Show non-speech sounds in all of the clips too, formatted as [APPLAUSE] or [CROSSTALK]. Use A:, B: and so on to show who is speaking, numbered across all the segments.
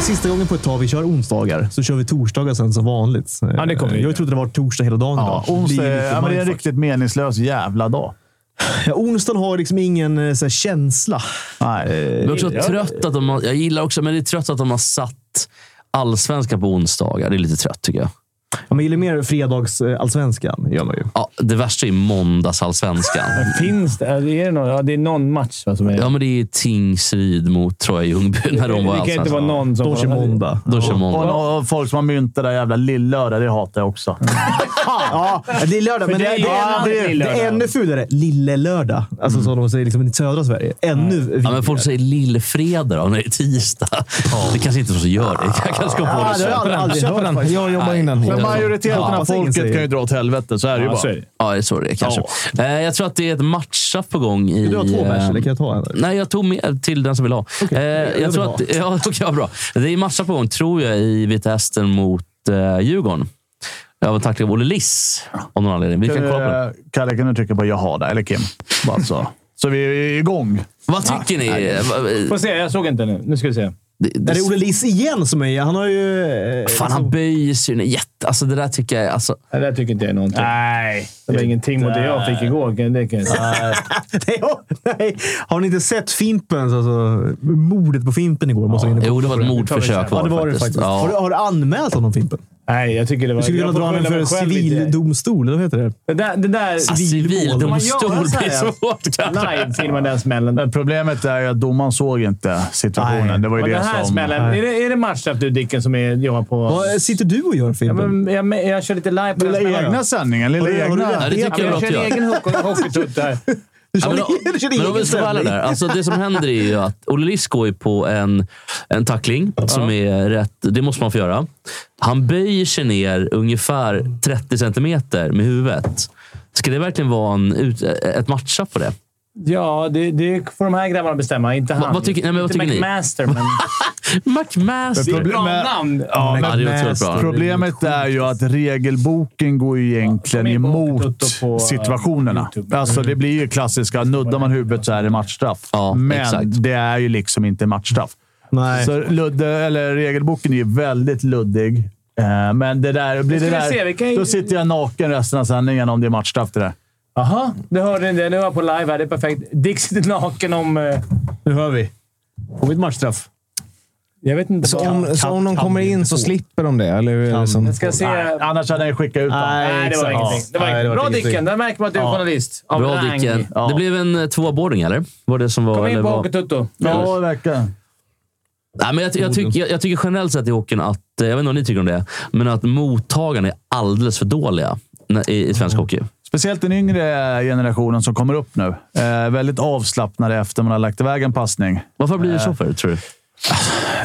A: sista gången på ett tag vi kör onsdagar. Så kör vi torsdagar sen som vanligt.
B: Ja, det kommer vi göra.
A: Jag trodde det var torsdag hela dagen
C: Ja,
A: idag.
C: onsdag
A: Blir
C: är,
A: lite
C: ja, men det är en
A: mindfuck.
C: riktigt meningslös jävla dag.
A: Ja, onsdagen har liksom ingen eh, så här, känsla. Eh,
C: Nej.
D: Men också
B: Ja.
D: trött att de har, jag gillar också, men det är trött att de har satt allsvenskan på onsdagar. Det är lite trött tycker jag.
A: Ja, man gillar mer
D: [LAUGHS]
A: fredagsallsvenskan. Gör man ju.
D: Ja, det värsta
A: [LAUGHS]
D: är måndagsallsvenskan.
B: Finns det? Är det, någon, ja, det är någon match va, som är...
D: Ja, men det är Tingsryd mot Troja Ljungby när de var alltså-
B: det kan inte vara
D: allsvenskan.
B: någon som...
A: Då kör måndag.
D: Då kör
C: Och,
D: måndag.
C: och, och folk som har mynt det där jävla lillördag, det hatar jag också.
B: Mm.
A: Ja, det är lördag, men
B: det
A: det,
B: är
A: är,
B: ju
A: det,
B: en
A: är,
B: annan
A: det, är,
B: lillördag.
A: ännu fulare. Lille-lördag. Alltså som de säger liksom, i södra Sverige. Ännu
D: Ja, men folk säger lillfredag då, när det är tisdag. Det kanske inte är de som gör det. Jag kanske ska få
A: Ja,
D: det
A: det har jag
D: så.
A: aldrig, aldrig hört
B: Köpenhamn.
A: faktiskt.
B: Jag jobbar
D: Nej.
B: innan.
D: Men
C: Men
D: Ja.
C: majoriteten
A: Ja,
C: av
A: fast ingen
C: folket
A: säger-
C: kan ju dra åt helvete, så är det ju
B: Ja,
C: bara.
B: så är det.
D: Ja, det är så det är kanske. Eh, Jag tror att det är ett matchup på gång. I,
A: Du har två bärs,
D: eh,
A: eller kan jag ta en?
D: Nej, jag tog med till den som vill ha. eh, jag
A: vill
D: tror
A: ha.
D: att, [LAUGHS] ja, okay, bra. Det är matcha på gång, tror jag, i Vita Hästen mot eh, Djurgården. Av en tackling av Olle Liss, av någon anledning. Vi kan kolla på det.
C: Eh, Kalle, kan du trycka på jag har det? Eller Kim? Bara så. så vi är igång.
D: Vad tycker ni? Va-
B: Får
D: [LAUGHS]
B: se, jag såg inte nu. Nu ska vi se.
D: Det,
A: Är
D: det,
A: det Olle Liss igen som är Han har ju... eh,
D: fan, han böjer sig. ju Jätte, alltså, det där tycker jag är... Alltså,
B: Det där tycker inte jag är någonting.
C: Nej.
B: Det var ingenting mot det jag fick igår. kan- Det kan jag säga.
A: nej, oh, nej. Har ni inte sett Fimpens? Alltså, mordet på Fimpen igår. Måste jag in
D: jo, det var ett mordförsök.
A: Ja, det var det faktiskt. Har, du,
D: Ja.
A: har du anmält honom, Fimpen?
B: Nej, jag tycker det var...
A: Du skulle kunna
B: jag får
A: dra honom
B: skylla
A: för
B: mig själv
A: en
B: lite.
A: civildomstol. Eller vad heter det?
B: Det där... Det där
D: Ah, Civildomstol
B: Man gör så här.
D: blir svårt. kanske.
B: live filmar den smällen.
C: Men problemet är ju att domaren såg inte situationen.
A: Nej.
C: Det var ju
B: Och
C: det
B: den här
C: som...
B: smällen. Är det, är det matchstrap du Dicken som är, jobbar på...
A: Vad sitter du och gör,
B: Ja,
A: Fimpen?
B: men jag, men jag kör lite live på den
C: Lilla
B: smällen.
C: egna sändningen. Lilla
A: Har du- har du
C: egna.
A: rätt?
D: Ja, det
B: Ja,
D: tycker
B: men
D: jag
B: jag
D: är
B: kör
D: bra att
B: egen hockey- hockeytupp där.
A: du
D: Ja,
A: kör
D: men,
A: [LAUGHS] du kör
D: men om vi
A: egen
D: ska vara ärliga
A: ställning.
D: där. Alltså, det som händer är ju att Olle Liss går ju på en, en tackling som är rätt. Det måste man få göra. Han böjer sig ner ungefär 30 centimeter med huvudet. Ska det verkligen vara en, ut- ett matcha på det?
B: Ja, det, det får de här grabbarna bestämma. Inte han.
D: Vad- vad tycker- nej, men vad
B: inte
D: tycker ni?
B: McMaster, men...
D: [LAUGHS] McMaster.
C: Problem-
B: Bra
C: men-
B: namn! Ja,
D: Ja, det är otroligt bra.
C: Problemet är ju att regelboken går ju egentligen
B: Ja, de är på
C: emot
B: Toto på, eh,
C: situationerna.
B: YouTube. Mm.
C: Alltså det blir ju klassiska. Nuddar man huvudet så är det matchstraff.
D: Ja,
C: Men
D: exakt.
C: det är ju liksom inte matchstraff.
A: Nej.
C: Så ludde, eller regelboken är ju väldigt luddig. Eh, Men det där... Blir det
B: ska vi
C: där
B: se, vi kan ju-
C: Då sitter jag naken resten av sändningen om det är matchstraff det där.
B: Aha, nu hörde ni det. Nu var jag på live här. Det är perfekt. Dick sitter naken om... eh,
A: Nu hör vi. Får vi ett matchstraff?
B: Jag vet
E: Alltså,
B: inte.
F: Så
B: vad-
F: om, så om de
A: kan
F: kommer
A: vi
F: in
A: inte
F: så
A: få.
F: slipper de det? Eller, eller som,
B: Jag ska se...
C: Nej, Annars hade jag skickat ut dem.
B: Nej, det var
A: exakt.
B: ingenting. Det var
A: Nej, det
B: ingenting.
A: var
B: Bra
A: ingenting.
B: Dicken. Där märker man att du är journalist. Av
D: Bra
B: rang.
D: Dicken.
C: Ja.
D: Det blev en eh, tvåa boarding, eller? Var det som var,
B: Kom
D: eller
B: in på
D: var...
B: Hockeytutto.
C: Ja, det verkar.
D: Nej, men jag, jag, tycker, jag, jag tycker generellt sett i hockeyn att, eh, jag vet inte om ni tycker om det, men att mottagarna är alldeles för dåliga när- i, i svensk
F: Mm.
D: hockey.
C: Speciellt den yngre generationen som kommer upp nu. Eh, väldigt avslappnade efter man har lagt iväg en passning. Eh,
D: Varför blir det
F: Eh,
D: så för, tror du?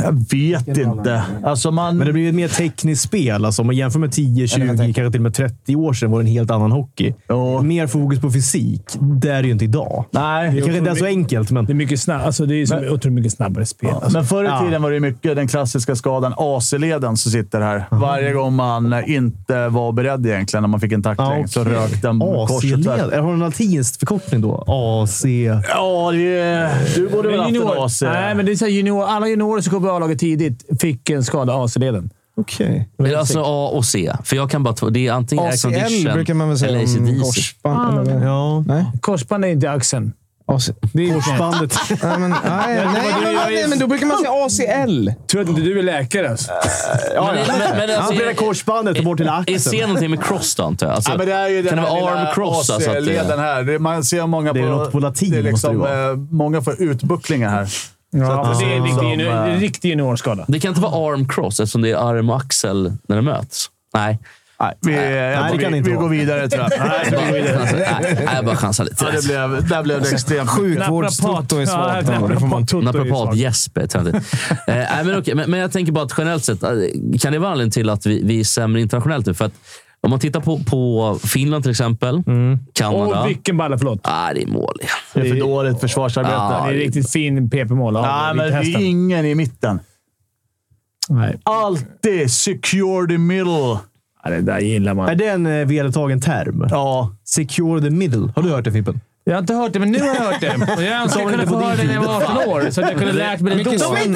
C: Jag vet inte. Alltså man...
A: Men det blir ett mer tekniskt spel. Alltså, om man jämför med 10, 20, kanske till och med 30 år sedan var det en helt annan hockey.
C: Ja.
A: Mer fokus på fysik. Det är det ju inte idag.
C: Nej.
A: Det kanske inte är så enkelt, men...
B: Det är mycket snabb, alltså det är så otroligt mycket snabbare spel. Alltså.
C: Men förr i
A: Ja.
C: tiden var det mycket den klassiska skadan AC-leden som sitter här. Varje gång man inte var beredd egentligen när man fick en tackling
A: Ja, okej.
C: så rök den korset.
A: AC-led?
C: där.
A: Har du en latinsk förkortning då? AC...
C: Ja, det är... Du borde väl haft en AC?
B: nej, men det är så här junior, alla juniorer som kom på A-laget tidigt fick en skada i AC-leden.
A: Okej.
D: Eller alltså A och C. För jag kan bara två. Det är antingen
F: ACL
D: aircondition
F: brukar man väl säga
D: eller
F: om
D: ACDC.
F: korsband? eller,
A: Ja.
F: Nej?
B: Korsband är inte axeln.
F: AC,
B: Det är [LAUGHS]
A: Korsbandet.
F: nej, men, nej, nej, men, nej, men då brukar man säga ACL.
B: Tror att inte du är läkare alltså.
D: Men, men, men,
A: Han
D: alltså,
A: spelar korsbandet och bort till
D: är C
A: axeln.
D: någonting med cross då, antar jag? Alltså,
C: Ja, men det är ju
D: kan det
C: den här
D: vara
C: lilla
D: arm cross? Alltså, att, det-
C: AC-leden här. Det- Man ser många
A: Det är
C: på...
A: något på latin,
C: det är
A: måste det
C: liksom,
A: vara.
C: eh, Många får utbucklingar här.
B: Ja,
C: att
B: för det är en riktig
C: som,
B: junior-
C: eh,
B: en riktig juniorskada.
D: det kan inte vara arm cross eftersom det är arm och axel när de möts. Nej.
C: Nej, vi, eh,
A: det kan
C: vi,
A: inte
C: vi
A: vara.
C: går vidare tror [LAUGHS] jag.
D: Jag bara, chansar- nej, nej, jag bara chansar
C: [LAUGHS]
D: lite.
C: Ja, det blev, där blev det extremt
F: Sjukvårdstutto är svagt. ändå, det får man-
D: Naprapat-Jesper. eh, nej, men, okej, men, men jag tänker bara att generellt sett, eh, kan det vara anledningen till att vi, vi är sämre internationellt nu? För att om man tittar på, på Finland till exempel, Kanada.
B: Åh, vilken balla! Förlåt.
D: ah, det är mål igen.
C: Det är för dåligt försvarsarbete.
D: Ja,
B: Det är riktigt fin PP-mål.
C: Nej, men det är ingen i mitten.
B: Nej.
C: Alltid secure the middle.
B: Ja, det där gillar
A: Är
B: man.
A: det en eh, vedertagen term?
C: Ja.
A: Secure the middle. Har du hört det, Fimpen?
B: Jag har inte
A: [LAUGHS]
B: hört det, men nu har jag hört det. Och jag önskar jag kunde få höra det när jag var 18 år, så att jag kunde lärt mig det
F: Mycket
B: då.
F: sven-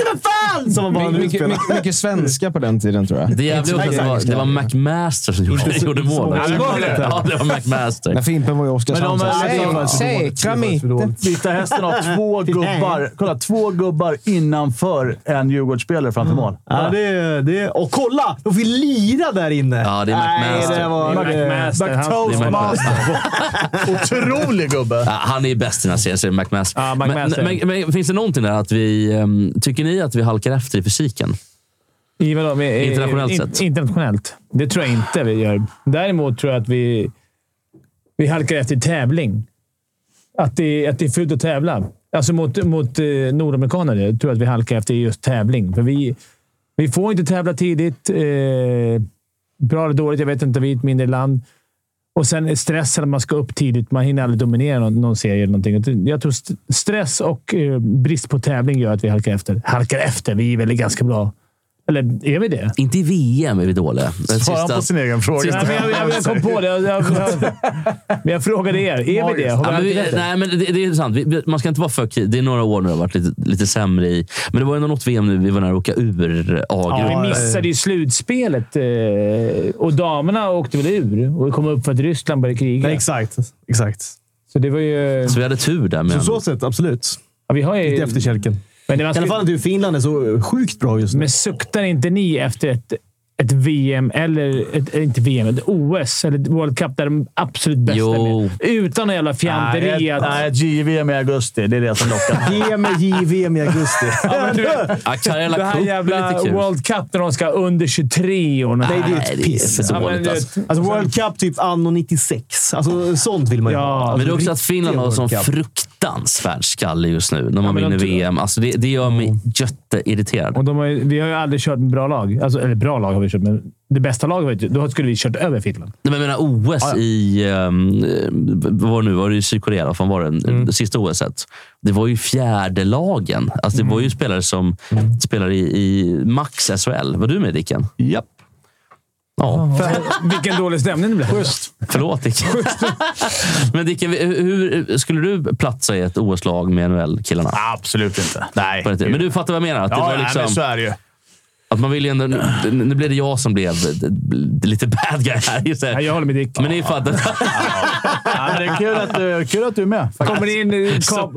A: alls om man bara
F: My,
A: hade
F: mycket,
A: utspelat.
F: mycket, mycket svenska på den tiden tror jag.
D: Det jävliga också att det var, det var McMaster som gjorde,
A: så-
D: gjorde
A: inte så
D: målet.
A: många mål.
D: Ja, det var McMaster.
F: När Fimpen var i Oskarshamn.
C: Men de är- de är-
F: Sä- Säkra mitten.
C: Vita hästen har
A: [LAUGHS]
C: två gubbar, kolla, två gubbar innanför en Djurgårdsspelare framför mål.
A: Mm. Ja, det, är- det, är- och kolla! De fick lira där inne.
D: Ja, det är McMaster.
A: Nej, det var...
B: Det är
A: det-
B: McMaster.
A: Mc-
B: Han-
D: Det är
C: Toastmaster!
A: [LAUGHS]
C: Otrolig gubbe!
D: Ja, han är bäst i den här serien, så det är McMaster.
B: Ja, McMaster.
D: Men, men, men finns det någonting där att vi... ehm, tycker ni att vi halkar efter i fysiken?
B: I vadå? Med, eh,
D: Internationellt sett.
B: Internationellt. Det tror jag inte vi gör. Däremot tror jag att vi, vi halkar efter i tävling. Att det, att det är fult att tävla. Alltså mot, mot eh, nordamerikaner tror jag att vi halkar efter i just tävling. För vi, vi får inte tävla tidigt. Eh, bra eller dåligt, jag vet inte. Vi är ett mindre land. Och sen stressen när man ska upp tidigt. Man hinner aldrig dominera någon, någon serie eller någonting. Jag tror st- stress och eh, brist på tävling gör att vi halkar efter. Halkar efter? Vi är väl ganska bra. Eller är vi det?
D: Inte i VM är vi dåliga. Den
C: Svarar han på sin egen fråga?
D: sista-
B: Nej, men jag, jag, jag kom på det.
C: [LAUGHS]
B: Jag, jag, jag, men jag frågade er. Är vi det? Har
D: Ja,
B: vi
D: men vi,
B: halkat efter?
D: nej, men det, det är sant. Vi, vi- man ska inte vara för kri- Det är några år nu det har varit lite, lite sämre i. Men det var ju ändå något VM nu vi var nära att åka ur
B: Ja, vi
D: A-gruppen.
B: missade ju slutspelet eh, och damerna åkte väl ur och kom upp för att Ryssland började kriga.
A: Nej, exakt. Exakt.
B: Så det var ju...
D: så vi hade tur där.
A: På
D: Men,
A: så sätt, absolut.
B: Ja, vi har ju
A: Lite efterkälken.
B: men det
A: I alla fall
B: man,
A: inte hur Finland är så sjukt bra just nu.
B: men suktar inte ni efter ett, ett VM, eller ett, inte VM, ett OS eller ett World Cup där de absolut bästa
D: Jo.
B: blir? Utan någon jävla
C: Nej,
B: fianteri.
C: ett-
B: att-
C: nej, ett JVM i augusti. Det är det som
A: [LAUGHS]
C: lockar.
A: Ge mig JVM i augusti.
D: ja, Karela
B: Det här
D: Cup är
B: jävla
D: lite kul.
B: World Cup när de ska under 23 år.
A: Nej, det är ett piss.
D: för
B: Ja, men
D: dåligt
B: det-
D: alltså.
A: Alltså World Cup typ anno 96. Alltså sånt vill man ju
B: Ja,
A: ha.
D: Men det är också att
B: Alltså,
D: Finland har en sån
A: World Cup.
D: fruktansvärd skalle just nu när man
B: men de
D: vinner
B: tror-
D: VM. Alltså det, det gör mig jätteirriterad.
B: Och de har ju, vi har ju aldrig kört med bra lag. Alltså, eller bra lag har vi kört, men det bästa laget har vi inte- Då skulle vi kört över Finland.
D: Nej, men jag menar OS i... ehm, eh, vad var det nu? Var det i Sydkorea? Vad fan var det? Det
C: Mm.
D: sista OS. -et. Det var ju fjärde lagen. Alltså, det var
C: Mm.
D: ju spelare som spelar i, i max SHL. Var du med Dicken?
C: Japp.
D: Ja,
B: Vilken dålig stämning det blev.
D: förlåt Dicken. men Dicken, hur, hur skulle du platsa i ett OS-lag med NHL-killarna?
C: Absolut inte. Nej.
D: På den tiden? Men du fattar vad jag menar? Att, det
C: Ja,
D: var
C: nej, men så
D: liksom,
C: är det ju.
D: att man vill ju ändå, nu, nu blev det jag som blev eh, lite bad guy här. Just
B: Nej,
D: det.
B: jag håller med Dick.
D: Men ni fattar.
C: Ja, men det är kul att du, kul att du är med. faktiskt.
B: Kommer in, kap,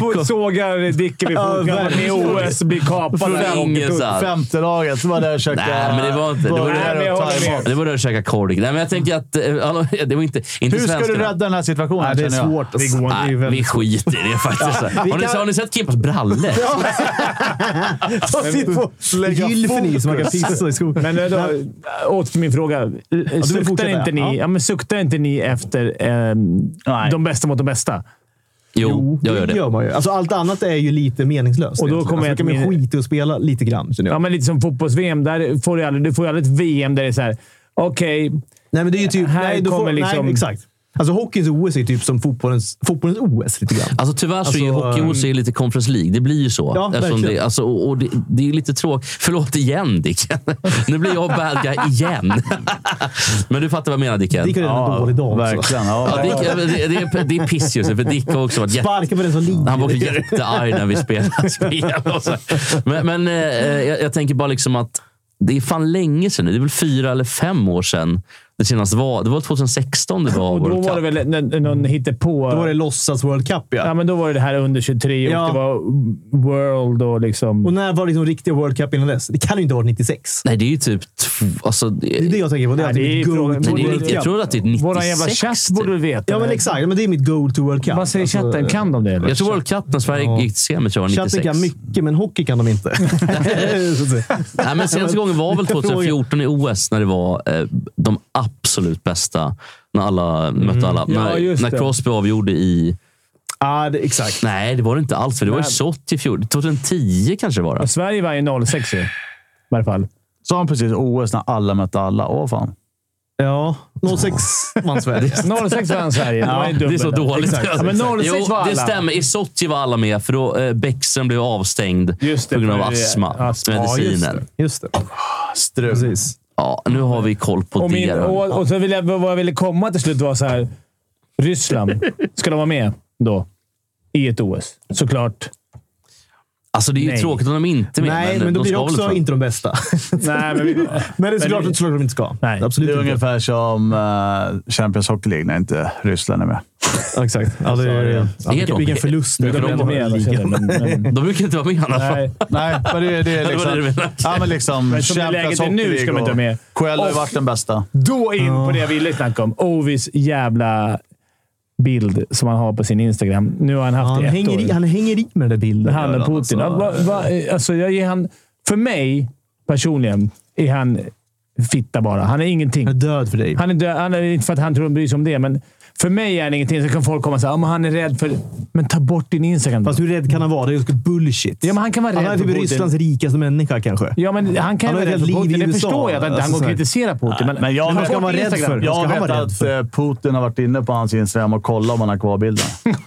B: får- sågar Dicken vid fotknölarna i OS, blir kapad.
D: Från ingenstans.
C: Femte laget som var där och käkade
D: Nej, men det var inte- det var-
C: burgare
B: Nej, men jag
C: och
B: håller med.
C: thaimat.
D: Det var det att käka korg. Nej, men jag tänker att... eh, hallå, [LAUGHS] Det var inte, inte
C: Hur ska du
D: svenskarna.
C: rädda den här situationen?
A: Nej, det är
C: känner jag?
A: svårt.
B: Det går inte. Det är
D: Nej, vi
B: väldigt-
D: skiter i det faktiskt. har, ni,
A: kan-
D: har ni sett Kimpas bralle?
A: Ta sitt på
C: Lägga
A: gylfen i så man kan pissa i skogen.
B: Men då, Eh, åter till min fråga. Suktar
A: fortsätta?
B: inte ni,
A: Ja.
B: ja. men suktar inte ni efter eh,
C: Nej.
B: de bästa mot de bästa?
D: Jo, jag gör det.
A: gör man ju. Alltså, allt annat är ju lite meningslöst.
B: Och då
A: egentligen.
B: kommer
A: alltså,
B: jag
A: då kan
B: till
A: man
B: min-
A: skita i att spela lite grann, känner jag.
B: Ja, men lite som fotbolls-VM. Där får du, aldrig, du får ju aldrig ett VM där det är så här. Okej,
A: Nej, men det är ju typ...
B: Här
A: nej, då får,
B: kommer liksom-
A: nej, exakt. Alltså hockeyns OS är ju typ som fotbollens, fotbollens OS lite grann.
D: Alltså, tyvärr så är ju
A: Alltså,
D: hockey-OS är lite Conference League. Det blir ju så.
A: Ja,
D: Eftersom det,
A: verkligen.
D: alltså, och, och det, det är lite tråkigt. Förlåt igen, Dicken. [LAUGHS] Nu blir jag bad guy igen. [LAUGHS] Men du fattar vad jag menar, Dicken.
A: Dick har redan en dålig dag också.
C: Verkligen. Ja,
D: Ja, Dick, ja, men det, det, är, det är piss just nu, för Dick har också varit jätte...
A: Sparka på den som ligger.
D: Han var också jättearg när
A: [LAUGHS]
D: vi spelade spel. och så. Men, men eh, jag, jag tänker bara liksom att det är fan länge sedan nu. Det är väl fyra eller fem år sedan det senast var. Det var 2016 det var
B: och då
D: World
B: var det
D: Cup.
B: väl n- n- någon hittepå.
A: Då var det låtsas World Cup, ja.
B: Ja, men då var det det här under 23 och
A: Ja.
B: det var World och liksom...
A: Och när var liksom riktiga World Cup innan dess? Det kan ju inte ha varit 96.
D: Nej, det är ju typ... tv- Alltså, det,
A: Det är det jag tänker på. Det är,
B: Nej,
A: alltid
B: det är
A: mitt
B: ju
A: goal
B: frågan.
A: to
D: nej, det är,
A: World
D: riktigt- jag
A: Cup.
D: tror att det är
B: Våran
D: 96.
B: jävla chatt borde du veta.
A: Ja, men exakt. Men det är mitt goal to World Cup. Alltså,
B: Vad säger chatten? Kan de det?
D: Jag tror World Cup när Sverige gick till semi tror jag var
A: Chatten
D: 96.
A: kan mycket, men hockey kan de
D: [LAUGHS]
A: inte. [LAUGHS] Så att säga.
B: [LAUGHS]
D: Nej, men senaste gången
A: [LAUGHS]
D: var väl 2014 i OS när det var eh, de absolut bästa. När alla mötte alla.
B: Mm. Ja,
D: när,
B: just
D: när
B: det.
D: Crosby avgjorde i...
A: ja, det, exakt.
D: Nej, det var det inte alls. För det var ju
B: Nej.
D: Sochi i fjol. 2010 kanske det var. Det.
B: Ja, Sverige var ju 06 ju. I varje fall.
C: Sa han precis OS när alla mötte alla? Åh fan.
A: Ja, 06
C: [LAUGHS]
A: vann Sverige.
B: [LAUGHS] 06 vann Sverige. Det var ju
D: Det är så
B: dubbel där.
D: dåligt.
A: Exakt.
D: Alltså,
B: Ja, men 06 var alla.
D: det stämmer. I Sochi var alla med, för då eh, Bäckström blev avstängd
B: Just det,
D: på grund av
B: för det är
D: astma.
B: astma.
A: Ja, just
D: Medicinen.
A: det. Just det.
C: Strul.
A: Precis.
D: Ja, nu har vi koll på
B: Och, min,
D: det. då.
B: och, och så ville jag, vad jag ville komma till slut var så här.
D: [LAUGHS]
B: Ryssland. Ska de vara med då? I ett OS. Såklart.
D: Alltså det är ju
B: Nej.
D: tråkigt om de inte är med.
A: Nej, men då blir
D: de
A: det
D: ska väl
A: också
D: fram.
A: inte de bästa.
B: [LAUGHS] Nej, men
A: [LAUGHS]
B: vi,
A: men det är såklart
B: vi-
A: att såklart de inte ska.
B: Nej.
A: Absolut
C: Det är
A: inte.
C: ungefär som eh, Champions Hockey League när inte Ryssland är [LAUGHS] med.
A: Ja, exakt. Ja, det är, ja,
D: Är de-
A: vilken förlust.
D: Nu kan
B: de är inte med alla
A: ligan.
B: känner, men, men,
D: De brukar inte vara med i alla fall.
B: Nej.
C: Nej, men det, det är
D: [LAUGHS] det var det du
C: liksom...
D: menade.
C: ja, men liksom
B: Men som det läget är nu ska de inte
C: och
B: vara med.
C: Coelho har ju
B: Och-
C: varit den bästa.
B: Då in på det jag
D: Ah.
B: ville snacka om. Ovis jävla bild som han har på sin Instagram. Nu har han haft
A: Han
B: det i ett
A: hänger,
B: år.
A: i, han hänger i med den där
B: Men
A: bilden.
B: han och Putin.
A: Alltså.
B: Alltså. Va, va, alltså jag ger han, för mig personligen är han fitta bara. Han är ingenting.
A: Han är död för dig.
B: Han är död. Han är, inte för att han tror att bryr sig om det, men för mig är han ingenting. Så kan folk komma och säga att han är rädd för... Men ta bort din Instagram. då.
A: Fast hur rädd kan han vara? Det är ju bullshit.
B: Ja, men han kan vara
A: han
B: rädd
A: är
B: för
A: typ
B: Putin.
A: Rysslands rikaste människa kanske.
B: Ja, men han kan
A: Han
B: ju
A: har
B: vara
A: ett
B: rädd för
A: liv i
B: Putin. Det
A: USA.
B: förstår jag. Att inte han
A: Alltså,
B: går
A: så
B: och
A: här.
B: kritiserar Putin. Men,
C: Men jag
B: men
C: vet-
B: ta bort
A: ska vara rädd
B: Instagram.
A: för?
C: Jag
A: ska han
C: vet
A: vara rädd
C: att
A: för?
C: eh, Putin har varit inne på hans Instagram och kollat om han har kvar bilden.
B: [LAUGHS]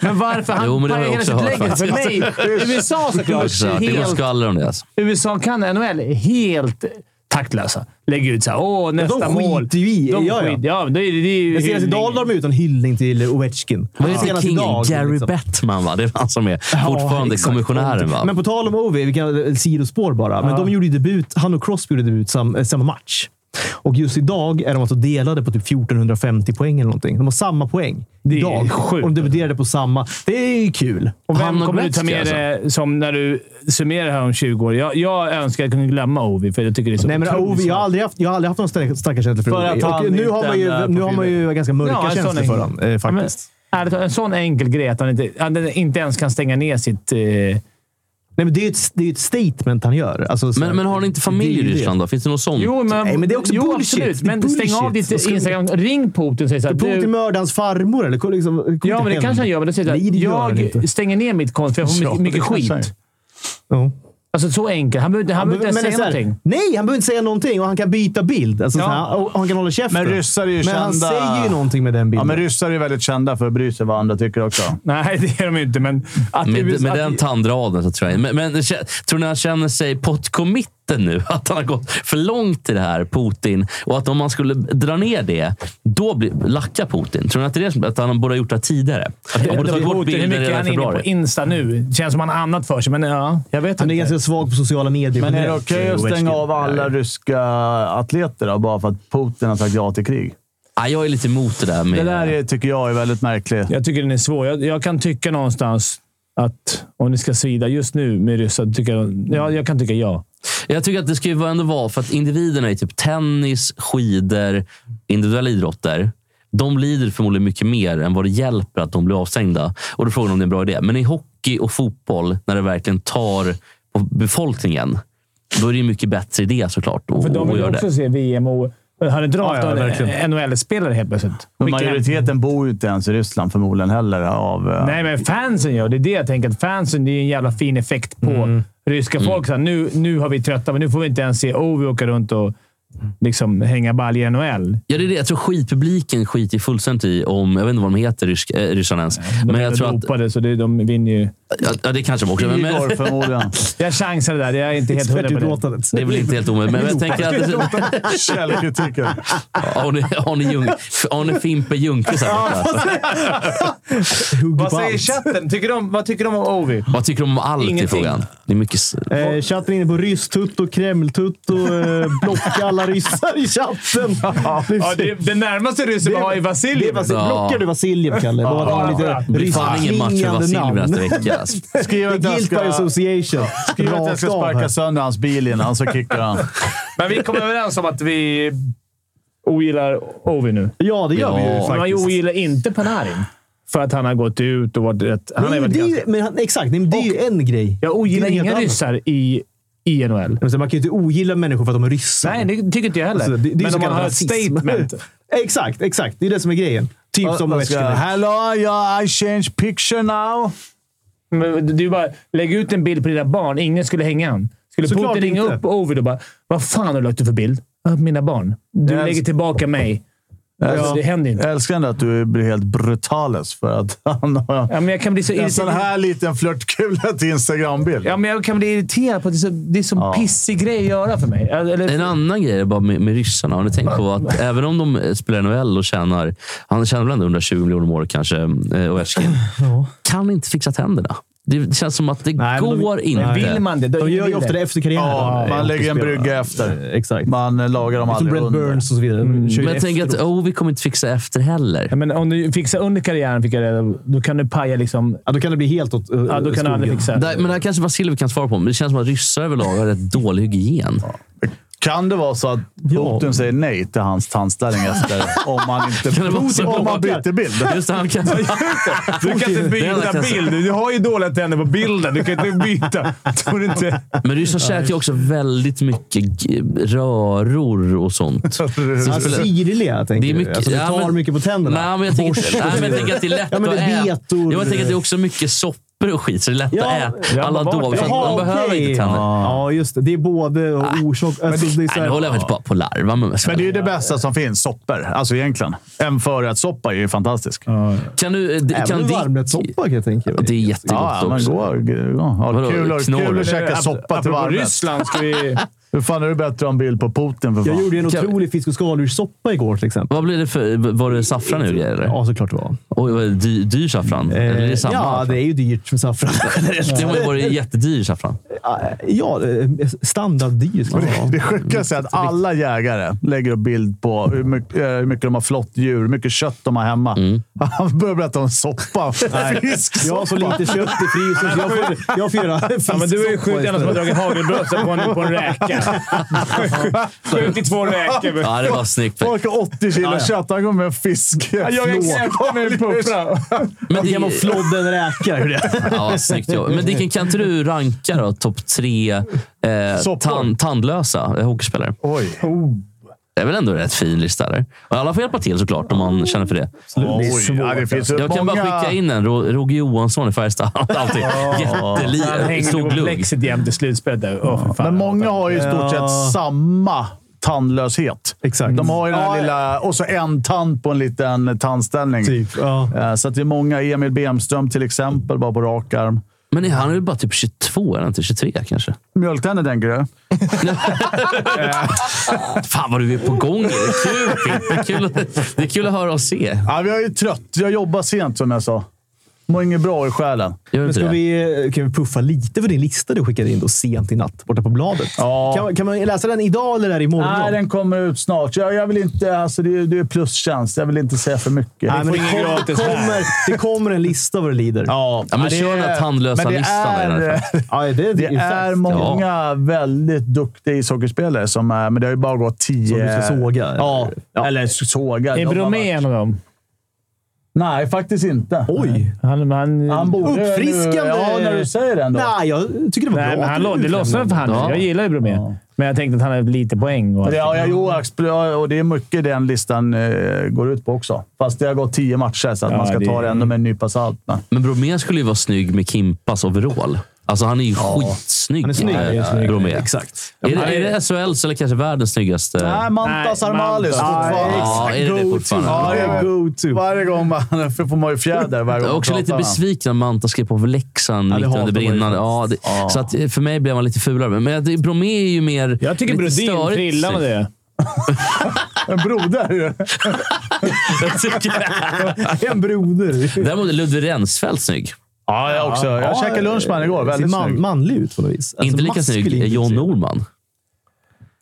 B: Men varför? Han
D: Jo, men det har
B: pajar
D: jag
B: hela
D: också
B: sitt
D: hört
B: läge. För mig, USA såklart.
D: Också. Det går
B: helt,
D: skvaller om det. Alltså.
B: USA kan NHL är helt taktlösa. Lägger ut såhär. Åh, nästa
A: de
B: mål.
A: skiter ju i-
B: De
A: ja, ja.
B: skiter- ja, men det är, det är ju
A: Men senast
B: hyllning.
A: idag la de ut en hyllning till Ovechkin.
D: Vad
A: Ja.
D: heter
A: Senast
D: kingen?
A: idag,
D: Gary
A: liksom.
D: Bettman, va? Det är han som är fortfarande
A: exakt.
D: kommissionären, va?
A: Men på tal om OV, vi kan eh, sidospår bara. Men de gjorde ju debut, han och Crosby gjorde debut sam, eh, samma match. Och just idag är de alltså delade på typ 1450 poäng eller någonting. De har samma poäng.
B: är
A: idag.
B: sjukt.
A: Och de debuterade på samma. Det är ju kul.
B: Och vem
D: Han alltså. och
B: kommer du ta
D: Gretzky,
B: med dig som när du summerar här om 20 år? Jag, jag önskar jag kunde glömma Ovi, för jag tycker det är så
A: Nej, men
B: otroligt
A: Ovi, jag, har
B: svårt.
A: aldrig haft, jag har aldrig haft någon stark- starka känslor för,
C: För att
A: Ovi.
C: han
A: Och nu,
C: inte
A: har man
C: är
A: ju,
C: en
A: nu har man ju ganska mörka
B: Ja, en sån
A: känslor för
B: enkel-
A: honom eh,
B: Ja, men,
A: faktiskt.
B: ärligt talat, en sån enkel grej att han inte, att han inte ens kan stänga ner sitt... Eh,
A: Nej, men det är ju ett, det är ju ett statement han gör. Alltså, så här-
D: Men, men har ni inte familj
A: Det är ju
D: i
A: det.
D: Ryssland då? Finns det något sånt?
B: jo, men,
A: Nej, men det är också
B: jo,
A: bullshit.
B: Absolut,
A: Det är
B: men
A: bullshit.
B: stäng av ditt
A: Vad ska vi-
B: Instagram. Ring Putin och säg såhär.
A: Putin mördade hans farmor, eller? Liksom, kom inte
B: ja, men det
A: hem.
B: kanske han gör, men då säger
A: Nej, det gör han
B: jag,
A: inte.
B: jag stänger ner mitt konto för jag får
C: Ja,
B: mycket, mycket
C: det kanske
B: skit.
C: han gör.
A: Ja.
B: Alltså så enkelt. Han behöver inte- han behöver inte ens
A: så
B: säga
A: här,
B: någonting.
A: Nej, han behöver inte säga någonting och han kan byta bild. Alltså,
B: Ja.
A: så här, och och han kan hålla käften.
C: Men ryssar är ju
A: Men han
C: kända-
A: säger ju någonting med den
C: Ja,
A: bilden.
C: men ryssar är ju väldigt kända för att bry sig vad andra tycker också.
B: Nej, det är de inte, men... Att
D: Med, med
B: att-
D: den tandraden så tror jag Men, men kä- tror ni han känner sig potkomitten nu? [LAUGHS] Att han har gått för långt i det här, Putin. Och att om man skulle dra ner det, då blir, lackar Putin. Tror ni att, det är det som, att han borde ha gjort det här tidigare? Han borde ha tagit bort
B: Putin, hur
D: bilden
B: mycket är
D: redan i
B: han inne på
D: februari.
B: Insta nu? Känns som han har annat för sig, men ja. Jag vet
A: han är
B: inte.
A: ganska svag på sociala medier.
C: Men är det
A: generellt,
C: okej
A: eh,
C: att stänga
A: Ovechkin?
C: av alla ryska atleter då, bara för att Putin har sagt ja till krig?
D: Ja, jag är lite emot det där
C: Det
D: med...
C: där är, tycker jag är väldigt märkligt.
B: Jag tycker den är svår. Jag, jag kan tycka någonstans att om ni ska svida just nu med ryssar, tycker jag, ja, jag kan tycka ja.
D: Jag tycker att det ska ju ändå vara för att individerna i typ tennis, skidor, individuella idrotter. De lider förmodligen mycket mer än vad det hjälper att de blir avstängda. Och då frågar de om det är en bra idé. Men i hockey och fotboll, när det verkligen tar på befolkningen, då är det ju mycket bättre idé såklart. Och,
B: För de
D: och
B: vill
D: gör
B: också
D: det.
B: se VM och... Har inte
A: Ja, ja,
B: dragit
A: verkligen.
B: en NHL-spelare helt plötsligt?
C: Men
B: Skicka hem.
C: majoriteten bor ju inte ens i Ryssland förmodligen heller. Av, eh,
B: Nej, men fansen gör det. Det är det jag tänker. Att fansen det är en jävla fin effekt på
D: Mm.
B: ryska folk. Så här, nu, nu har vi trötta, men nu får vi inte ens se Ovi åka runt och liksom hänga balj i NHL.
D: Ja, det är det. Jag tror skitpubliken skiter fullständigt i om... Jag vet inte vad de heter, rysk, äh, ryssarna ens.
B: De
D: Men
B: är
D: jag tror att...
B: dopade, så det, de vinner ju.
D: Ja, ja, det kanske de också men- men,
C: Igor
B: [LAUGHS]
C: förmodligen.
B: Jag chansade där. Jag är inte helt hundra på det.
A: Expertutlåtandet.
D: Det är väl inte helt omöjligt. Men jag tänker
A: [LAUGHS]
D: att...
C: Källkritiken.
D: Arne, Arne, Ljung, Arne Fimpen Ljungqvist här borta.
A: Hugger
B: Vad
A: på
B: säger
A: allt.
B: chatten? Tycker de, vad tycker de om Ovi?
D: Vad tycker de om allt i
B: Ingenting.
D: frågan? Det är mycket... s-
A: Eh, chatten är inne på rysstutto, kremltutto, eh, blocka alla ryssar i [LAUGHS] chatten.
B: Ja, det, det närmaste ryssen vi har är
A: Det är
B: Vasiljev.
A: Vasil- Blockar du Vasiljev, Kalle? Bara
B: Ja.
A: lite
D: Det blir fan ingen match för
A: ryssklingande
D: Vasiljev nästa
A: namn.
D: vecka. alltså.
C: Skriv att jag
A: Guilt by
C: ska,
A: association.
C: skriv att jag ska
A: Rakt av här.
C: sparka sönder hans bil innan, så kickar han.
B: [LAUGHS] Men vi kom överens om att vi ogillar Ovi nu.
A: Ja, det gör vi ju
D: Ja.
B: Men man
A: faktiskt.
B: ogillar inte Panarin. [LAUGHS] För att han har gått ut och varit rätt... Han har
A: Nej,
B: ju
A: men
B: varit
A: det är
B: ganska...
A: ju, men han, exakt, nej, men det är ju en grej.
B: Jag ogillar
A: Det är helt
B: inga
A: annat.
B: ryssar i, i NHL.
A: Men sen, Man kan ju inte ogilla människor för att de är ryssar.
B: Nej, det tycker inte jag heller.
A: Alltså, det, det är ju
B: Men
A: så
B: om man har
A: kallad
B: ett
A: rasism. [LAUGHS]
B: statement.
A: exakt, exakt. Det är det som är grejen. Typ som
C: Vad ska jag-
A: Ovechkin.
C: Hello, yeah, I change picture now.
B: Men Du bara, lägg ut en bild på dina barn. Ingen skulle hänga han. Skulle
A: Såklart
B: Putin ringa
A: inte.
B: upp Ovid och bara “Vad fan har du lagt ut för bild?” "Ja, “Mina barn. Du
C: Jag
B: lägger
C: älsk-
B: tillbaka mig.” alltså, Det händer inte.
C: Jag älskar ändå att du blir helt brutalis för att [LAUGHS] han har
B: Ja, men jag kan bli så
C: en sån
B: irriterad.
C: här liten flörtkula till Instagram-bild.
B: Ja, men jag kan bli irriterad på att det är så, det är så
C: Ja.
B: pissig grej att göra för mig. Eller,
D: En annan grej är bara med, med ryssarna. Har ni tänkt på att även om de eh, spelar NHL och tjänar... Han tjänar väl ändå 120 miljoner om året kanske, eh, Ovechkin. Kan inte fixa tänderna. Det känns som att det
A: Nej, men de-
D: går inte.
B: Vill man det?
A: De gör ju ofta det efter karriären.
C: Ja,
A: Eh,
C: man lägger en
A: spelarna.
C: brygga efter.
A: Eh, Exakt.
C: Man eh, lagar dem
A: Som
C: aldrig
A: Brent
C: under.
A: Burns och så vidare. Kör ju
D: Men jag tänker att
A: efteråt.
D: oh, vi kommer inte fixa efter heller.
B: Mm. Ja, men om du fixar under karriären, fick jag reda på, då kan du paja liksom...
A: Ja, då kan det bli helt åt
B: Ja, då kan du aldrig fixa.
D: Där, men det här kanske Vasiljev kan svara på, men det känns som att ryssar överlag har rätt dålig hygien.
C: Kan det vara så att Putin säger nej till hans tandställning efter om man inte
D: det vara så?
C: om man byter bild?
D: Just det, han kan...
B: Du kan inte
D: Det är alla
B: byta
D: klasser.
B: bild. Du har ju dåliga tänder på bilden. Du kan inte byta. Tror du inte?
D: Men ryssar käkar ju också väldigt mycket g- röror och sånt. Så det
A: Ja,
D: spelar-
A: Sirliga, tänker
D: Det är mycket-
A: du. Alltså, det
D: ja,
A: tar
D: men-
A: mycket på tänderna.
D: Nej, men jag tänker, nej, men jag tänker att det är lätt
A: Ja, men
D: att
A: det är
D: äta.
A: betor.
D: Jo, Jag tänker att det är också mycket soppor och skit, så det är lätt
A: Ja,
D: att äta.
B: ja,
D: Alla
B: men vart-
D: dover, för att
B: Jaha,
D: de behöver
A: okej.
D: inte tänder.
A: Ja, just det. Det är både och orsak... Alltså, det är så
D: Nej,
A: här,
D: nu håller jag faktiskt bara på och larva med mig
C: Men
D: själv.
C: det är ju det bästa som finns. Soppor. Alltså egentligen. En förrättssoppa är ju fantastisk. Ja,
D: Kan du... d-
A: Även
D: Kan
A: en
D: Dick...
A: varmrättssoppa kan jag tänka mig.
D: Det är jättegott
C: ja men
D: också.
C: gå. gå. Ja,
D: Vadå,
C: kul, att-
D: knorr?
C: kul att käka
B: Ap-
C: soppa till
B: apropå
C: varmrätt.
B: Ryssland ska vi...
C: Hur fan är det bättre att ha en bild på Putin för
A: Jag
C: fan?
A: gjorde en
D: Kan-
A: otrolig fisk och skaldjurssoppa igår till exempel.
D: Vad blev det för... Var det saffran nu eller?
A: Ja, såklart det var.
D: Oj, vad är det? dyr, dyr saffran? eller är det samma?
A: ja, det är ju dyrt med saffran.
D: [LAUGHS] Det var ju varit jättedyr saffran.
A: [LAUGHS] ja, eh, standarddyr ska det vara.
C: Det sjukaste är att alla jägare lägger upp bild på hur mycket, eh, hur mycket de har flottdjur, hur mycket kött de har hemma. [LAUGHS] Han börjar berätta om soppa. [LAUGHS]
A: Jag har så lite kött i frysen så jag får, jag får göra
B: Ja, men du är ju
A: fisksoppa
B: skjuten som har
A: istället.
B: dragit hagelbröstet på en, på en räka. Skjutit två räkor.
D: Ja, det var snyggt.
C: Folk har 80 kilo kött. Han kommer med en fisk.
B: Jag är exempel med en puffra.
D: Men
A: Genom
D: det,
A: flodden räka. hur det är.
D: [LAUGHS] ja, snyggt jobb. Men Dicken, kan inte du ranka då topp tre eh,
C: Soppor.
D: tan, tandlösa eh, hockeyspelare?
C: Oj.
D: Det är väl ändå en rätt fin lista där. Och alla får hjälpa till såklart om man känner för det.
C: Oj. Ja, det finns
D: Jag kan
C: många...
D: bara skicka in en. Ro- Roger Johansson i Färjestad. [LAUGHS] Alltid
B: Han
D: jättelig,
B: hängde
D: stor
B: på
D: glugg.
B: plexit jämt i slutspelet. där. Åh, fy fan.
C: Men många har ju i stort sett samma tandlöshet.
A: Exakt.
C: De har ju den här
A: Ja.
C: lilla... Och så en tand på en liten tandställning.
A: Typ, ja.
C: Eh, Så att det är många. Emil Bemström till exempel, bara på rak arm.
D: Men är han är ju bara typ 22, eller inte 23 kanske.
C: Mjölktänder tänker du?
D: [LAUGHS] Fan vad du är på gång. Det är kul, Pippe. Kul att- Det är kul att höra och se.
C: Ja, jag är ju trött. Jag jobbar sent som jag sa. Mår inget bra i själen.
D: Gör
A: Men
D: inte
A: ska
D: det?
A: vi, eh, kan vi puffa lite för din lista du skickade in då sent i natt borta på bladet?
C: Ja.
A: Kan, man- kan man läsa den idag eller är det imorgon?
C: Nej, den kommer ut snart. Jag, jag vill inte... Alltså, det, är- det är plustjänst. Jag vill inte säga för mycket.
A: Nej, men det,
B: ingen
A: kom, det,
B: gratis här.
A: kommer, det kommer en lista vad det lider.
C: Ja,
D: Ja, men
C: det
D: kör den här
C: är-
D: tandlösa
C: men det
D: listan där i alla
C: Är,
D: fall.
A: Ja, det,
C: det är många väldigt duktiga ishockeyspelare, som är, men det har ju bara gått tio...
A: Som du ska såga?
C: Ja, eller såga.
B: Är
C: De har
B: Bromé
C: varit-
B: en av dem?
C: Nej, faktiskt inte.
A: Oj!
B: Han, han,
C: Han borde,
A: Uppfriskande!
C: Ja, när du säger det ändå.
A: Nej, jag tycker det var
B: nej,
A: bra.
B: men han, lo- det lossnade för han.
D: Ja.
B: Jag gillar ju Bromé.
C: Ja.
B: Men jag tänkte att han hade lite poäng. Och
C: Men det- Ja, [LAUGHS] jag, jo, Axel, ja, och det är mycket den listan eh, går ut på också. Fast det har gått tio matcher, så att
B: Ja,
C: man ska
B: det-
C: ta det ändå med en nypa salt. Men.
D: Men Bromé skulle ju vara snygg med Kimpas overall. Alltså han är ju skitsnygg.
A: Han är snygg.
D: eh,
A: Ja, det är snygg.
D: Bromé.
A: Exakt.
D: Är det, är det SHLs eller kanske världens snyggaste?
C: Nej, Mantas
B: Nej,
C: Armalis.
B: Mantas.
C: fortfarande.
D: Ja, är det det fortfarande?
C: Ja,
A: Ja,
C: jag-
A: go-to.
C: Varje gång man... [LAUGHS] För får man ju fjäder varje gång
D: Jag är
C: man
D: också lite
C: pratar med
D: besviken att Manta skrev på för Leksand
A: det
D: mitt
A: hatar
D: under
A: man ju
D: brinnande. Ja, det, Så att, eh, för mig blev han lite fulare. Men jag- det- Bromé är ju mer...
B: jag tycker
D: lite
B: Brodin
D: störigt
B: trillar med
D: snygg.
B: det.
C: honom. En broder.
D: [LAUGHS] Jag tycker-
A: En broder.
D: Däremot är Ludvig Rensfeldt snygg.
C: Ja, jag också. Jag käkade lunch med honom igår.
A: Ser
C: Väldigt
A: man,
C: snygg.
A: manlig ut på något vis. Alltså,
D: inte lika snygg
A: maskulin
D: är John
A: ut.
D: Norman.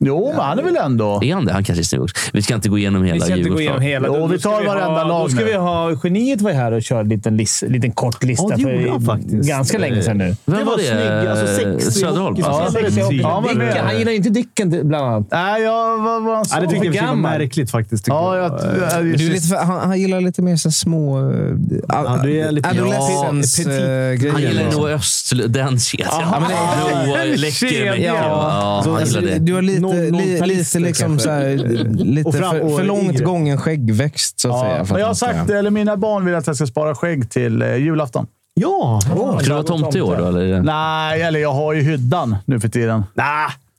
C: Jo, men han är väl ändå...
D: Är han det? Han kanske är snygg också. Vi ska inte gå igenom hela
B: Vi ska inte gå igenom
D: Djurgårdslaget.
B: hela.
C: Jo,
B: Då-
C: vi
B: då ska
C: tar
B: ha-
C: varenda lag
B: Då ska
C: nu.
B: vi ha... Geniet var ju här och körde en liten, lis- liten kort lista.
A: Ja, det gjorde han faktiskt.
B: Ganska länge sedan nu.
D: Vem
A: Det alltså.
D: var
A: var
D: det? Eh,
A: snygg, alltså sexig
D: Söderholm? alltså.
A: hockeyspelare.
D: Ja.
C: Ja, men-
B: Dicken, han gillar ju inte Dicken bland annat.
C: Nej, jag, vad var han
A: Ja,
C: sa?
A: det tyckte jag i och för sig var
B: gammal.
A: märkligt faktiskt. tycker
C: Ja, jag... jag-
E: Men Du är lite för, han, han gillar lite mer så här små... eh, Uh,
A: Ja, du är lite- eh, ja, petit.
E: Adolescens-grejer.
D: Han gillar Noah Östlund. Den kedjan.
E: men det-
D: Noah
B: Den
D: eh, läcker mycket.
B: kedjan.
D: Ja, han
E: Alltså,
D: gillar det.
E: du har lite,
A: Någon- någon
E: li,
A: talister
E: lite, liksom,
A: kanske.
E: så här, lite
A: Och fram-
E: för,
A: och
E: för långt
A: yngre.
E: gången skäggväxt, så att säga. för
C: Ja, men
E: att
C: jag har
E: han ska-
C: sagt, eller mina barn vill att jag ska spara skägg till eh, julafton.
A: Ja!
D: Ska du vara tomte i år då? Eller?
C: Nej, eller jag har ju hyddan nu för tiden.
A: Nej,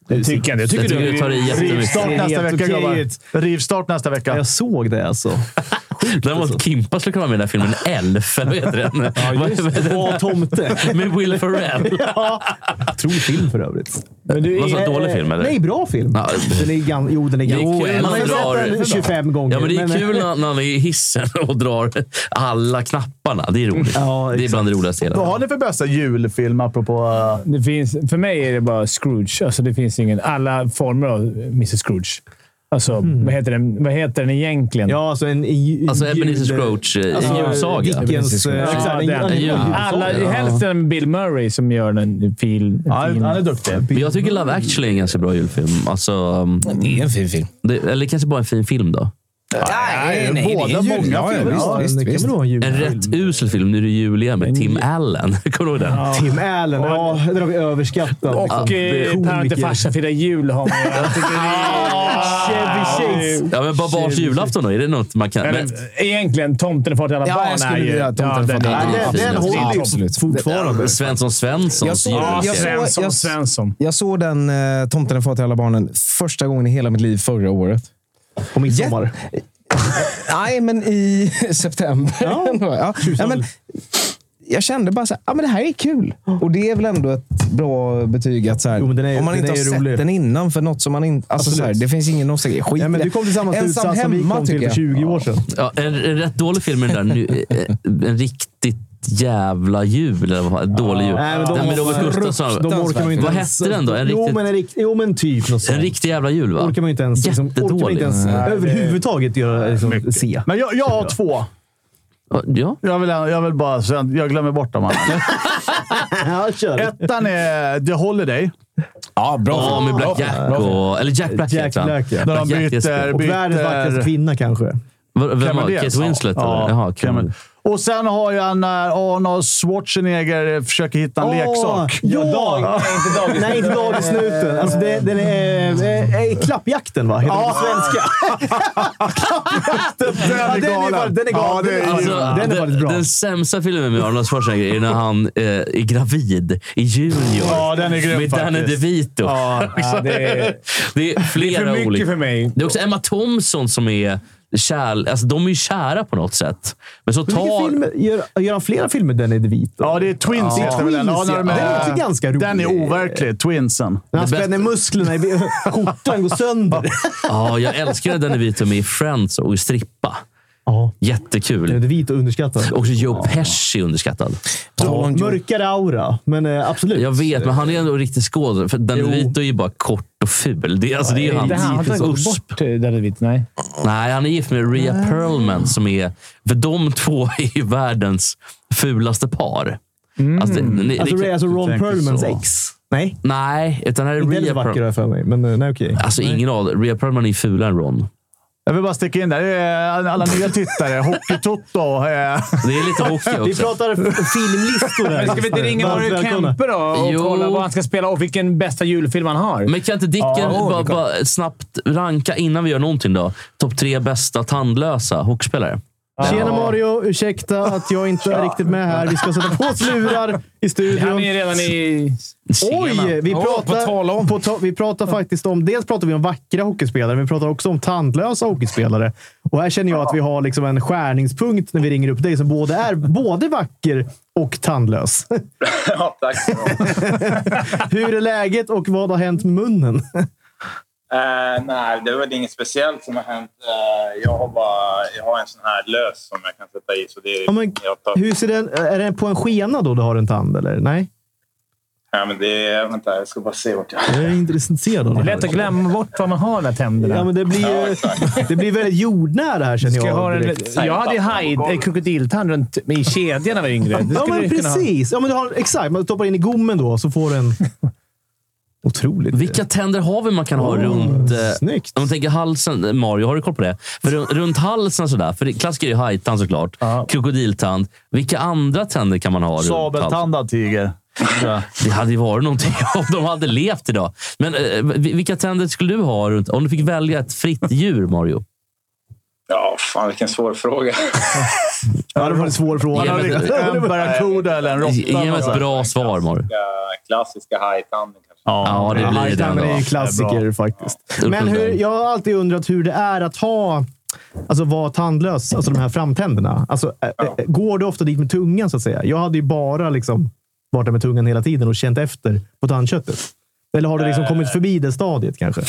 B: Det tycker jag. Jag
D: Jag tycker du tar i jättemycket.
C: Rivstart
A: Det ser
C: nästa
A: helt
C: vecka,
A: okej
C: grabbar.
A: ut.
C: Rivstart nästa vecka.
A: Jag såg det alltså.
D: Däremot Kimpa skulle kunna vara med i den här filmen
A: [LAUGHS]
D: Elf, eller [LAUGHS] vad heter den? Vad heter den?
A: Var tomte.
D: [LAUGHS] Med Will Ferrell.
A: [LAUGHS] ja. Otrolig film för övrigt.
B: Men du,
D: Vad sa
B: eh,
D: dålig film, eller?
A: Nej, bra film.
D: Ja.
A: Den är gan, jo, den är
D: Det är
A: ganska...
D: kul
A: Man har ju
D: när han
A: sett
D: drar-
A: den 25 gånger.
D: Ja, men det är
A: men- [LAUGHS]
D: kul när när han är i hissen [LAUGHS] och drar alla knapparna. Det är roligt.
A: Ja,
D: det är bland det roligaste i
C: Vad
D: hela.
C: har ni för bästa julfilm, apropå... eh,
B: Det finns, för mig är det bara Scrooge. Alltså det finns ingen, alla former av Mrs Scrooge. Alltså, vad, heter den, vad heter den egentligen?
A: Ja, alltså en... en
D: Alltså
A: ljud-
D: Ebenezer Scrooge, eh,
A: Alltså,
D: en julsaga.
A: Dickens... eh,
B: Ja,
A: exakt, en-
B: den.
A: en- en-
D: Ja.
A: en-
B: Alla,
D: Ja.
B: Hälften Bill Murray som gör den fin...
C: Han,
B: fin.
C: han är duktig.
D: Men jag tycker Love actually är en ganska bra julfilm. Alltså, um,
E: Det är en fin film.
D: det, eller kanske bara en fin film då.
E: Nej, nej,
C: båda
E: det är ju-
C: många
E: ja, ja,
C: filmer.
E: visst,
A: Ja,
E: visst,
A: det kan
E: visst.
A: väl vara en
D: En
A: julfilm.
D: rätt usel film. Nu är det jul igen med Tim Allen. [LAUGHS] Kommer du ihåg den?
A: Tim Allen. Ja, den har vi överskattat.
B: Och
A: liksom.
B: eh, Per har inte
A: Komiker.
B: farsan firar jul har
A: [LAUGHS]
B: man ju. Jag tycker det är-
D: Ah.
A: Chevy Chase.
D: Ja, men Barbars julafton då? Är det något man kan...
B: Eller,
D: Men,
B: Egentligen Tomten är far till alla
E: Ja,
B: barn.
E: jag skulle
B: är ju-
E: vilja ha Tomten är far till
B: den är-
D: alla barn.
A: Ja, den- Den
D: Ja,
A: håller ju
E: absolut.
A: fortfarande.
D: Svensson Svenssons
E: Jag såg-
D: jul.
B: Ja,
E: Alltså, Jag såg-
B: Svensson,
E: jag-
B: Svensson.
E: Jag såg den eh, Tomten är far till alla barnen första gången i hela mitt liv förra året.
A: På midsommar.
E: [LAUGHS] Nej, men i [LAUGHS] september.
A: Ja.
E: [LAUGHS] Ja. Ja. men, jag kände bara så här, ja, men det här är kul. Och det är väl ändå ett bra betyg. Att så här,
A: Jo, men den är-
E: om man
A: den
E: inte har
A: är
E: sett
A: rolig.
E: den innan för något som man inte... Alltså,
A: Absolut.
E: så här, det finns ingen nostalgi. Skit
A: Ja, men
E: i
A: du
E: det.
A: kom till samma slutsats som vi kom till
E: tycker
A: för
E: jag.
A: 20 år sedan.
D: Ja, en, en rätt dålig film är den där. Nu, eh, en riktigt jävla jul. Eller vad, en dålig jul.
A: Nej, men de
D: Den med
A: var
D: Robert Gustafsson.
A: De orkar man ju inte
D: Vad
A: ens-
D: hette den då? En
A: Jo,
D: riktigt-
A: men, en rikt, jo, men typ något sånt.
D: En riktig jävla jul va?
A: orkar man ju inte ens, liksom, orkar man
D: Jättedålig.
A: inte ens överhuvudtaget göra, liksom, se.
C: Men jag, jag har två.
D: Ja.
C: Jag vill, jag vill bara... så Jag jag glömmer bort dem alla.
A: [LAUGHS] Ja, kör.
C: Ettan är The Holiday.
E: Ja, bra.
D: Ja,
E: film.
D: med Black
E: Bra film.
D: Jack och... Eller Jack Black
A: Jack
D: heter han.
A: Black, ja.
C: Där de
D: Jack heter han.
C: byter...
A: Och världens vackraste
C: byter
A: kvinna kanske.
D: V- Vem var
C: Cameron
D: det?
C: Diaz.
D: Kate Winslet? eller? Jaha, Cameron.
C: Cameron. Och sen har jag när Arnold Schwarzenegger eh, försöker hitta en leksak.
A: Ja, dag. [LAUGHS] Nej, inte dagisnuten. Alltså, det, den är, eh, eh, klappjakten, va? Heter den på svenska? Ja, den är
C: galen.
A: faktiskt- den är galen.
C: Ja, det är
D: Alltså,
C: ju-
A: Den är faktiskt bra.
D: den sämsta filmen med Arnold Schwarzenegger är när han eh, är gravid i Junior.
C: Ja, den är grym
D: med Danny
C: faktiskt.
D: DeVito.
B: Ja, det är-
D: [LAUGHS] Det
B: Det
D: är
B: är
D: flera
B: för mycket
D: olika.
B: för mig.
D: Det är också Emma Thompson som är kär, alltså de är ju kära på något sätt. Men så
A: Vilka
D: tar...
A: filmer- gör, gör han flera filmer Danny DeVito?
C: Ja, det är Twins.
A: Ja.
C: heter väl den. Ja, när de
A: Twins, ja. Den är också ganska rolig.
C: Den är overklig, Twinsen.
A: När han
D: Det bästa-
A: spänner musklerna i [LAUGHS] skjortan går sönder.
D: Ja, jag älskar när Danny DeVito är med i Friends och i Strippa.
A: Ja. Danny
D: Jättekul.
A: DeVito underskattad.
D: Också Joe Pesci underskattad.
A: Ja, mörkare aura, men eh, absolut.
D: Jag vet, men han är ändå riktig skådespelare. För Danny
A: Jo.
D: DeVito är ju bara kort och ful. Det, är- alltså, det är ju
B: Det här har
D: han.
B: tagit
D: Usp.
B: bort eh, Danny DeVito. Nej.
D: Nej, han är gift med Rhea Perlman som är... För de två är ju världens fulaste par. Alltså, det, ni-
A: Alltså,
D: det-
A: Ray, alltså Ron
C: tänker
A: Perlmans
C: så.
A: ex. Nej,
D: nej, utan här är
A: inte
D: Rhea
A: heller vacker har
D: Perlman.
A: jag för mig. Men eh, nej, okej.
D: Alltså ingen av Rhea Perlman är ju fulare än Ron.
C: Jag vill bara sticka in där. Det är Alla nya tittare. Hockey-Toto. eh,
D: Det är lite hockey
A: Vi
D: också.
A: pratar filmlistor här.
B: Men ska vi inte ringa
A: Varmt
B: Mario
A: välkomna.
B: Kempe då och
D: Jo.
B: kolla vad han ska spela och vilken bästa julfilm han har?
D: Men kan inte Dicken
B: Ja,
D: bara,
B: det kan-
D: bara snabbt ranka innan vi gör någonting då? Topp tre bästa tandlösa hockeyspelare.
A: Tjena Mario, ursäkta att jag inte är riktigt med här. Vi ska sätta på oss
D: [LAUGHS]
A: lurar i
B: han är
A: studion.
B: redan i...
A: Oj! Vi
E: Ja, på
A: pratar,
E: tal om.
A: på ta, vi pratar faktiskt om... Dels pratar vi om vackra hockeyspelare, men vi pratar också om tandlösa hockeyspelare. Och här känner jag att vi har liksom en skärningspunkt när vi ringer upp dig som både är både vacker och tandlös.
G: [LAUGHS]
A: [LAUGHS]
G: Ja, tack.
A: Hur är läget och vad har hänt med munnen?
G: Eh, nej, det är väl inget speciellt som har hänt. Eh, jag, har bara, jag har en sån här lös som jag kan sätta i. Så det är, liksom
A: Ja, men,
G: jag tar,
A: hur ser den, är den på en skena då du har en tand, eller? Nej?
G: ja, men det är, vänta, jag ska bara se vart jag...
A: Jag är inte intresserad av
B: Det
A: det.
B: är lätt att glömma bort vad man har den här tänderna.
A: Ja, men det, blir
G: Ja,
A: ju,
G: exakt.
A: det blir väldigt jordnära här känner
B: Ska jag, ha
A: jag.
B: en,
A: direkt.
B: jag hade ju haj, eh, krokodiltand runt i kedjan när jag var yngre. Det
A: Ja,
B: skulle
A: men
B: du kunna ha.
A: precis. Ja, men du har, exakt. Man stoppar in i gommen då, så får den... [LAUGHS] Otroligt.
D: Vilka tänder har vi man kan ha runt... eh,
A: Snyggt.
D: Om man tänker halsen. Mario, har du koll på det? För ru- runt halsen sådär. För det- klassiker är ju hajtand såklart. Krokodiltand. Vilka andra tänder kan man ha runt halsen?
C: Sabeltandad tiger.
D: Det hade ju varit någonting [LAUGHS] om de hade levt idag. Men eh, vi- vilka tänder skulle du ha runt... Om du fick välja ett fritt djur, Mario?
G: Ja, fan vilken svår
A: [LAUGHS]
G: fråga.
A: Ja, det var en svår fråga.
D: Ge
C: Han har
D: mig-
A: [LAUGHS]
C: riktigt en barracuda eller en
D: Ge mig
C: råtta.
D: ett bra svar, Mario.
G: Klassiska- Klassiska hajtanden kanske.
D: Ja, det blir det
A: Hajtanden är
D: ändå.
A: en klassiker faktiskt.
D: Ja.
A: Men hur, jag har alltid undrat hur det är att ha alltså, var tandlös, alltså de här framtänderna. Alltså, eh,
G: Ja.
A: eh, Går du ofta dit med tungan så att säga? Jag hade ju bara liksom varit där med tungan hela tiden och känt efter på tandköttet. Eller har du
C: Eh.
A: liksom kommit förbi det stadiet kanske?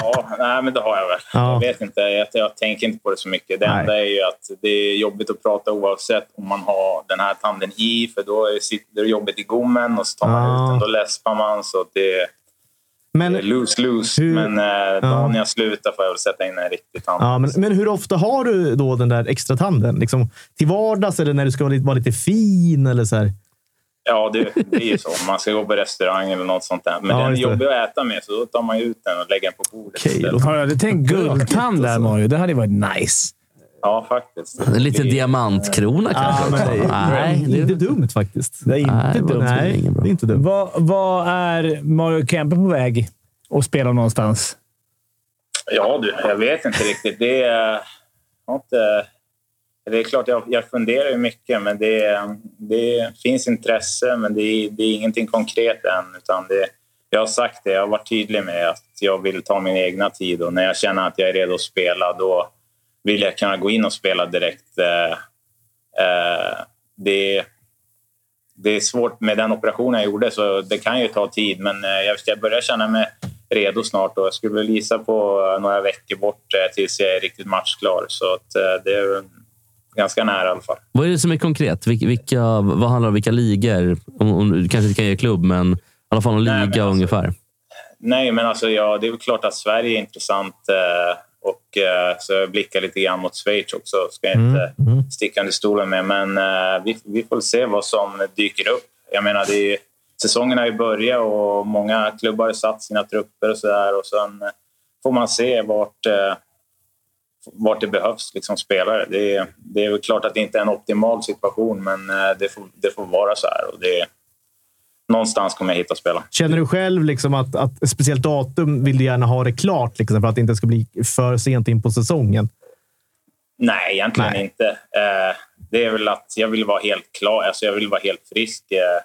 G: Ja, nej, men det har jag väl.
A: Ja.
G: Jag vet inte. Jag, jag tänker inte på det så mycket. Det
A: Nej.
G: enda är ju att det är jobbigt att prata oavsett om man har den här tanden i, för då är- sitter det jobbigt i gommen och så tar man
A: Ah.
G: ut den. Då läspar man, så det är
A: Men,
G: loose-loose.
A: Hur-
G: Men eh, dagen jag slutar får jag väl sätta in en riktig tand.
A: ja, men, men hur ofta har du då den där extra tanden? Liksom, till vardags eller när du ska vara lite, vara lite fin? Eller så här?
G: Ja, det, det är ju så. Om man ska gå på restaurang eller något sånt där. Men
A: Ja,
G: den är
A: just det.
G: jobbig att äta med, så då tar man ju ut den och lägger den på bordet
A: Okej,
G: istället.
A: låter-
B: Har du aldrig tänkt guldtand
A: alltså.
B: där, Mario? Det hade ju varit nice.
G: Ja, faktiskt.
D: En liten
G: Det-
D: diamantkrona kanske? också. Nej,
A: det är
D: det
A: inte dumt faktiskt. Det är inte
D: Nej,
A: dumt.
D: det är
A: Nej,
D: ingen bra.
A: det är inte dumt.
B: Vad vad är Mario Kempe på väg att spela någonstans?
G: Ja, du, jag vet inte riktigt. Det är, jag har inte, det är klart, jag, jag funderar ju mycket, men det, är- det finns intresse, men det, är- det är ingenting konkret än. Utan det, jag har sagt det, jag har varit tydlig med att jag vill ta min egna tid och när jag känner att jag är redo att spela, då vill jag kunna gå in och spela direkt. Eh, eh, det, det är svårt med den operationen jag gjorde, så det kan ju ta tid. Men eh, jag jag börjar känna mig redo snart och jag skulle väl gissa på eh, några veckor bort eh, tills jag är riktigt matchklar. Så att eh, det är väl ganska nära i alla fall.
D: Vad är det som är konkret? Vil- vilka, vad handlar det om? Vilka ligor? Om, om, du kanske inte kan ge klubb, men i alla fall någon
G: Nej, men
D: liga
G: alltså-
D: ungefär.
G: Nej, men alltså, ja, det är väl klart att Sverige är intressant. Eh, och eh, så jag blickar lite grann mot Schweiz också. Ska jag inte sticka under stolen med. Men eh, vi, vi får se vad som dyker upp. Jag menar, det är, ju- säsongen har ju börjat och många klubbar har satt sina trupper och så där. Och sen eh, får man se vart, eh, vart det behövs liksom, spelare. Det, är- det är väl klart att det inte är en optimal situation, men eh, det, får, det får vara så här. Och det, någonstans kommer jag hitta spelare.
A: Känner du själv liksom att, att ett speciellt datum vill du gärna ha det klart liksom, för att det inte ska bli för sent in på säsongen?
G: Nej, egentligen
A: Nej.
G: inte. Eh, det är väl att jag vill vara helt klar. Alltså jag vill vara helt frisk. Eh,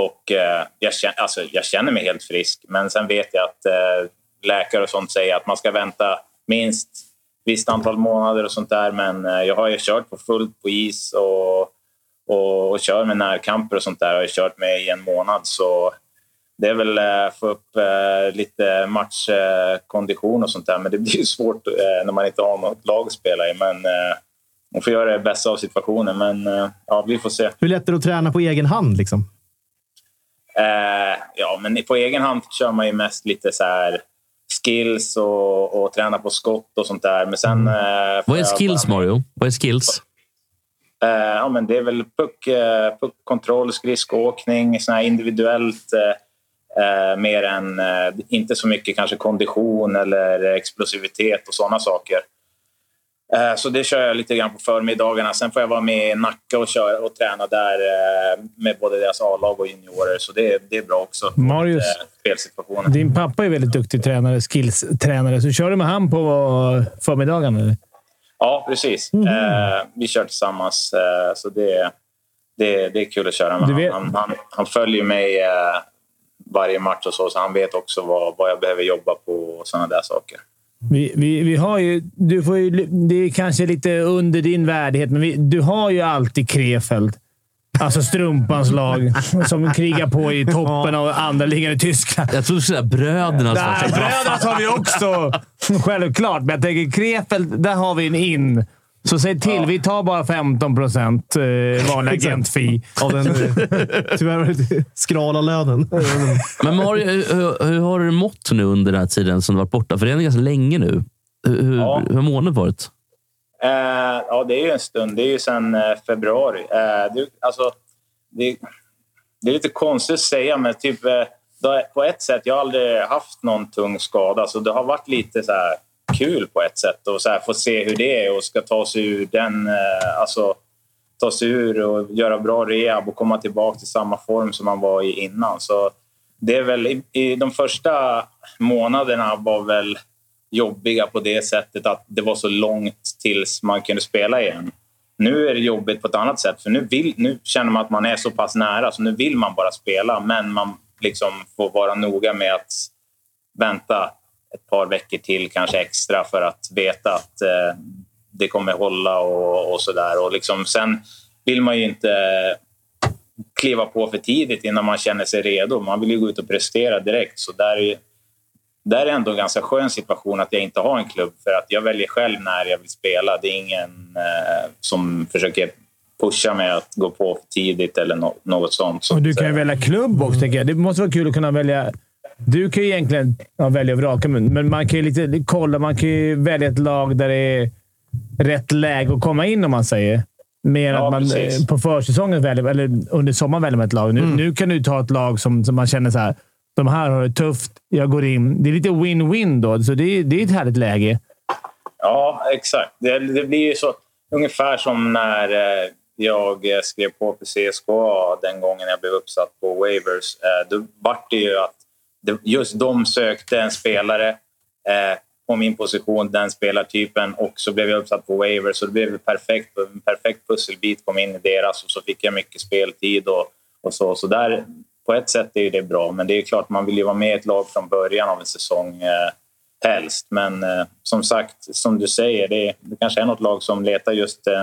G: och eh, jag, känner, alltså jag känner mig helt frisk, men sen vet jag att eh, läkare och sånt säger att man ska vänta minst visst antal månader och sånt där. Men eh, jag har ju kört på fullt på is och, och, och kör med närkamper och sånt där. Jag har ju kört med i en månad. Så det är väl eh, få upp eh, lite matchkondition och sånt där. Men det blir ju svårt eh, när man inte har något lag att spela i. Men eh, man får göra det bästa av situationen. Men eh, ja, vi får se.
A: Hur lätt är det att träna på egen hand? Liksom?
G: Eh, ja, men på egen hand kör man ju mest lite så här skills och, och träna på skott och sånt där. Men sen, eh, får
D: Vad är
G: jag
D: skills,
G: bara-
D: Mario? Vad är skills?
G: Eh, ja, men det är väl puck, eh, puckkontroll, skridskoåkning, såna här individuellt. Eh, eh, mer än, eh, inte så mycket kanske kondition eller explosivitet och sådana saker. Eh, så det kör jag lite grann på förmiddagarna. Sen får jag vara med i Nacka och, köra och träna där eh, med både deras A-lag och juniorer. Så det, det är bra också.
B: Marius.
G: Eh, spelsituationen.
B: Din pappa är väldigt duktig tränare, skills-tränare. Så kör du med han på förmiddagen? Eller?
G: Ja, precis.
B: Mhm.
G: Eh, vi kör tillsammans, eh, så det, det, det är kul att köra med
B: Du vet-
G: han, han, han följer mig eh, varje match och så, så han vet också vad, vad jag behöver jobba på och sådana där saker.
B: Vi, vi, vi har ju, du får ju, det är kanske lite under din värdighet, men vi, du har ju alltid Krefeld. Alltså strumpans lag som krigar på i toppen av andra ligan i Tyskland.
D: Jag tror du skulle säga bröderna.
B: Där,
D: Alltså.
B: Brödernas har vi också! Självklart, men jag tänker Krefeld, där har vi en in. Så säg till. Vi tar bara 15 procent eh, vanlig agentfi. [LAUGHS]
A: Av den eh, tyvärr lite skrala lönen.
D: Men Mario, hur, hur- hur har du mått nu under den här tiden som du varit borta? För det är ganska länge nu. Hur, hur,
G: Ja.
D: hur har månaden varit?
G: Eh, ja, det är ju en stund. Det är ju sedan eh, februari. Eh, det, alltså, det, det är lite konstigt att säga, men typ, eh, då- på ett sätt, jag har aldrig haft någon tung skada, så det har varit lite så här kul på ett sätt och så här, få se hur det är och ska ta sig ur den, eh, alltså ta sig ur och göra bra rehab och komma tillbaka till samma form som man var i innan. Så det är väl i, i de första månaderna var väl jobbiga på det sättet att det var så långt tills man kunde spela igen. Nu är det jobbigt på ett annat sätt, för nu, vill, nu känner man att man är så pass nära så nu vill man bara spela, men man liksom får vara noga med att vänta ett par veckor till, kanske extra, för att veta att eh, det kommer hålla och, och sådär. Liksom, sen vill man ju inte kliva på för tidigt innan man känner sig redo. Man vill ju gå ut och prestera direkt. Så där är, ju- där är ändå en ganska skön situation att jag inte har en klubb. För att jag väljer själv när jag vill spela. Det är ingen eh, som försöker pusha mig att gå på för tidigt eller nå- något sånt. Så
B: Och du
G: att,
B: kan ju
G: eh,
B: välja klubb också, tänker jag. Det måste vara kul att kunna välja. Du kan ju egentligen ja, välja och vraka, men men man kan ju lite kolla. Man kan ju välja ett lag där det är rätt läge att komma in, om man säger. Mer
G: Ja,
B: att man
G: precis. Mm.
B: eh, på försäsongen väljer, eller under sommaren väljer man ett lag. Nu, nu kan du ta ett lag som, som man känner så här. De här har det tufft. Jag går in. Det är lite win-win då, så det, är- det är ett härligt läge.
G: Ja, exakt. Det, det blir ju så ungefär som när eh, jag eh, skrev på för CSKA den gången jag blev uppsatt på waivers. Eh, då vart det ju att det, just de sökte en spelare eh, på min position, den spelartypen och så blev jag uppsatt på waivers. Så det blev perfekt. En perfekt pusselbit kom in i deras och så fick jag mycket speltid och, och så. Så där, på ett sätt är ju det bra, men det är klart man vill ju vara med i ett lag från början av en säsong. Eh, helst. Men eh, som sagt, som du säger, det, det kanske är något lag som letar just eh,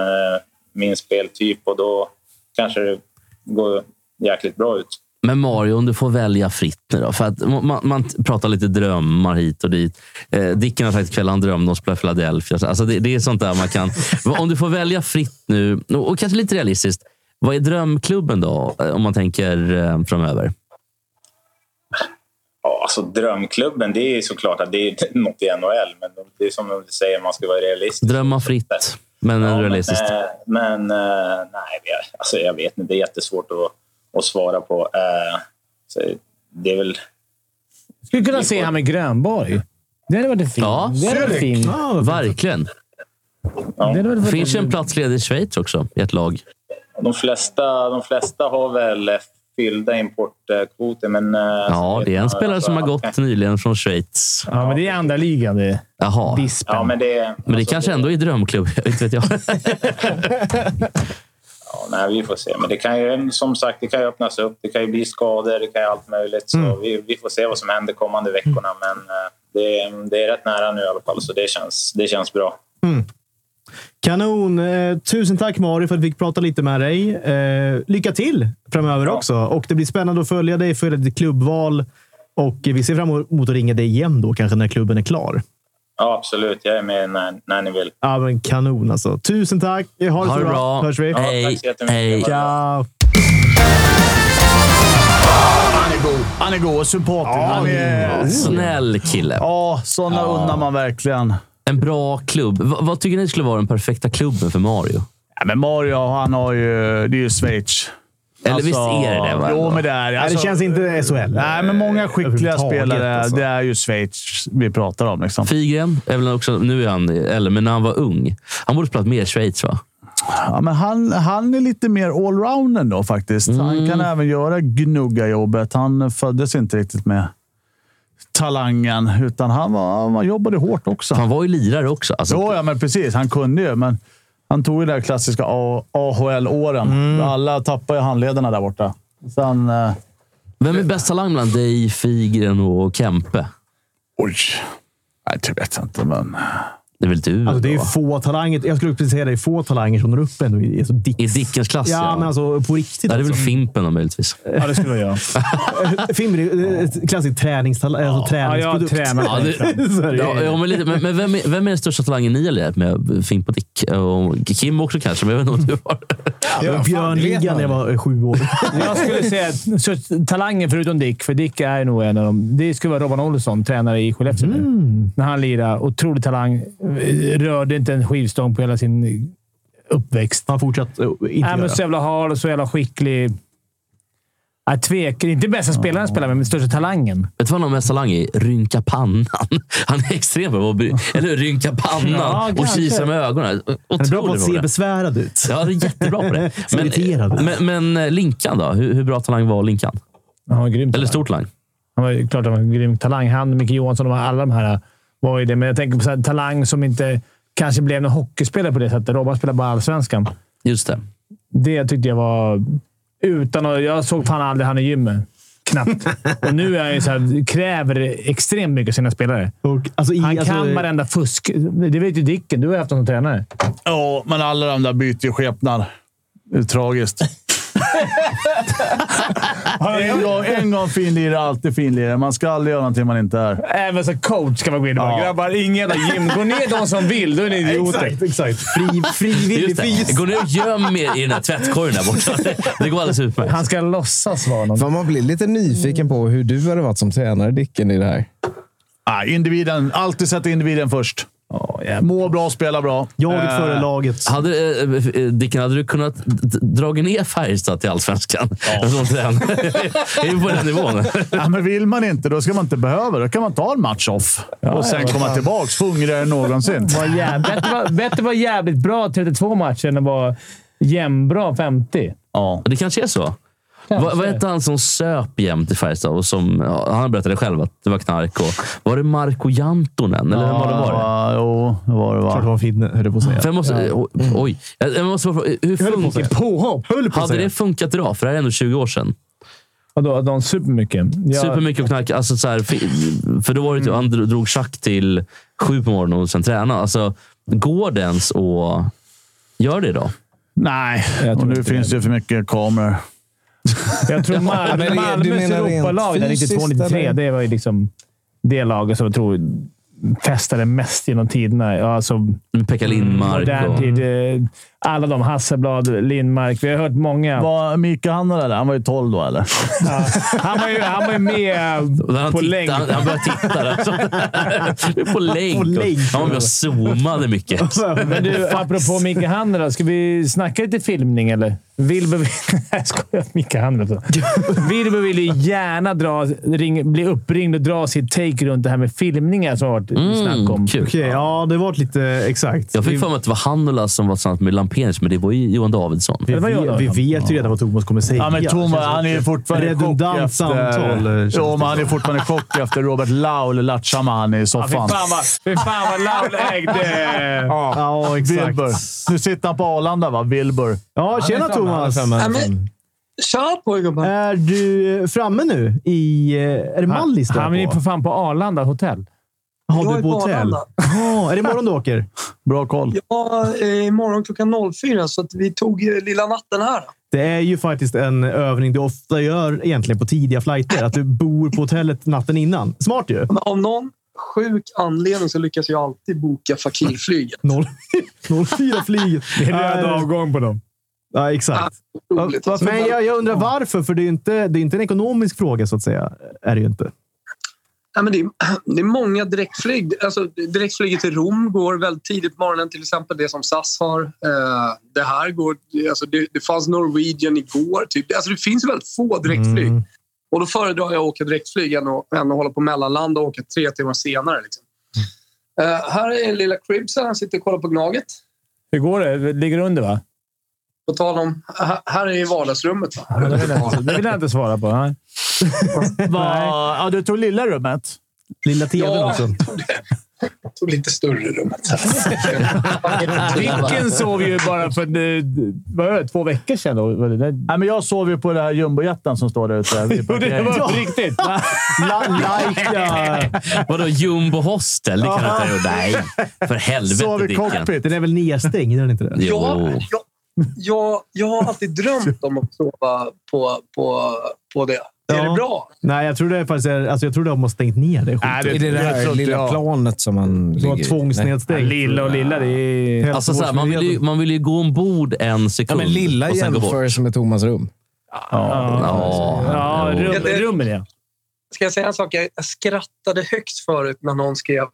G: min speltyp och då kanske det går jäkligt bra ut.
D: Men Mario, om du får välja fritt nu då. För att man, man pratar lite drömmar hit och dit. Eh, Dicken har sagt ikväll han drömde om att spela Philadelphia. Alltså det, det är sånt där man kan... [LAUGHS] om du får välja fritt nu, och, och kanske lite realistiskt. Vad är drömklubben då, eh, om man tänker eh, framöver?
G: Ja, alltså drömklubben, det är ju såklart att det är [LAUGHS] något i NHL, men det är som du säger, man ska vara realistisk.
D: Drömma fritt, men
G: Ja,
D: realistiskt.
G: Men, eh, men eh, nej, vi- alltså, jag vet inte. Det är jättesvårt att, att svara på. Eh, så det är väl...
B: Skulle kunna se han med Grönborg. Det hade varit fint.
D: Ja.
B: det hade varit fint.
G: eh,
D: Verkligen.
B: Det hade varit
D: Finns det en plats ledig i Schweiz också, i ett lag?
G: De flesta, de flesta har väl eh, fyllda importkvoter, men... eh,
D: Ja,
G: så
D: det är en
G: vet man,
D: spelare
G: alltså,
D: som har
G: att-
C: [LAUGHS]
D: gått nyligen från Schweiz.
B: Ja, men det är andra ligan det.
D: Jaha.
B: Dispen.
G: Ja, men det,
D: Men det
G: alltså,
D: kanske ändå är drömklubb. [LAUGHS] Inte vet jag.
G: Ja, nej, vi får se. Men det kan ju som sagt det kan ju öppnas upp. Det kan ju bli skador, det kan ju allt möjligt. Så
D: Mm.
G: vi, vi får se vad som händer kommande veckorna. Men eh, det, det är rätt nära nu i alla fall, så det känns, det känns bra.
A: Mm. Kanon! Eh, tusen tack Mario för att vi fick prata lite med dig. Eh, lycka till framöver också. Och Det blir spännande att följa dig, följa ditt klubbval. Och eh, vi ser fram emot att ringa dig igen då, kanske när klubben är klar.
G: Ja, absolut. Jag är med när, när ni vill.
A: Ja, men kanon alltså. Tusen tack! Eh, Ha det,
D: Ha
A: så
D: det bra.
A: Hörs vi.
G: Ja,
D: Hej,
G: tack så jättemycket.
D: hej.
G: Ha det bra.
A: Ciao.
C: Han är god och sympatisk. Han är...
D: Snäll kille.
C: Ja, sådana unnar man verkligen.
D: En bra klubb. Va- vad tycker ni skulle vara den perfekta klubben för Mario?
C: Ja, men Mario, han har ju... Det är ju Schweiz. Alltså,
D: Eller visst är det det, va, ändå?
C: Jo, men det Alltså, är
A: Nej, det känns inte SHL.
C: Nej, men många skickliga
A: Överhuvudtaget,
C: spelare.
A: alltså.
C: Det är ju Schweiz vi pratar om. Liksom.
D: Figren, är väl också, nu är han eller men när han var ung. Han borde spelat mer i Schweiz va?
C: Ja, men han, han är lite mer allrounden då faktiskt.
D: Mm.
C: Han kan även göra gnuggarjobbet. Han föddes inte riktigt med talangen, utan han, var, han jobbade hårt också.
D: Han var ju lirare också. Alltså,
C: Jo, ja, men precis. Han kunde ju, men han tog ju det där klassiska A- AHL-åren.
D: Mm.
C: Alla tappade ju handlederna där borta. Sen... Eh,
D: Vem är bäst talang bland dig, Figren och Kempe?
C: oj! Nej, det vet jag inte, men...
D: Det är väl du?
A: Alltså, det är ju
D: då?
A: få talanger. Jag skulle precis säga det. är få talanger som når upp ändå i alltså, Dick.
D: I Dickens klass ja.
A: Ja, men alltså på riktigt.
D: Ja, det är väl
A: alltså.
D: Fimpen då möjligtvis.
B: Ja, det skulle vara
A: [LAUGHS]
B: jag.
A: Fimmer är ju ett klassiskt träningstal- alltså,
B: Ja, jag
A: träningsprodukt.
B: tränar.
D: Ja,
A: [LAUGHS]
D: det-
A: Så är det ju.
D: Ja, ja, men lite, men, men vem, är, vem är den största talangen ni har lärt med? Fimp och Dick? Och Kim också kanske, men jag vet inte om du har.
A: Jag var Björnligan när jag var eh, sju år.
B: Jag
A: [LAUGHS]
B: skulle säga att [LAUGHS] så, talangen förutom Dick, för Dick är nog en av dem. Det skulle vara Robban Olsson, tränare i Skellefteå
A: Mm.
B: nu. När han lirade. Otrolig talang. Rörde inte en skivstång på hela sin uppväxt.
A: Han fortsatt eh, inte
B: Nej, men så
A: göra.
B: jävla hard och så jävla skicklig. Jag tvekar. Inte bästa spelaren han spelar med, men största talangen.
D: Vet du vad han har mest talang i? Rynka pannan. [LAUGHS] Han är extrem på att bry- Eller hur? Rynka pannan
B: Ja,
D: och
B: kanske.
D: kisa med ögonen.
A: Han är bra på
D: Otrolig
A: att se
D: förmåga.
A: besvärad ut.
D: Ja, det är jättebra på det.
A: [LAUGHS] Så irriterad.
D: men, men eh, Linkan då? Hur, hur bra talang var Linkan?
B: Han var grym.
D: Eller
B: talang.
D: stor talang?
B: Han var ju klart han var en grym talang. Han, Micke Johansson och alla de här eh, var ju det. Men jag tänker på så här, talang som inte kanske blev någon hockeyspelare på det sättet. Robban spelade bara allsvenskan.
D: Just det.
B: Det tyckte jag var... Utan att, jag såg fan aldrig han i gymmet.
A: [LAUGHS]
B: Knappt. Och nu är jag ju så här, kräver extremt mycket av sina spelare.
A: Och, alltså, i,
B: Han
A: alltså,
B: kan varenda fusk. Det vet ju Dicken. Du har haft honom som tränare.
C: Ja, men alla de där byter ju skepnad. Det är
B: [LAUGHS]
C: tragiskt. jag, en gång finlirare, alltid finlirare. Man ska aldrig göra någonting man inte är.
B: Även Äh, så coach kan man gå in och bara
C: Ja.
B: “Grabbar, ingen jävla gym. Gå ner de som
C: [LAUGHS]
B: vill. Då är ni idioter”.
A: Exakt, exakt. Fri, frivillig
D: Just det.
A: frys.
D: Gå ner och göm er i den här tvättkorgen där borta. [LAUGHS] Det går alldeles utmärkt.
B: Han ska låtsas vara någon.
E: För man blir lite nyfiken på hur du hade varit som tränare, Dicken, i det här.
C: Ah, individen. Alltid sätta individen först.
B: Åh, jävlar.
C: Må bra, spela bra.
A: Jaget
C: Eh,
A: före laget.
D: Hade, eh, eh, Dicken, hade du kunnat d- dra ner Färjestad till Allsvenskan? Ja. Som tränare? är vi på den nivån?
C: [LAUGHS] Ja, men vill man inte, då ska man inte behöva. Då kan man ta en match off och sen komma tillbaka hungrigare än någonsin.
B: Var
A: [LAUGHS]
B: jä- Bättre var- bättre var jävligt bra 32 matcher än att vara jämnbra 50.
C: Ja.
D: Det kanske är så. Va, vad hette han som söp jämt i Färjestad? Och som, ja, han berättade själv att det var knark. Och, var det Marko Jantonen? [LAUGHS] Eller vem var det? Var det?
C: Ja, jo, det var det.
A: Klart
C: Va?
A: det var finne, höll jag på att säga.
D: För jag måste, o- Oj. Jag jag måste bara fråga, hur
A: höll på att säga.
D: funkar
A: Påhopp! Höll på att
D: Hade
A: säga.
D: det funkat idag? För det här är ändå 20 år sedan.
B: Vadå? Att de supermycket? Ja,
D: Supermycket att knarka. Alltså, så här, fi- för då var det, ju- han dro- drog schack till sju på morgonen och sen tränade. Alltså, går det ens att göra det idag?
C: Nej,
B: tror
C: och nu
B: inte
C: finns det för mycket kameror.
B: Jag tror Malmö,
E: men det- du
B: Malmös
E: menar rent
B: Europalag där
E: fysiskt,
B: 92-93,
E: eller?
B: det var ju liksom det laget som jag tror festade mest genom tiderna. Ja, Alltså,
D: Med Mm, Pekka Lindmark
B: modern
D: och...
B: tid. eh, Alla de. Hasselblad, Lindmark. Vi har hört många.
C: Var Mika Hanna där? Han var ju 12 då, eller?
B: Ja. Han, var ju, han var ju med
D: Och där han,
B: på
D: tittade-
B: länk.
D: han, han började titta där. Så, på länk.
A: På länk.
D: Han var med och zoomade mycket.
B: [LAUGHS] Men du, apropå Micke Handel, då, ska vi snacka lite filmning eller? Wilbur vill... [LAUGHS] Jag skojar. [LAUGHS] Micke Handel också. Wilbur vill ju gärna dra, ring, bli uppringd och dra sitt take runt det här med filmningar som har varit snack om.
D: Mm, kul.
A: Okej, ja, det var lite exakt.
D: Jag
A: Vi-
D: fick för mig att det var Hannula som var tillsammans med Lampenius, men det var ju Johan Davidsson.
A: Vi,
B: Eller vad gör
A: vet-
B: de?
A: vi vet ju redan vad Thomas kommer säga.
C: Ja, men Tom, han är ju fortfarande i chock
A: Redundant
C: efter-
A: samtal, eh, känns
C: Jo,
A: det
C: men han är fortfarande i chock efter Robert Lau, eller Latchama, han är i
B: Ja, fy
C: soffan.
B: fan vad, fy fan vad Laul ägde...
A: Ja, exakt.
C: Wilbur. Nu sitter han på Arlanda, va? Wilbur.
A: Ja, tjena Thomas!
H: Tja på er gubbar!
A: Är du framme nu? I, eh, är det Mallis du
B: Han är ju
A: på?
B: för fan på Arlanda hotell.
A: Har
H: Jag
A: du
H: är
A: på
H: på
A: hotell?
H: Arlanda.
A: Ja, är det imorgon du åker?
C: [LAUGHS] Bra koll.
H: Ja, eh, imorgon klockan 04 så att vi tog eh, lilla natten här.
A: Det är ju faktiskt en övning du ofta gör egentligen på tidiga flighter. Att du bor på hotellet natten innan. Smart ju!
H: Men av någon sjuk anledning så lyckas jag alltid boka fakirflyget.
A: [LAUGHS] 04 flyg. Det
B: avgång på dem.
A: Eh, Ja, exakt.
H: Otroligt. Alltså,
A: Men jag, jag undrar varför, för det är ju inte, det är inte en ekonomisk fråga så att säga. Är det ju inte.
H: Ja, men det, är, [CLEARS THROAT] det är många direktflyg. Alltså, direktflyget till Rom går väldigt tidigt på morgonen, till exempel det som SAS har. Eh, det här går... Alltså, det, det fanns Norwegian igår. Typ. Alltså, det finns väldigt få direktflyg.
A: Mm.
H: Och då föredrar jag att åka direktflyg än att, än att hålla på mellanland och åka tre timmar senare. Liksom. Eh, här är den lilla cribsen. Han sitter och kollar på Gnaget.
B: Hur går det? Ligger du under va?
H: På tal om... Här, här är vardagsrummet.
A: [LAUGHS]
H: Va?
B: Det vill jag inte- det vill jag inte svara på. [LAUGHS] nej.
C: Va? Ja, du tog lilla rummet.
A: Lilla tvn
H: Ja.
A: också.
H: Jag tog lite större rummet.
B: [LAUGHS] Vilken sov ju bara för eh, vad var det, två veckor sedan. Då. Var det där?
C: Nej, men jag sov ju på den här jumbojätten som står där ute. vid
B: [LAUGHS] Jo, det
C: parkeringen.
B: var på riktigt.
D: Vadå, Jumbo Hostel? Det kan inte jag gjort. Nej, för
C: Sov
D: helvete Oh.
C: i
D: Dicken.
C: cockpit.
A: Den är väl nedstängd, är den inte det?
D: Jo.
H: Jag, jag, jag, jag har alltid drömt om att sova på, på, på det. Är
A: Ja.
H: det bra?
A: Nej, jag tror det är faktiskt... är- Alltså, jag tror de har stängt ner det. skiten.
C: Nej,
E: I det
C: tror
E: där
C: inte
E: lilla
C: jag.
E: planet som man
A: De har
E: ligger i. Nej.
A: tvångsnedstängt.
B: Lilla och lilla. Det är...
D: Alltså, så här, man, vill ju, man vill ju gå ombord en
E: Ja,
D: sekund
E: men lilla
D: och sen gå bort.
E: jämförs med Thomas rum.
D: Ja.
B: Ja,
D: Jo.
B: rum, rummen ja.
H: Ska jag säga en sak? Jag jag skrattade högt förut när någon skrev [LAUGHS]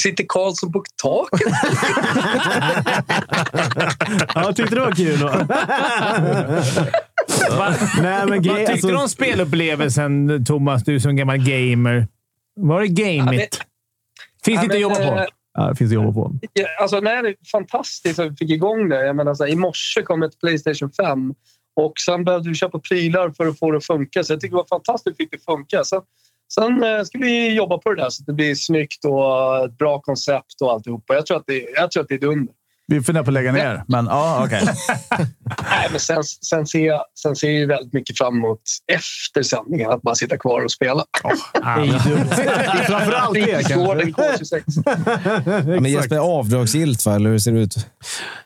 H: Sitter Karlsson på taket?
A: Ja, jag tyckte det var kul.
H: [LAUGHS]
A: Nej, men
B: Vad
A: grej,
B: tyckte
A: alltså,
B: du om spelupplevelsen, Thomas? Du som gammal gamer. Var det gamigt? Finns det inte att jobba på?
A: ja, det finns att jobba på.
H: eh, Ja, Alltså, nej, det är fantastiskt att vi fick igång det. Jag menar, så här, I morse kom ett Playstation 5 och sen behövde vi köpa prylar för att få det att funka. Så jag tycker det var fantastiskt att vi fick det att funka. Sen, sen eh, ska vi jobba på det där så att det blir snyggt och ett bra koncept och alltihopa. Jag tror att det, jag tror att det är dunder.
C: Vi funderar på att lägga ner, men ja, okej.
H: Nej, men sen, sen, ser jag, sen ser jag ju väldigt mycket fram emot efter sändningen, att bara sitta kvar och spela.
D: [LAUGHS]
A: Framförallt
H: Det
A: det
H: går
A: kanske.
H: den K26.
A: Exakt.
E: Men Jesper, är avdragsgillt va? Eller hur ser det ut?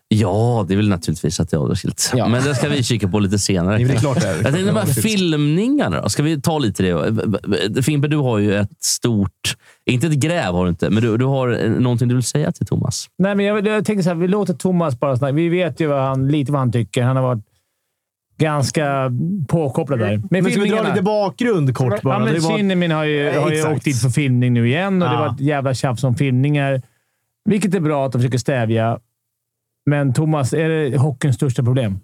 D: Ja, det är väl naturligtvis att det är avdragsgillt.
E: Ja.
D: Men det ska vi kika på lite senare.
E: Det är klart det är.
D: Jag tänkte de här
E: Avdragsgillt.
D: filmningarna då. Ska vi ta lite det? Fimpen, du har ju ett stort... Inte ett gräv har du inte, men du, du har eh, någonting du vill säga till Thomas.
B: Nej, men jag, jag tänker så här, vi låter Thomas bara snacka. Vi vet ju vad han, lite vad han tycker. Han har varit ganska påkopplad där.
A: Men ska vi dra lite bakgrund kort bara?
B: Ja, men
A: Det var-
B: Kinnimin har ju,
A: Eh,
B: har ju
A: exakt.
B: åkt dit för filmning nu igen och det
A: Ja.
B: var ett jävla tjafs om filmningar. Vilket är bra att de försöker stävja. Men Thomas, är det hockeyns största problem?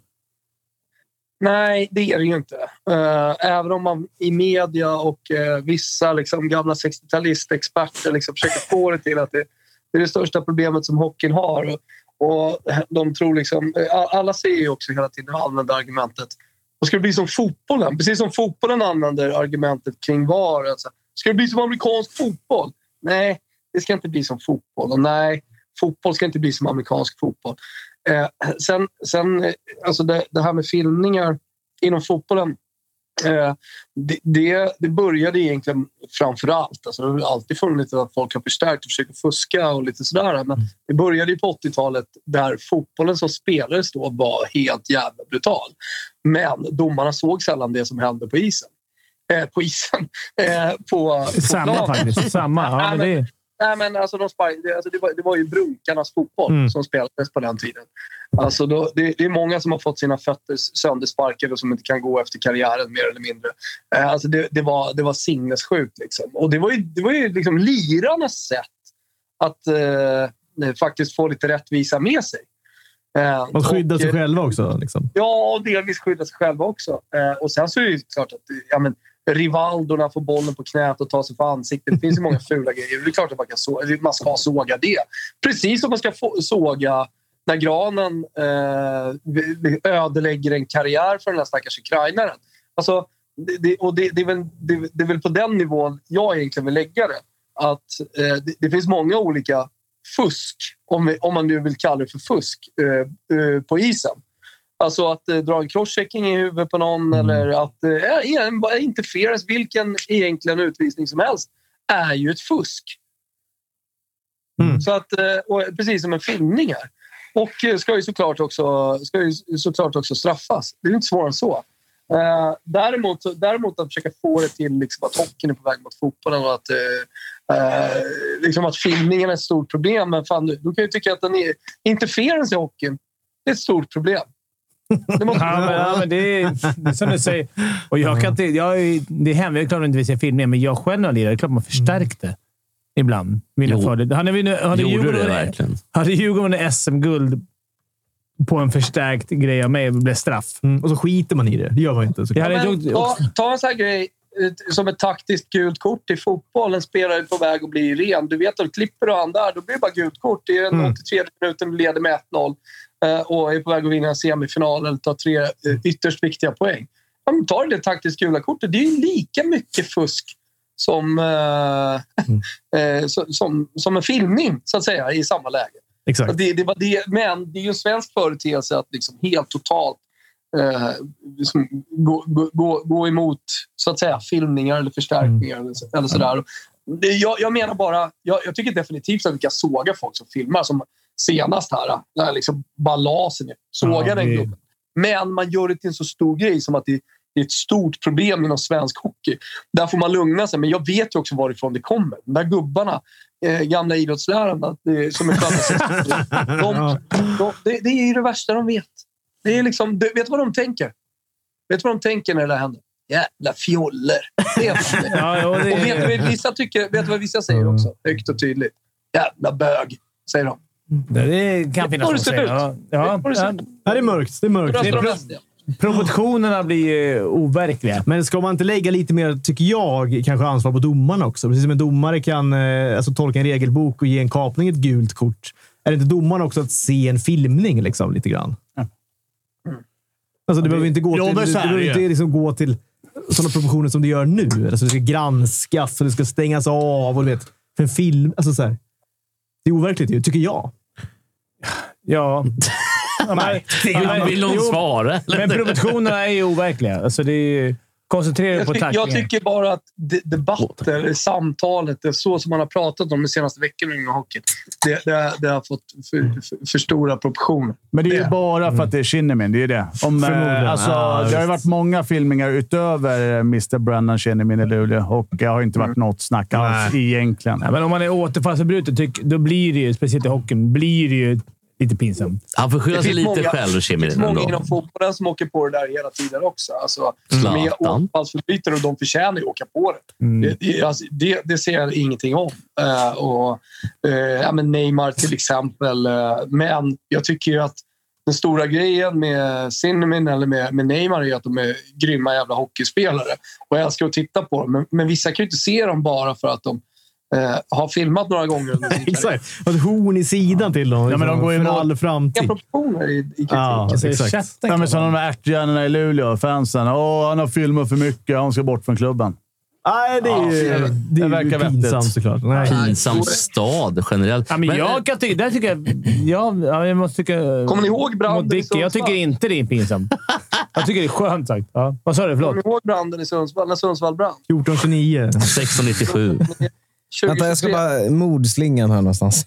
H: Nej, det är det ju inte. Eh, även om man i media och eh, vissa liksom, gamla 60-talistexperter liksom, försöker få det till att det, det är det största problemet som hockeyn har. Och, och de tror liksom, eh, alla ser ju också hela tiden och använder argumentet och ska det bli som fotbollen? Precis som fotbollen använder argumentet kring VAR. Alltså, ska det bli som amerikansk fotboll? Nej, det ska inte bli som fotboll. Och nej, fotboll ska inte bli som amerikansk fotboll. Eh, sen, sen eh, alltså det, det här med filmningar inom fotbollen. Eh, det, det, det började egentligen framför allt. Alltså det har alltid funnits att folk har förstärkt och försöker fuska och lite sådär. Men det började ju på 80-talet där fotbollen som spelades då var helt jävla brutal. Men domarna såg sällan det som hände på isen. Eh, på isen. Eh, på, på
B: Samma
H: planen.
B: faktiskt. Samma. Ja, men det är,
H: Nej, men alltså, de spar- det, alltså, det, var, det var ju brunkarnas fotboll
B: Mm.
H: som spelades på den tiden. Alltså, då, det, det är många som har fått sina fötter söndersparkade och som inte kan gå efter karriären mer eller mindre. Eh, alltså, det, det, var, det var sinnessjukt. Liksom. Och det var ju, det var ju liksom lirarnas sätt att eh, faktiskt få lite rättvisa med sig. Eh,
A: Att skydda
H: och,
A: sig själva också. Liksom.
H: Ja, och delvis skydda sig själva också. Eh, och sen så är det ju klart att ja, men, Rivaldorna får bollen på knät och tar sig för ansiktet. Det finns ju många fula grejer. Det är klart att man, kan så- eller man ska såga det. Precis som man ska få- såga när granen eh, ödelägger en karriär för den här stackars ukrainaren. Alltså, det, det, och det, det, är väl, det, det är väl på den nivån jag egentligen vill lägga det. Att, eh, det, det finns många olika fusk, om, vi, om man nu vill kalla det för fusk, eh, eh, på isen. Alltså att eh, dra en crosschecking i huvudet på någon eller att eh, ja, igen, bara interference, vilken egentligen utvisning som helst, är ju ett fusk.
A: Mm.
H: Så att, eh, och, precis som en filmning här. Och eh, ska ju såklart också, ska ju såklart också straffas. Det är ju inte svårare än så. Eh, däremot, så- däremot att försöka få det till liksom, att hockeyn är på väg mot fotbollen och att, eh, eh, liksom att filmningen är ett stort problem. Men fan, du, du kan ju tycka att den är, interference i hockeyn, det är ett stort problem. Det måste
B: ja, men, ja, men det, är, det är som du säger. Och jag kan inte, jag, är- det är hemskt. Det är klart att inte vi ser filmer, men jag själv när jag lirade, det är klart man förstärkte ibland. Mina
D: Jo.
B: fördelar. Hade, vi nu- hade,
D: Gjorde du
B: Djurgården,
D: det verkligen?
B: hade Djurgården vunnit SM-guld på en förstärkt grej av mig och blev straff.
A: Mm. Och så skiter man i det. Det gör man ju inte.
B: Jag
A: såklart.
B: hade
H: Ja, men
B: inte
H: ta,
B: åkt-
H: ta en sån här grej eh, som ett taktiskt gult kort i fotboll. En spelare är på väg att bli ren. Du vet, att klipper du han där, då blir det bara gult kort. Det är den
A: Mm.
H: 83 minuten, du leder med 1-0 eh, och är på väg att vinna en semifinal eller ta tre eh, ytterst viktiga poäng. Ja, men ta det taktiskt gula kortet. Det är ju lika mycket fusk som, eh,
A: Mm.
H: [LAUGHS] eh, så- som, som en filmning, så att säga, i samma läge.
A: Exakt.
H: Det, det var det, men det är ju en svensk företeelse att liksom helt totalt eh, liksom gå, gå- gå, gå emot så att säga, filmningar eller förstärkningar.
B: Mm.
H: Eller, så- eller sådär. Det, jag, jag menar bara, jag, jag tycker definitivt att vi kan såga folk som filmar. Som senast här, där liksom ballasen är. Såga
B: Ja,
H: den
B: det-
H: gubben. Men man gör det till en så stor grej som att det, det är ett stort problem inom svensk hockey. Där får man lugna sig. Men jag vet ju också varifrån det kommer. De där gubbarna, eh, gamla idrottslärarna eh, som är
B: [LAUGHS]
H: födda 60 de, de, det, det är ju det värsta de vet. Det är liksom, du, vet du vad de tänker? Vet du vad de tänker när det där händer? Jävla fjoller. Det är det.
B: [LAUGHS] Ja, jo,
H: Och vet
B: det, Mm.
H: du vad vissa, tycker, vet du vad vissa säger också? Högt och tydligt. Jävla bög, säger de.
B: det, det kan finnas
H: får
B: något
H: det
B: att
H: se
B: säga.
H: ut.
B: Ja, ja,
H: Det får det se
B: ja.
H: ut.
A: Nej, det är mörkt. Det är
H: Och då
A: mörkt.
H: står de
B: bra.
H: mest igen.
B: Proportionerna blir ju overkliga.
A: Men ska man inte lägga lite mer, tycker jag, kanske ansvar på domarna också? Precis som en domare kan eh, alltså, tolka en regelbok och ge en kapning ett gult kort. Är det inte domaren också att se en filmning liksom, lite grann? Alltså, det behöver inte gå
C: Jo,
A: till,
C: men
A: det,
C: så är det
A: behöver
C: ju.
A: inte liksom gå till sådana proportioner som det gör nu. Alltså, det ska granskas och det ska stängas av. Och, du vet, för en film, alltså, så här. Det är overkligt ju, tycker jag. [LAUGHS]
B: Ja. Ja, men-
D: Vill- Vill någon
B: Jo,
D: svara? eller?
B: Men proportionerna är ju overkliga. Alltså det är ju, koncentrera dig
H: Jag,
B: på
H: tycker-
B: tacklingen.
H: jag tycker bara att de- debatten, samtalet, det är så som man har pratat om de senaste veckorna inom hockeyn, det, det, det har fått för, för, för stora proportioner.
C: Men det är ju
H: Det.
C: bara för att det är Shinnimin. Det är ju det. Om,
A: Förmodligen.
C: eh, alltså,
A: Ja,
C: det har ju
A: visst.
C: varit många filmningar utöver eh, Mr. Brennan Shinnimin i Luleå och det har inte varit
A: Mm.
C: något snack alls egentligen.
B: Ja, men om man är återfallsförbrytare, tyck- då blir det ju, speciellt i hockeyn, blir det ju lite pinsamt.
D: Han får skylla sig lite själv,
H: det finns
D: Shimirin.
H: många
D: ändå.
H: inom fotbollen som åker på det där hela tiden också. Alltså, som är
D: Zlatan.
H: återfallsförbrytare och de förtjänar ju att åka på det. Det, det, alltså, det, det ser jag ingenting om. Eh, och, eh, ja, men Neymar till exempel. Eh, men jag tycker ju att den stora grejen med Cinnamon eller med, med Neymar är ju att de är grymma jävla hockeyspelare. Och jag älskar att titta på dem. Men, men vissa kan ju inte se dem bara för att de eh, har filmat några gånger under sin karriär.
A: Exakt. Och ett horn i sidan till dem.
C: men de
A: liksom,
C: går ju
A: för
C: emot-
A: all
H: Inga
A: framtid.
H: proportioner i, i kritiken.
A: Ja,
B: Alltså,
A: exakt.
B: chatten
C: Ja,
B: kan
C: men som de där ärthjärnorna i Luleå, fansen. Åh, han har filmat för mycket. Han ska bort från klubben.
A: Nej, det är ju,
H: Ja, det-
A: det
C: det
A: är ju
C: verkar vettigt.
A: pinsamt såklart. Nej.
D: Pinsam stad generellt.
B: Ja, men
D: eh,
B: jag kan tycka... Där tycker jag... Ja, ja, jag måste tycka...
H: Kommer ni ihåg branden
B: mot
H: i
B: Dicky? Jag
H: Sundsvall?
B: tycker inte det
H: [LAUGHS]
B: är pinsamt. Jag tycker det är skönt sagt. Ja. Vad sa du? Förlåt.
H: Kommer ni ihåg branden i Sundsvall? När Sundsvall brann?
A: 1429.
D: 1697.
H: 2023.
E: Vänta, jag ska bara... Mordslingan här någonstans.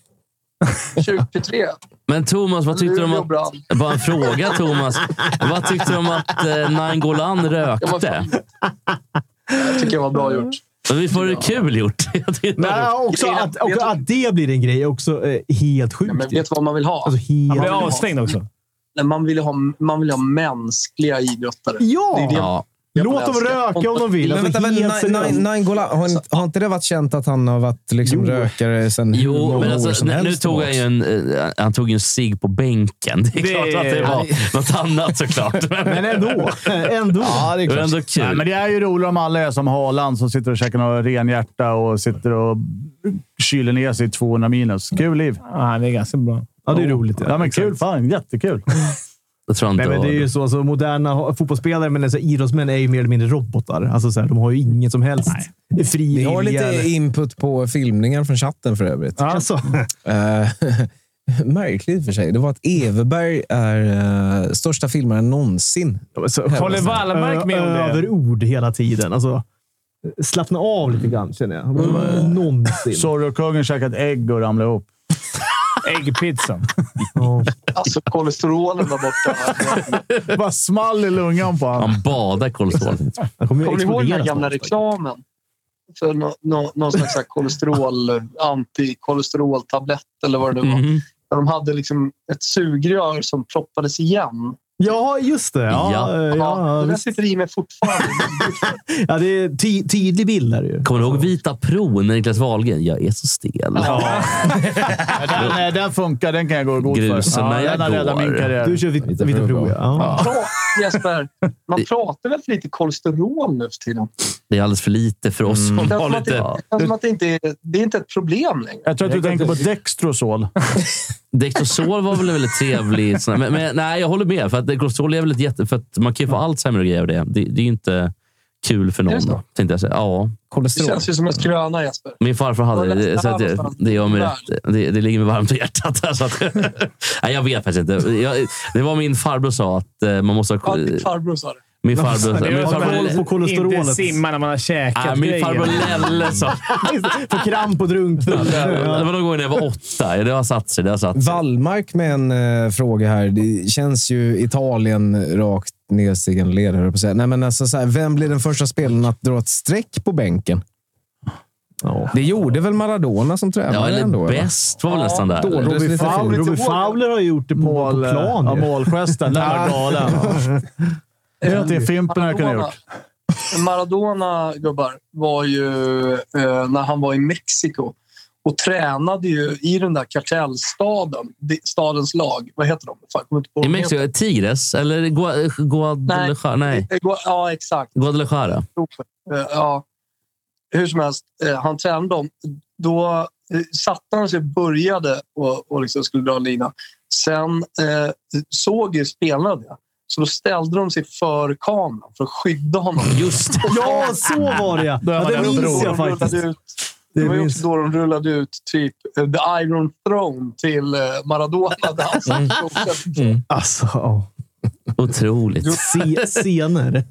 H: 2023.
D: Men Thomas, vad tyckte du om
H: Luleå
D: att...
H: brann.
D: Bara en fråga, Thomas. Vad tyckte du om att eh, Nangolan
H: Jag var
D: rökte?
H: fan. Det tycker jag var bra gjort.
D: Men vi får det kul gjort. Jag tyckte-
A: Nej, också
H: Jag-
A: att,
H: jag-
A: också att det blir en grej är också eh, helt
H: Ja, men
A: sjukt.
H: vet du vad man vill ha?
A: Alltså
B: Han
A: helt...
B: blev avstängd också.
H: Nej, Man vill ha, man vill ha mänskliga idrottare. Det är det-
A: Ja!
D: Ja.
A: Låt dem röka om de vill.
E: Men
A: Alltså,
E: vänta, men,
A: helt
E: Nine-
A: seriöst.
E: Nine- Nainggolan, har, inte- har inte det varit känt att han har varit liksom rökare sen hur
D: Jo,
E: många
D: men
E: år
D: alltså,
E: som
D: nu, nu
E: helst
D: tog han
E: tillbaks?
D: ju en, eh, han tog ju en cigg på bänken. Det är
B: Det-
D: klart att det var något annat såklart.
A: [LAUGHS]
D: Men
A: Men ändå. ändå.
E: Ja, det är
D: det var
E: klart.
D: ändå
C: Nej, men
D: kul.
C: det är ju roligt om alla är som Haaland som sitter och käkar några renhjärta och sitter och kyler ner sig i 200 minus. Kul liv.
B: Ja, han är ganska bra.
A: Ja, det är roligt.
C: Ja, men kul. Fan, jättekul.
D: [LAUGHS] Jag tror inte
A: Nej, men det är ju så. Alltså, moderna ho- fotbollsspelare, men alltså, idrottsmän, är ju mer eller mindre robotar. Alltså, så här, de har ju inget som helst fri
E: Vi
A: vilja.
E: har lite
A: eller-
E: input på filmningar från chatten för övrigt.
A: Alltså,
E: Eh, [LAUGHS] Märkligt i och för sig. Det var att Everberg är eh, största filmaren någonsin.
A: alltså,
B: Håller Wallmark med om det?
A: Överord hela tiden. Alltså, slappna av lite grann, känner jag. Mm. Någonsin.
C: Zorro-kungen käkade ett ägg och ramlade ihop.
A: [LAUGHS]
B: Äggpizzan.
A: Ja.
H: Alltså kolesterolen var borta.
C: Bara small i lungan på honom.
D: Han badar kolesterolet.
A: Han kommer ju
H: Kommer ni ihåg den här
A: explodera
H: gamla
A: snart.
H: reklamen? För nå nå någon slags så här kolesterol, antikolesteroltablett eller vad det nu var.
D: Mhm.
H: Där de hade liksom ett sugrör som proppades igen.
A: Ja, just det. Ja,
D: Ja.
A: ja.
H: Ja,
A: ja,
H: det där
A: visst.
H: sitter i mig fortfarande.
A: ja det är ty tydlig bild där ju.
D: Kommer du ihåg Vita Pro när Niklas Wahlgren? Jag är så stel.
C: Ja, Den, eh, den funkar. Den kan jag gå i god för.
D: Grusen när jag
C: den har räddat
D: går.
C: min karriär.
A: Du kör vit-
E: Lite
A: vita
E: prov,
A: prov,
E: ja.
A: ja. ja.
H: Bra, Jesper, man pratar väl för lite kolesterol nu för tiden?
C: Mm.
D: Det är alldeles för lite för
A: Mm.
D: oss som
H: Det
D: har
H: känns som att
D: lite...
H: det, det, känns som att det, inte är, det är inte ett problem längre.
C: Jag tror att du tänker på Dextrosol.
D: Dextrosol var väl en väldigt trevlig... sån här- Men, men nej, jag håller med. För att Dextrosol är väl ett jätte... För att man kan ju få Alzheimer och grejer av det. Det, det är ju inte kul för
H: Mm. Är
D: någon.
H: det så?
D: Tänkte jag säga. Ja.
H: Det känns ju som en skröna, Jesper.
D: Min farfar hade det. Så att det, det gör mig rätt. Det, det ligger mig varmt i hjärtat. här, Så att, [LAUGHS] nej, jag vet faktiskt inte. Jag, det var min farbror sa att eh, man måste
H: Ja,
D: ha...
H: din farbror sa det.
D: Min farbror...
A: [LAUGHS]
B: Det är
D: Min
B: som
A: koll
D: farbror,
A: på kolesterolet.
B: Inte simma när man har käkat
D: nej, min
B: grejer.
D: farbror
B: [LAUGHS]
D: Lelle sa...
A: [LAUGHS] Får kramp och drunknar.
D: Det var någon gång när jag var åtta. Det har satt sig. Det har satt sig.
E: Wallmark med en eh, fråga här. Det känns ju Italien rakt nedstigande led, höll jag på att säga. Nej, men alltså, så här, vem blir den första spelaren att dra ett streck på bänken? Det gjorde väl Maradona som tränare
D: Ja, eller
E: ändå? va?
D: bäst var väl nästan där.
E: dåligt.
D: eller?
E: lite
A: Robbie Fowler,
E: fint.
A: Robbie Fowler har gjort det på, på
C: Mål,
A: plan.
C: ja,
A: ju.
C: målgesten. Den var galen. Det är att det är Fimpen jag kunde ha gjort.
H: Maradona, gubbar, var ju eh, när han var i Mexiko och tränade ju i den där kartellstaden, di- stadens lag. Vad heter de? Fan, jag kommer inte på
D: I
H: vad de
D: Mexiko? Tigres? Eller Gua- Guadalajara? Nej.
H: heter. Eh, Gua- Ja, exakt.
D: Guadalajara.
H: Eh, Ja. Hur som helst, eh, han tränade dem. Då eh, satte han sig och började och, och liksom skulle dra en lina. Sen eh, såg ju spelarna det. Så då ställde de sig för kameran för att skydda honom.
D: Just det.
H: [LAUGHS]
A: Ja, så var det ja.
C: Då är
A: ja
C: man
A: det
C: där och
A: minns
C: drog.
A: jag
H: Och
A: faktiskt.
H: rullade ut Det var ju
E: minns-
H: också då de rullade ut typ eh, The Iron Throne till eh, Maradona. Där han satt och-
D: Mm.
A: Alltså, ja.
D: Otroligt.
A: Se,
E: [LAUGHS]
A: scener.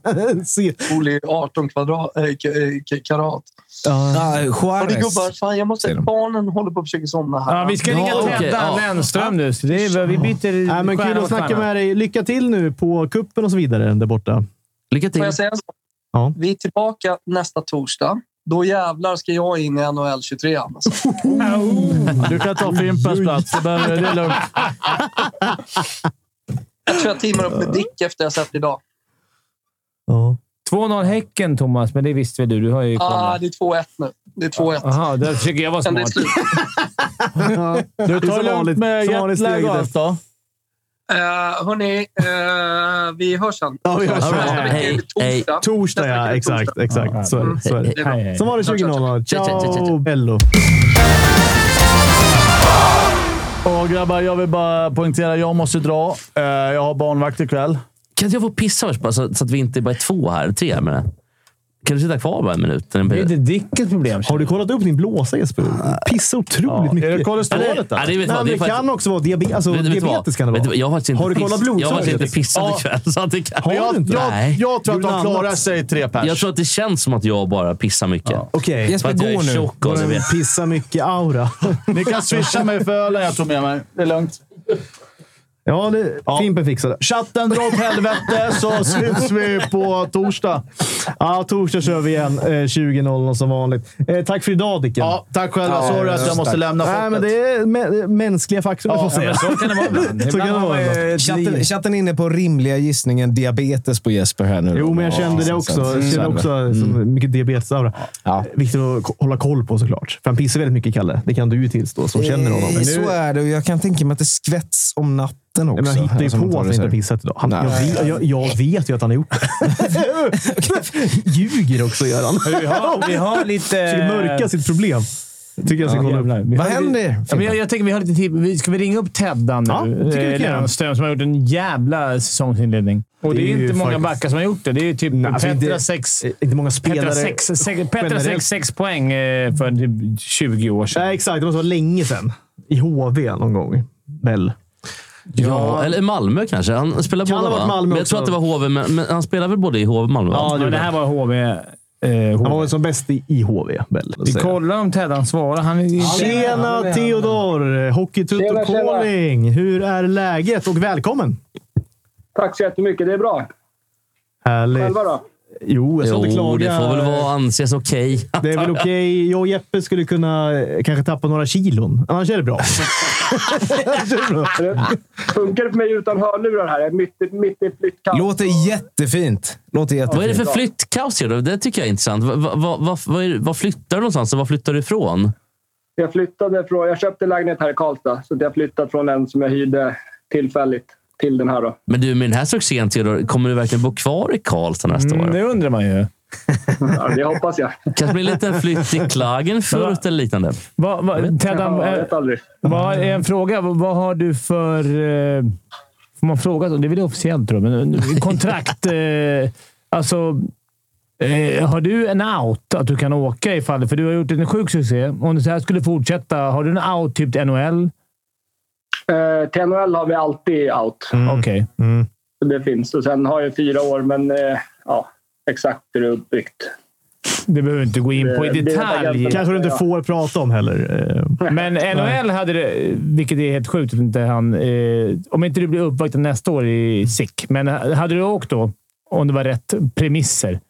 A: Se,
H: Oli 18 kvadrat, eh, k- eh, k- karat.
A: ja.
E: Ah,
H: Hörni
E: Juarez.
H: gubbar, fan, jag måste...
E: Säger de.
H: Barnen håller på att försöka somna här.
B: Ja, vi ska ringa
D: Ja,
B: Tedda
D: okej, ja.
B: Lennström nu. Så det är, vi byter
A: Nej, men kul
B: stjärna
A: att
B: mot
A: snacka
B: stjärna.
A: med dig. Lycka till nu på kuppen och så vidare där borta.
D: Lycka
H: Får
D: till.
H: jag säga en sak?
A: Ja.
H: Vi är tillbaka nästa torsdag. Då jävlar ska jag in i NHL 23. Alltså.
C: Du kan ta Fimpens plats. Det behöver- det är lugnt.
H: Jag tror jag teamar upp med Dick efter jag sett idag.
A: Ja.
B: 2-0 Häcken, Thomas, men det visste väl du? Du har ju
H: Ah,
B: kollat.
H: det är 2-1 nu. Det är 2-1.
B: Jaha, där försöker jag vara
H: Sen det är
B: smart.
H: slut.
C: Du
A: Det är
C: tar
A: som
C: det lugnt
A: vanligt-
C: med
A: som vanligt
C: jetlag och
A: steget
C: allt då.
H: Eh, hörni, eh, vi hörs sen.
A: Ja, vi hörs.
H: Nästa vecka är det
D: Hej,
H: torsdag.
A: Torsdag,
H: Nästa
A: ja.
H: vecka är det torsdag.
A: Exakt,
D: Mm.
A: exakt. Så är det. Så är det.
H: Det är bra.
B: Hej, hej.
A: Som var det 20.00.
D: Ciao, ciao, ciao,
A: Ciao,
D: ciao.
A: bello!
C: Och grabbar, jag vill bara poängtera. Jag måste dra. Eh, Jag har barnvakt ikväll.
D: Kan inte jag få pissa först bara, så, så att vi inte bara är två här? Tre menar jag. Kan du sitta kvar bara en minut?
B: Det är
D: Eller-
B: inte Dickens problem.
A: Har du kollat upp din blåsa Jesper? Pissa otroligt
C: Ja,
A: mycket.
C: är det
D: Ah. Ja,
C: kolesterolet
B: alltså?
C: där?
D: det är väl
A: Nej,
D: så.
A: men
D: Det är
A: det
D: faktiskt-
A: kan också vara diabetes. Alltså,
D: Vet du- vet du vad?
A: diabetes kan det
D: Vet du
A: vara.
D: vad? Jag har faktiskt inte
A: Har du
D: piss-
A: kollat
D: Jag har faktiskt inte
A: blodsockret?
D: pissat
C: Ja.
D: ikväll. Så att det kan...
A: Har
C: Men
A: du
C: jag,
A: inte?
D: Nej.
C: jag, jag tror att
A: Gjorde
C: de
A: annat.
C: klarar sig tre pers.
D: Jag tror att det känns som att jag bara pissar mycket.
A: Okej.
D: För
E: Jesper,
D: att jag
E: gå
D: är
E: nu.
D: tjock och det vet.
A: Pissa mycket aura.
C: [LAUGHS] Ni kan swisha mig för ölen jag tog med mig. Det är lugnt.
A: ja, det,
C: Ja.
A: Fimpen fixade.
C: Chatten drar åt helvete så syns vi på torsdag.
A: Ja, torsdag kör vi igen. Eh, 20.00 som vanligt. Eh, tack för idag Dicken.
C: Ja, tack själva. Sorry att jag måste lämna
A: Nej, men det är mä- mänskliga faktorer. får säga.
B: Så kan det vara ibland.
A: [LAUGHS] Så kan det
B: Ibland har
A: vara
B: man-
A: ibland.
E: Chatten, chatten är inne på rimliga gissningen diabetes på Jesper här nu.
A: Jo, men jag kände det också. Jag kände
E: Mm.
A: också Mm.
C: Mm.
A: som mycket diabetesaura.
E: Ja.
A: Viktigt att k- hålla koll på såklart. För han pissar väldigt mycket, Kalle. Det kan du ju tillstå som känner honom.
E: Eh, Så är det och jag kan tänka mig att det skvätts om natten också.
A: Nej, men han hittar ju
E: Som man
A: på
E: tar
A: att
E: det
A: han
E: så
A: inte har
E: här.
A: pissat idag. Han, jag,
E: Nej.
A: vet, jag, jag vet ju att han har gjort
E: [LAUGHS]
A: det. Ljuger också, gör han.
B: Vi
A: [LAUGHS]
B: har, vi har lite...
A: Försöker mörka sitt problem. Tycker jag ska kolla upp.
B: Jävlar. Vi
E: Vad
B: har-
E: händer?
B: Ja, men jag, jag tänker vi har lite tid. Vi- Ska vi ringa upp Teddan nu?
A: Ja, det tycker jag vi kan göra.
B: Lennström som har gjort en jävla säsongsinledning. Och det,
A: Det är
B: är
A: ju
B: inte många
A: faktiskt-
B: backar som har gjort det. Det är ju typ
A: Nej, alltså
B: Petra
A: inte-
B: 6
A: Eh, Inte många spelare.
B: Petra sex, sex, Petra
A: generellt.
B: sex, sex poäng eh, för typ 20 år sedan.
A: Nej, exakt. Det måste vara länge sedan. I HV någon gång. Väl.
D: Ja, eller Malmö kanske. Han spelar
A: Kan
D: båda,
A: ha varit
D: va?
A: Malmö
D: men jag
A: också.
D: tror att det var HV, men, men han spelar väl både i HV och Malmö? va?
B: Ja, det, men det här var HV. Eh,
A: Han var
B: HV.
A: väl som bäst i, i HV, väl.
B: Vi kollar om Teddan svarar. Han är ju...
A: Tjena Theodor! Hockeytutto
I: Tjena, tjena.
A: Calling. Hur är läget och välkommen!
I: Tack så jättemycket. Det är bra.
A: Härligt.
I: Själva
B: [LAUGHS]
I: då?
A: Jo, jag ska inte
D: Jo,
A: klaga.
D: det får väl vara anses okej.
A: Det är väl okej. Jag och Jeppe skulle kunna eh, kanske tappa några kilon. Annars är det bra. Annars är det bra.
I: Funkar det för mig utan hörlurar här? Jag är mitt, i- mitt i flyttkamp.
E: Låter jättefint. Låter
D: Vad är det
E: jättefint.
D: för flyttkaos? Gero? Det tycker jag är intressant. Va, va, va, va, vad är det- vad flyttar du någonstans och var flyttar du ifrån?
I: Jag flyttade från... Jag köpte lägenhet här i Karlstad. Så att jag flyttat från en som jag hyrde tillfälligt till den här då.
D: Men du, med den här succén, Theodor, kommer du verkligen bo kvar i Karlstad nästa
B: Mm,
D: år?
B: det undrar man ju.
I: Ja, det hoppas jag.
D: kanske blir en liten flytt till
B: [LAUGHS]
D: Klagenfurt eller liknande.
B: Va, va,
A: Mm.
B: Teddan,
I: Jag
B: eh,
I: vet aldrig.
B: vad är en fråga? Vad vad har du för... Eh, får man fråga? så? Det är väl officiellt, tror jag. Men
A: [LAUGHS]
B: eh, kontrakt... Eh, alltså... Eh, har du en out att du kan åka ifall... För du har gjort en sjuk succé. Om det så här skulle fortsätta, har du en out typ till NHL?
I: Eh, till NHL har vi alltid out.
B: Mm. Okej.
I: Så Det finns. Och sen har jag fyra år, men eh, ja, exakt hur det är uppbyggt.
B: Det behöver vi inte gå in på i
I: Det- det är
B: detalj.
I: jag-
A: Kanske du inte får prata om heller. Eh,
B: Men NHL hade det, vilket är helt sjukt att inte han... Eh, om inte du blir uppvaktad nästa år i SIK, men hade du åkt då? Om det var rätt premisser.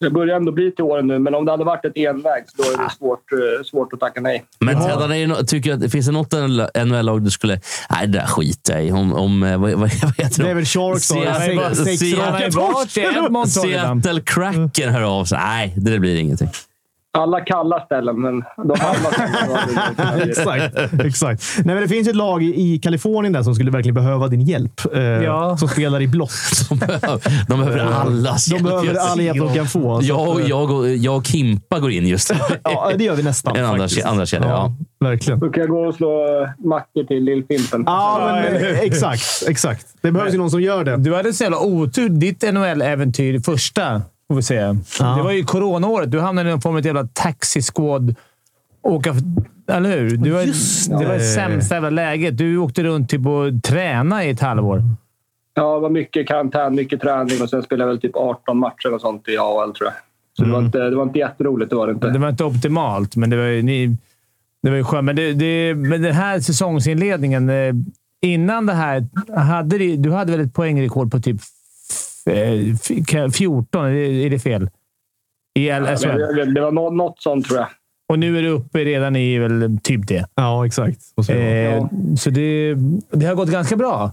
I: Det börjar ändå bli till åren nu, men om det hade varit ett enväg så då är det svårt, eh, svårt att tacka nej.
D: Men Teddan, är det nå- tycker jag att, finns det något NHL-lag du skulle... Nej, det där skiter jag i. Om, om, eh, vad, [LAUGHS] vad vad heter
A: Det är väl Sharks då.
D: Se-
A: eller?
D: Nej,
A: Sex-
D: bara-
A: sex
D: se-
A: raka
D: Han är
A: torsk.
B: varit i Edmonton redan.
D: Seattle Kraken hör av sig. Nej, det där blir ingenting.
I: Alla kalla ställen, men de
B: [LAUGHS]
I: andra ställen...
A: Exakt. [LAUGHS] exakt. Nej, men det finns ett lag i i Kalifornien där som skulle verkligen behöva din hjälp. Eh,
B: Ja.
A: Som spelar i blått.
D: [LAUGHS] De behöver, de behöver allas
A: De behöver all hjälp de kan få. Så
D: Jag,
A: att,
D: och-
A: eh,
D: jag, och, jag och Kimpa går in just nu.
A: ja, det gör vi nästan.
D: En andra,
A: faktiskt.
D: andra kedja, ja.
A: Verkligen.
I: Då kan jag gå och slå mackor till Lill-Fimpen.
A: Ja, men, eh, exakt. exakt. Det behövs ju någon som gör det.
B: Du hade så jävla otur. Ditt NHL-äventyr, första, får vi säga. Det var ju coronaåret. Du hamnade i någon form av jävla taxisquad. Åka, eller hur? Du var,
A: Just
B: det var det
A: det.
B: sämsta jävla läget. Du åkte runt typ och tränade i ett halvår.
I: Ja, det var mycket karantän, mycket träning och sen spelade jag väl typ 18 matcher och sånt i AHL tror jag. Så
A: Mm.
I: det, var inte, det var inte jätteroligt, det var det inte.
B: Det var inte optimalt, men det var ju, ni, det var ju skönt. Men, det, det, men den här säsongsinledningen. eh, Innan det här, hade det, du hade väl ett poängrekord på typ f- eh, f- 14? Är det, är det fel? I L-
I: Men
B: SHL.
I: det, det, det var nå- något sånt tror jag.
B: Och nu är du uppe redan i väl typ det.
A: Ja, exakt. Och så-
B: Eh, Så det, det har gått ganska bra.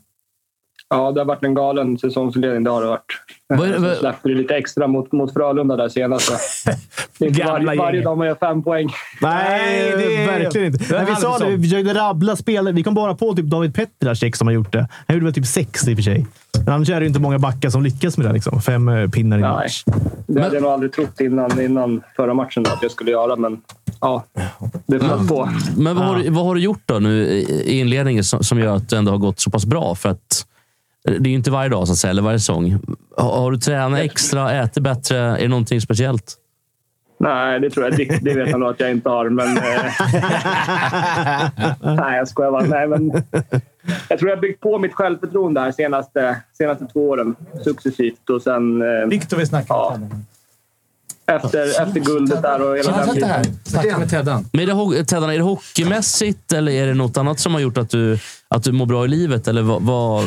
I: Ja, det har varit en galen säsongsledning. Det har det varit. Eh,
D: Vad är det-
I: Så släppte vi lite extra mot, mot Frölunda där senast. va? Det är inte
B: Gamla
I: varje, varje
B: gänget.
I: dag man gör fem poäng.
A: Nej, det är verkligen inte.
B: Det är
A: Men vi sa det,
B: Alfredsson.
A: vi försökte rabbla spelare. Vi kom bara på typ David Petrasek som har gjort det. Han gjorde väl typ sex i och för sig. Men annars är det ju inte många backar som lyckas med det. Liksom. Fem eh, pinnar i en
I: Nej.
A: match.
I: Det hade jag nog aldrig trott innan, innan förra matchen att jag skulle göra, men ja, det flöt på.
D: Men vad, har, du- vad har du gjort då nu i i inledningen som, som gör att det ändå har gått så pass bra? För att det är ju inte varje dag, så att säga, eller varje säsong. Har, har du tränat extra, ätit bättre? Är det någonting speciellt?
I: Nej, det tror jag. Det, det vet jag nog att jag inte har, men... Eh, nej, jag skojar bara. Nej, men, jag tror jag har byggt på mitt självförtroende här senaste, senaste två åren successivt. Och sen eh,
B: Viktor vill snacka
I: Ja. efter, efter guldet där och hela den biten.
E: Snacka med Teddan.
D: Men är det, ho- Teddan, är det hockeymässigt eller är det något annat som har gjort att du, att du mår bra i livet? Eller vad, vad,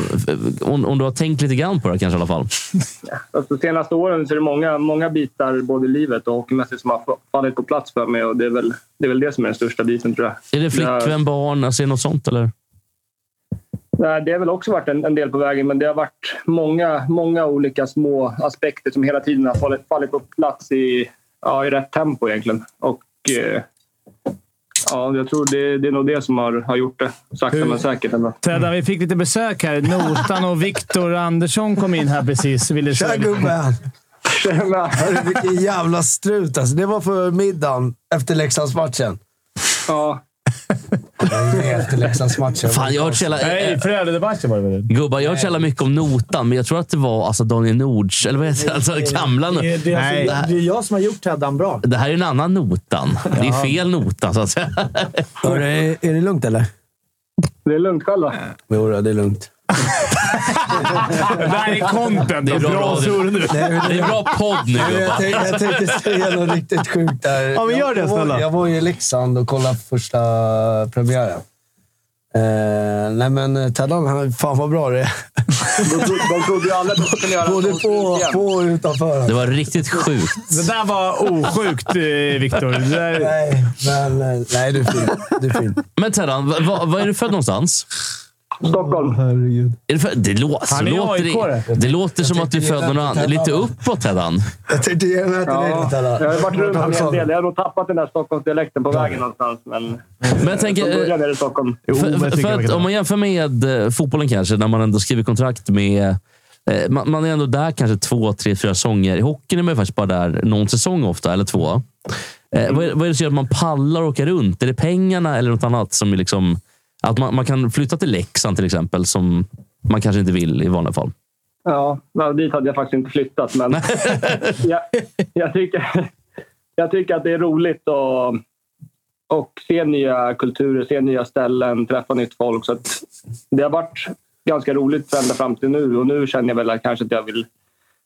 D: om, om du har tänkt lite grann på det kanske i alla fall?
I: Alltså, senaste åren så är det många, många bitar, både i livet och hockeymässigt, som har fa- fallit på plats för mig. Och det, är väl, det är väl det som är den största biten, tror jag.
D: Är det
I: Nej.
D: flickvän, barn? Alltså, är det något sånt? Eller?
I: Nej, det har väl också varit en, en del på vägen, men det har varit många, många olika små aspekter som hela tiden har fallit, fallit på plats i, ja, i rätt tempo egentligen. Och, eh, ja, jag tror det, det är nog det som har, har gjort det, sakta men säkert. Ändå.
B: Teddan, vi fick lite besök här. Notan och Viktor Andersson kom in här precis. Ville
J: Tja
B: säga.
J: gubben!
I: Tjena!
J: Hörru, vilken jävla strut alltså. Det var för middagen efter Leksandsmatchen.
I: Ja,
J: Nej, Efter Leksandsmatchen.
D: Fan, jag har hört så jävla...
B: Nej, Frölunda-matchen var det väl?
D: Gubbar, jag har hört så jävla mycket om notan, men jag tror att det var alltså Daniel Nords, eller vad heter det? Alltså, gamla no-
J: Det är,
A: Nej.
J: alltså, det är jag som har gjort Teddan bra.
D: Det här är en annan notan. Det är fel notan, så att säga.
J: Hörru, är, är det lugnt eller?
I: det är lugnt själv då.
J: Jo, då, det är lugnt.
B: Det
A: [LAUGHS]
B: här är content.
D: Det är bra radio.
B: nu.
J: Nej, men det-
D: Det är bra podd nu,
J: Nej, Jag,
D: gubbar.
J: tänkte, jag tänkte säga något riktigt sjukt där.
A: Ja, men gör det,
J: jag, var-
A: snälla.
J: Jag var ju i Leksand och kollade på första premiären. Eh, nej, men eh, Teddan, han- fan vad bra det är.
I: De, tro, de trodde ju alla att de skulle göra
J: Både på, på och utanför.
D: Det var riktigt sjukt.
B: Det där var osjukt, eh, Viktor. Det där-
J: Nej, men, eh, nej, du är fin. Du är fin.
D: Men Teddan, vad va, vad är du född någonstans?
I: Stockholm.
D: Är du född? Det, lå- så
B: Han är
D: låter,
B: AIK-are.
D: det, det låter som att du är född någon annan. Lite uppåt, Teddan.
J: Jag tänkte ge mig till dig
I: Ja,
J: då,
I: jag
J: Teddan.
I: har varit runt en hel
J: Stockholm.
I: del. Jag har nog tappat den där Stockholmsdialekten på vägen någonstans. Men
D: Men jag
I: från
D: tänker... eh,
I: början är det Stockholm.
A: men
D: För,
A: jag
D: för,
A: tycker man
D: att
A: kan
D: om man jämför med eh, fotbollen kanske, när man ändå skriver kontrakt med... eh, Man, man är ändå där kanske två, tre, fyra säsonger. I hockeyn är man ju faktiskt bara där någon säsong ofta, eller två. Eh, vad, är, vad är det som gör att man pallar och åka runt? Är det pengarna eller något annat? som är liksom Att man, man kan flytta till Leksand till exempel, som man kanske inte vill i vanliga fall.
I: Ja, men dit hade jag faktiskt inte flyttat.
B: [LAUGHS]
I: Men jag, jag, tycker, jag tycker att det är roligt att och se nya kulturer, se nya ställen, träffa nytt folk. Så att det har varit ganska roligt ända fram till nu och nu känner jag väl att kanske att jag vill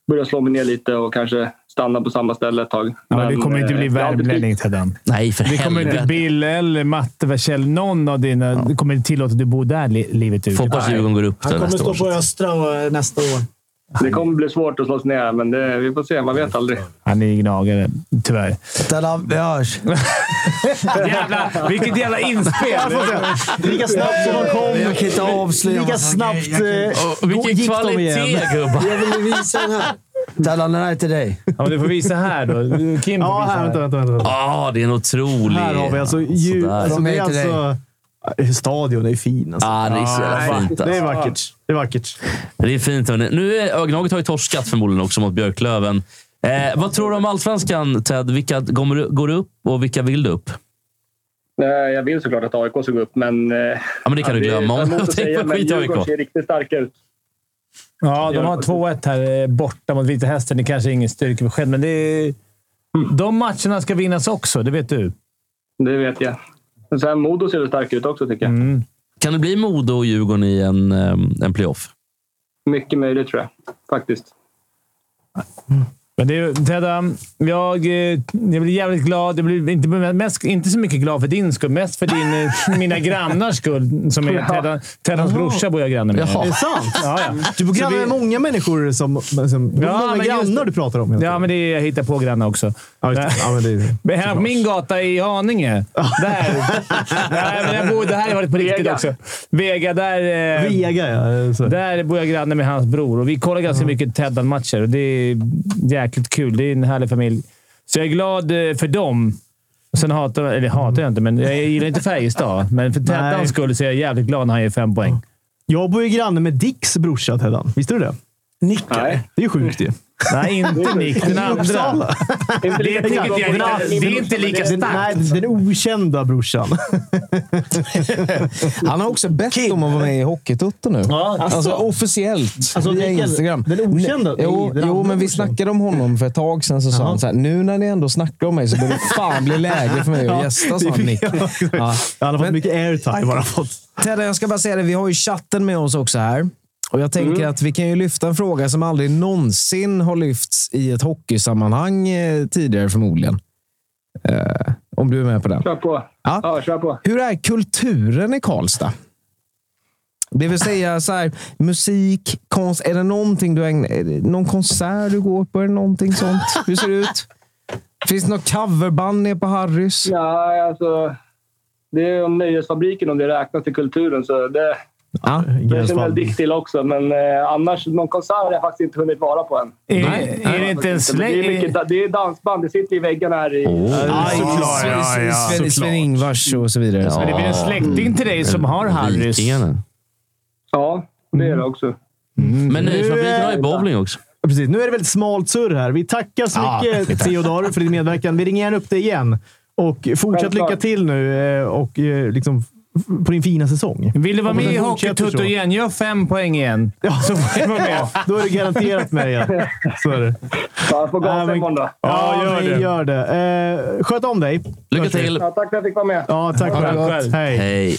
I: börja slå mig ner lite och kanske stanna på samma ställe ett tag.
B: Ja, du kommer inte
I: eh,
B: bli
I: jag har alltid
B: värmlänning, Teddan.
D: Nej, för
B: Det kommer inte
D: helvete.
B: Bill eller Matte eller Kjell. Någon av dina det kommer inte tillåta att du bor där li- livet ut.
D: Får hoppas Djurgården går upp
J: Han
D: där
J: kommer
D: nästa
J: stå
D: år.
J: på Östra och- nästa år.
I: tyckt- Det kommer bli svårt att slå sig ner, men det, vi får se. Man vet aldrig.
B: Han är gnagare, tyvärr.
J: Teddan, vi hörs.
B: Jävla, vilket jävla inspel!
A: Lika snabbt som de kom,
J: Jag kan inte avslöja
A: lika
J: massa
A: snabbt
J: grejer. Jag kan inte-
A: eh, gick de igen.
D: gubbar!
J: Jag ville visa den här. Teddan, den här är till dig.
B: Ja, men du får visa här då. Kim får visa
A: Ja, här. Vänta, vänta, vänta. vänta.
D: Ja, det är en otrolig...
A: Här har vi alltså ljud.
D: Ah, Sådär.
A: Alltså,
J: Från
A: det
J: mig
A: är
J: till
A: alltså... Stadion är fin alltså.
D: Ah, det är så jävla fint alltså.
A: Det är vackert. Det är vackert.
D: Det är fint. Hörni. Nu är Ögnaget har ju torskat förmodligen också mot Björklöven. Eh, vad tror du om allsvenskan, Ted? Vilka kommer, går upp och vilka vill du upp?
I: Eh, Jag vill såklart att AIK ska gå upp, men... eh,
D: Ja, men det kan
I: ja,
D: du glömma.
I: är
D: om.
I: emot att
D: [LAUGHS] Tänk
I: säga,
D: på
I: men
D: skit i
I: Djurgården
D: AIK.
I: ser riktigt starka ut.
B: [LAUGHS] Ja, de har 2-1 här eh, borta mot Vita Hästen. Det kanske är ingen styrkebesked, men det är... de matcherna ska vinnas också. Det vet du.
I: Det vet jag. Men sen Modo ser det stark ut också tycker jag.
D: Kan det bli Modo och Djurgården i en, eh, en playoff?
I: Mycket möjligt tror jag faktiskt.
B: Men du, Tedda. Jag, eh, jag blir jävligt glad. Jag blir inte, mest, inte så mycket glad för din skull. Mest för din,
A: [LAUGHS]
B: eh, mina grannars skull. Som är
A: Ja.
B: Tedda, Teddans
A: Jaha.
B: brorsa bor jag granne med.
A: Jaha. Är det sant?
B: Ja, ja.
A: Du bor
B: Så
A: grannar
B: vi-
A: med många människor som... som hur
B: Ja,
A: många
B: men just-
A: grannar du pratar om?
B: Ja, men det är, jag hittar på grannar också.
A: Ja, men det är...
B: [LAUGHS] Men här på min gata i Haninge. Där.
A: [LAUGHS]
B: Nej, men jag bor, det här har varit på riktigt
A: Vega.
B: också. Vega, där... eh,
A: Vega, ja. Så.
B: Där bor jag granne med hans bror och vi kollar ganska mycket Teddan-matcher. och Det är jäkligt kul. Det är en härlig familj. Så jag är glad eh, för dem. Och Sen hatar jag... Eller hatar jag inte, men jag gillar inte Färjestad. Men för
A: Nej.
B: Teddans skull så är jag jävligt glad när han ger fem poäng.
A: Jag bor ju granne med Dicks brorsa, Teddan. Visste du det? Nick. Nej. Det är ju sjukt ju.
B: Nej, inte Nick. Den
A: I
B: andra.
A: Uppsala.
B: Det är inte lika- det är inte- det är inte lika
A: Den-
B: starkt.
A: Nej, den okända brorsan.
E: [LAUGHS] Han har också bett om att vara med i Hockeytutto nu.
A: Ja,
E: alltså,
A: alltså.
E: officiellt
A: Alltså,
E: via
A: Mikael,
E: Instagram.
A: den okända-
E: Nej, Jo,
A: den andra
E: jo men vi
A: brorsan.
E: snackade om honom för ett tag sedan. Så sa han så här, nu när ni ändå snackar om mig så bör det fan bli läge för mig att gästa,
A: [LAUGHS]
E: sa han, Nick. Ja.
A: Han har fått mycket airtime. Bara fått.
E: Tedde, jag ska bara säga det. Vi har ju chatten med oss också här. Och Jag tänker
A: Mm.
E: att vi kan ju lyfta en fråga som aldrig någonsin har lyfts i ett hockeysammanhang eh, tidigare förmodligen. Eh, om du är med på den.
I: Kör på.
E: Ja.
I: kör på.
E: Hur är kulturen i Karlstad? Det vill säga så här, musik, konst. Är det någonting du ägnar, är det någon konsert du går på? Är det någonting sånt? Hur
B: [LAUGHS]
E: ser det ut? Finns det något coverband nere på Harrys?
I: Ja, alltså, det är om nöjesfabriken, om det räknas till kulturen. Så det,
E: Ja,
I: det känner jag dikt till också, men eh, annars någon konsert har jag faktiskt inte hunnit vara på än.
B: Är, är det inte en
I: Det är,
B: släng?
I: mycket, da- det är dansband. Det sitter i väggarna här. I,
E: Aj,
B: Oh, såklart,
E: Sven-
B: ja,
E: Sven-
B: ja,
E: Sven- Sven-Ingvars och så vidare.
B: Men det blir en släkting till dig som har Harrys.
I: Ja, det
A: Mm.
I: är det också.
D: Men nöjesfabriken har ju
A: eh,
D: bowling också.
A: Ja, Precis. Nu är det väldigt smalt surr här. Vi tackar så
D: Ja,
A: mycket
D: vi tackar.
A: Theodor för din medverkan. Vi ringer gärna upp dig igen. Och fortsätt
I: Självklart.
A: lycka till nu eh, och eh, liksom f- på din fina säsong.
B: Vill du vara
A: Om
B: med
A: den
B: i
A: fortsätter
B: Hockeytutto
A: så.
B: igen? Gör fem poäng igen. Så får du vara med.
A: Då är du garanterat med igen. Så är det.
I: Ja, jag får
A: Nej,
I: gasa
A: men-
I: imorgon då.
A: Ja, gör det. Gör det. Eh, sköt om dig.
D: Lycka
A: Hörs vi.
D: till!
I: Ja, tack för att jag fick vara med.
A: Ja, tack
B: det
A: själv.
B: gott.
A: Hej.
D: Hej!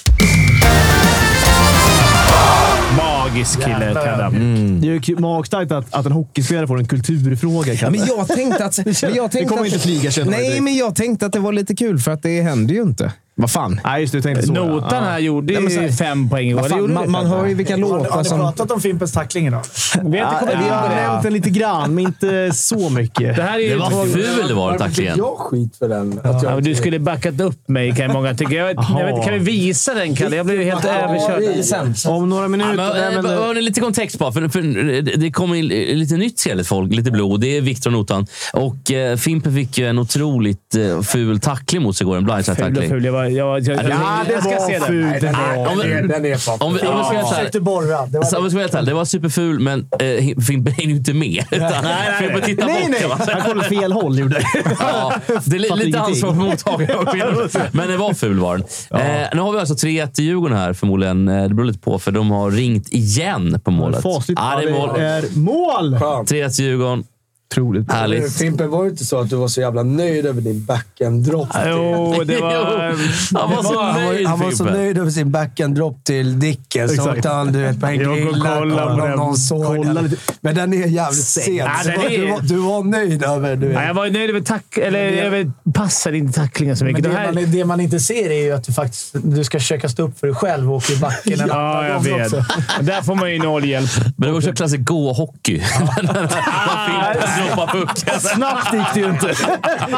B: Magisk kille, Tedda.
D: Mm.
A: Det är ju kul- magstarkt att, att en hockeyspelare får en kulturfråga.
E: Ja,
A: Kalle.
E: Men jag tänkte att... Men jag tänkte
A: [LAUGHS] Det kommer
E: att,
A: inte flyga, känner jag
E: Nej,
A: direkt.
E: men jag tänkte att det var lite kul för att det händer ju inte. Vad fan?
A: Nej, just det. Du tänkte så. ja.
B: Notan
A: Ja.
B: här gjorde
E: Nej, men så
B: ju
E: här-
B: fem poäng igår.
E: Vad
B: Det
E: fan
B: gjorde
E: man, man hör ju vilka låtar som...
J: om Fimpens tackling idag?
B: Vi har inte
A: Vi
B: kommit in på
A: har
B: det.
A: nämnt den lite grann, men inte så mycket.
B: Det här är ju
D: Det var
B: två-
D: ful det var tacklingen.
J: jag skit för den?
B: Ja, men du skulle backat upp mig, kan många tycka. Jag, vet- jag vet, kan vi visa den, Kalle? Jag blev ju helt överkörd.
A: Om några
D: Ja,
A: minuter.
D: men,
A: nej,
D: eh,
A: men,
D: hörni, lite kontext bara. För, för, det kommer in lite nytt seligt folk, lite blod. Det är Viktor Notan. Och eh, Fimpen fick ju en otroligt eh, ful tackling mot sig igår. En
B: Ful och
D: blindside-tackling.
B: ful. Jag var, jag, var- jag, jag,
A: ja, det
B: jag ska se den.
A: var fult. Det
D: Om vi-
J: är fan...
D: om vi- om vi ska göra så här.
J: borra. Det
D: Så, Alltså, om jag ska vara helt ärlig, det var superful, men eh, Fimpen är ju inte med. Utan Fimpen tittar
A: Nej,
B: [LAUGHS]
A: nej!
D: bort. va?
A: Han kollade åt fel håll, gjorde
D: Ja, det är
A: Fattar
D: li- lite
A: ingenting.
D: ansvar
A: [LAUGHS]
D: för mottagaren. Men det var ful var den. Eh, nu har vi alltså 3-1 till Djurgården här förmodligen. Eh, Det beror lite på, för de har ringt igen på målet.
A: Facit
D: Ja, det är mål.
A: är mål!
D: 3-1 till Djurgården.
A: Otroligt.
D: Härligt.
J: Eh, Fimpen, var det inte så att du var så jävla nöjd över din backhand-drop?
B: Jo, det
J: [LAUGHS]
B: var...
D: Jo, han var så nöjd,
J: Han var så
D: Fimpen.
J: nöjd över sin backhand-drop till Dicken. Så
A: Exakt.
J: åkte han du vet, på en
B: Jag går och
J: grilla.
B: kollar
J: Kolla
B: på
J: om
B: den.
J: någon såg
A: Kolla
J: den.
A: lite.
J: Men den är jävligt sen.
B: Ja,
J: så
B: den är-
J: du, var, du var nöjd över... Du vet.
B: Nej, jag var ju nöjd över, tack, eller, över passade inte tacklingen så mycket. Det här,
J: inte ser är ju att du faktiskt du
A: [LAUGHS]
J: ska försöka stå upp för dig själv och åka i backen
B: ja, jag vet. Där får man ju noll hjälp.
D: Men det var också klassisk gå-hockey. När Fimpen droppar pucken.
A: Snabbt gick det ju inte.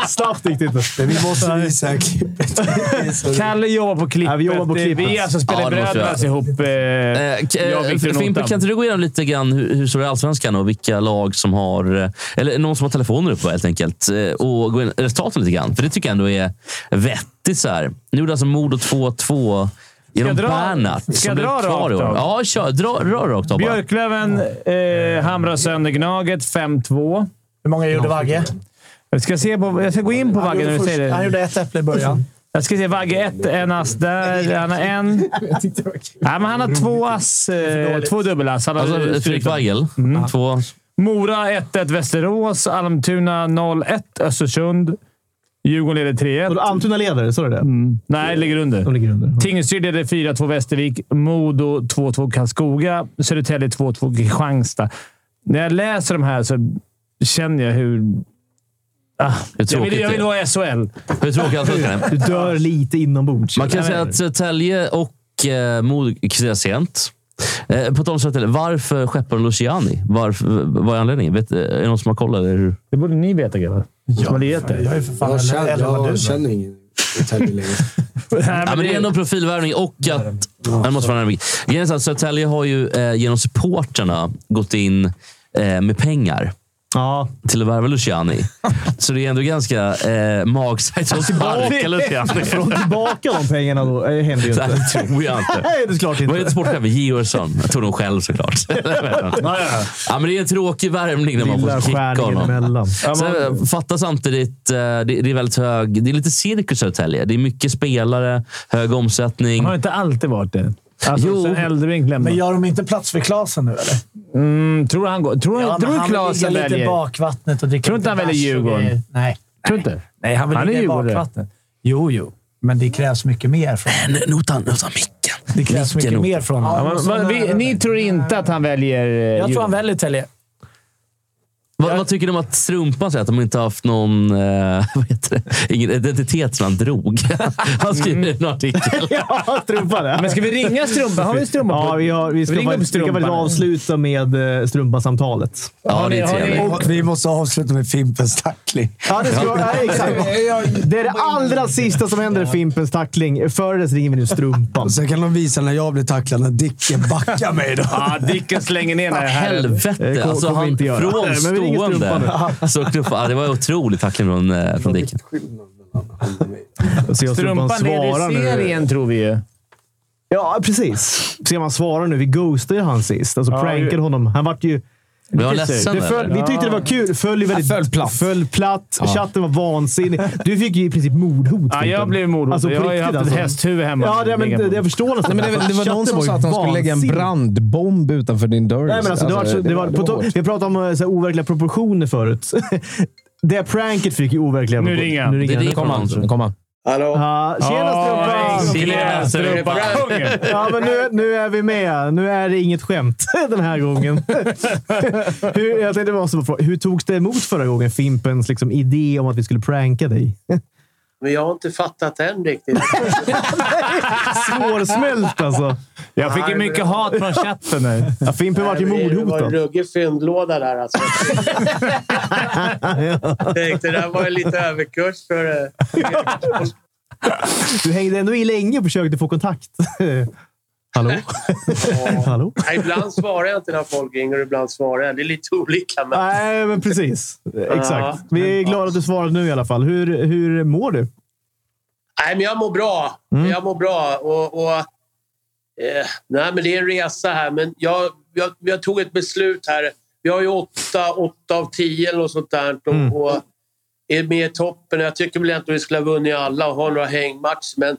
A: Snabbt gick det inte.
J: Men vi måste visa klippet.
B: Kalle jobbar på klippet.
A: Ja, vi jobbar på klippet.
B: Vi alltså spelar
D: Ja, det måste vi
B: Brödernas ihop. Eh,
D: Eh, k- eh,
B: jag och Victor
D: Fimpen,
B: Notan.
D: kan inte du gå igenom lite grann hur, hur står det i Allsvenskan och vilka lag som har... eh, Eller någon som har telefoner uppe helt enkelt. Eh, Och gå in resultaten lite grann. För det tycker jag ändå är vettigt. Så här. Nu gjorde alltså Modo 2-2 genom
B: jag dra-
D: Bernhard.
B: ska
D: som
B: jag
D: blev
B: dra
D: klar i
B: rakt
D: år.
B: av?
D: Ja, kör. Dra, dra rakt av bara.
B: Björklöven eh, hamrar sönder Gnaget 5-2.
J: Hur många gjorde Vagge?
B: Jag ska, se på, jag ska gå in på Vaggen när du säger det.
J: ett äpple i början.
B: Jag ska se. Vagge ett, en ass där. Han har en.
J: [LAUGHS]
B: Nej, men han har två ass. Eh, två dubbelass. Han har
D: Alltså, Fredrik Weigel. Två.
B: Mm. Mora 1-1 Västerås. Almtuna 0-1 Östersund. Djurgården leder 3-1.
A: Almtuna leder, sa du det?
B: Nej, ligger under.
A: De ligger under.
B: Tingsryd leder 4-2 Västervik. Modo 2-2 Karlskoga. Södertälje 2-2 Kristianstad. När jag läser de här så känner jag hur... Ah, jag,
D: tråkigt
B: vill, jag
D: det
B: vill
D: är.
B: vara i SHL.
D: Hur tråkigt allsvenskan
B: [LAUGHS]
D: är.
A: Du dör lite inombords.
D: Man kan säga att Södertälje och eh, Modo kvitterar sent. Eh, på tal om Södertälje, varför skeppar de Luciani? Varför, vad är anledningen? Vet, eh, är det någon som har kollat? Eller hur?
B: Det borde ni veta, grabbar. Som har lirat det.
J: Jag är för fan jag känner, jag känner ingen i Täby
B: [LAUGHS]
J: längre.
D: Ja, men det är ändå en profilvärvning och att... Ja, det måste vara närmare. Grejen är så att Södertälje har ju eh, genom supporterna gått in eh, med pengar
A: Ja.
D: till att
B: [LAUGHS]
D: värva Luciani. Så det är ändå ganska eh, magstarkt att [LAUGHS]
A: [LAUGHS]
D: sparka Luciani.
A: Får
B: [LAUGHS]
A: de tillbaka de pengarna då? Det händer ju
D: Det
A: inte.
D: här tror jag inte.
A: [LAUGHS] Nej, det är klart
D: Vad heter
A: inte.
D: sportchefen? Georgsson. Jag tog dem
A: [LAUGHS]
D: själv såklart. [LAUGHS] ja, men det är en tråkig värmning när man
A: Lilla
D: får kicka
A: skärningen
D: honom.
A: emellan.
D: Sen, fatta samtidigt, eh, det, det är väldigt hög... Det är lite cirkus i Södertälje. Det är mycket spelare, hög omsättning.
B: Har inte alltid varit det? Alltså,
D: Jo.
B: jo. Sen Elderbrink lämnade.
K: Men gör de inte plats för Klasen nu eller?
B: Mm, tror du han går? Tror,
K: Ja, men
B: tror du
K: han vill
B: Klasen
K: ligga lite i
B: väljer?
K: bakvattnet och dricka
B: Tror inte
K: lite
B: han
K: bärs
B: väljer
K: och
B: Djurgården?
K: grejer. Nej.
B: Tror du inte?
K: Nej, han vill
B: Han är
K: ligga i
B: Djurgårdare.
K: bakvattnet. Jo, jo. Men det krävs mycket mer från
D: Nej, Notan, notan micken.
K: Det krävs
D: Micken
K: mycket
D: åt-
K: mer från honom.
B: Ja, men, vad- vi, ni tror inte att han väljer... eh,
K: Jag tror
B: Djurgården?
K: han väljer Tälje.
D: Vad, vad tycker du om att Strumpan säger att de inte har haft någon eh, [LAUGHS] vad heter det? Ingen identitet som han drog? [LAUGHS] Han skriver i en artikel.
A: [LAUGHS] Ja, strumpan. ja.
B: Men ska vi ringa Strumpa? Har vi Strumpa på?
A: Ja, vi, har, vi, ska
B: Ring upp
A: faktiskt- vi kan
B: Strumpan.
A: faktiskt avsluta med eh, strumpansamtalet.
D: Ja, det är trevligt.
J: Och vi måste avsluta med Fimpens tackling.
A: Ja, det,
E: [LAUGHS]
A: ska, ja, exakt. det är det allra sista som händer i Fimpens tackling. Före dess ringer vi nu Strumpan.
J: Och sen kan de visa när jag blir tacklad, när Dicken backar mig då.
B: Ja, Dicken slänger ner den här.
A: Eh,
D: Helvete!
A: kom-
D: Alltså,
A: kommer
D: han
A: inte göra.
D: från
A: Men vi ringer
D: stående. [LAUGHS] Så knuffade, ja, det var otroligt tackling från, eh, från Dicken.
A: [LAUGHS] Se om
B: Strumpan leder serien, tror vi ju.
A: Ja, precis. Se om han svarar nu. Vi ghostade ju han sist. Alltså prankade honom. Han vart ju...
D: Blev han ledsen?
A: Det föll,
D: eller?
A: vi tyckte det var kul. Föll ju väldigt,
E: föll platt.
A: Föll platt. Chatten var vansinnig. Du fick ju i princip mordhot.
B: Ja, jag
A: Fimpen. Alltså,
B: blev mordhotad.
A: på
B: Jag har ju
A: riktigt,
B: haft ett hästhuvud hemma.
A: Ja, det, men, det, jag förstår nästan.
E: Nej, men det, var- det var någon
A: Chatten
E: som
A: ju
E: sa att de skulle lägga en
A: vansinnig.
E: brandbomb utanför din dörr.
A: Nej, men alltså, det var, så- det var, på,
E: hårt.
A: tal- vi pratade om eh, så här, overkliga proportioner förut. [LAUGHS] det pranket fick ju overkliga
B: Nu
A: proportioner.
B: ringer han.
D: Det ringer
E: Kom han. Nu kom han.
A: Ja, Ah, tjena
B: Åh,
A: Strumpan!
B: äckliga Strumpa. Kungen!
A: Ja, men nu, nu är vi med. Nu är det inget skämt [LAUGHS] den här gången. hur, jag tänkte bara så på, hur togs det emot förra gången? Fimpens liksom, idé om att vi skulle pranka dig? [LAUGHS]
K: Men jag har inte fattat än riktigt.
A: Svårsmält alltså.
B: Jag fick ju mycket hat från chatten. Här.
A: Ja, Fimpen vart ju mordhotad.
K: ruggig fyndlåda där
A: [LAUGHS]
K: alltså. Tänkte, det där var ju lite överkurs för...
A: Du hängde ändå i länge och försökte få kontakt. [LAUGHS] Hallå? Hallå?
K: Ibland svarar jag inte när folk ringer och ibland svarar jag. Det är lite olika.
A: Nej, men precis. Exakt. Vi är glada att du svarade nu i alla fall. Hur, hur mår du?
K: Nej, men jag mår bra.
A: Mm.
K: Jag mår bra. Och, och, eh, nej, men det är en resa här. Men jag, jag, jag tog ett beslut här. Vi har ju åtta, åtta av tio eller något sånt där. Och,
A: Mm.
K: och är med i toppen. Jag tycker väl inte att vi skulle ha vunnit alla och ha några hängmatcher. Men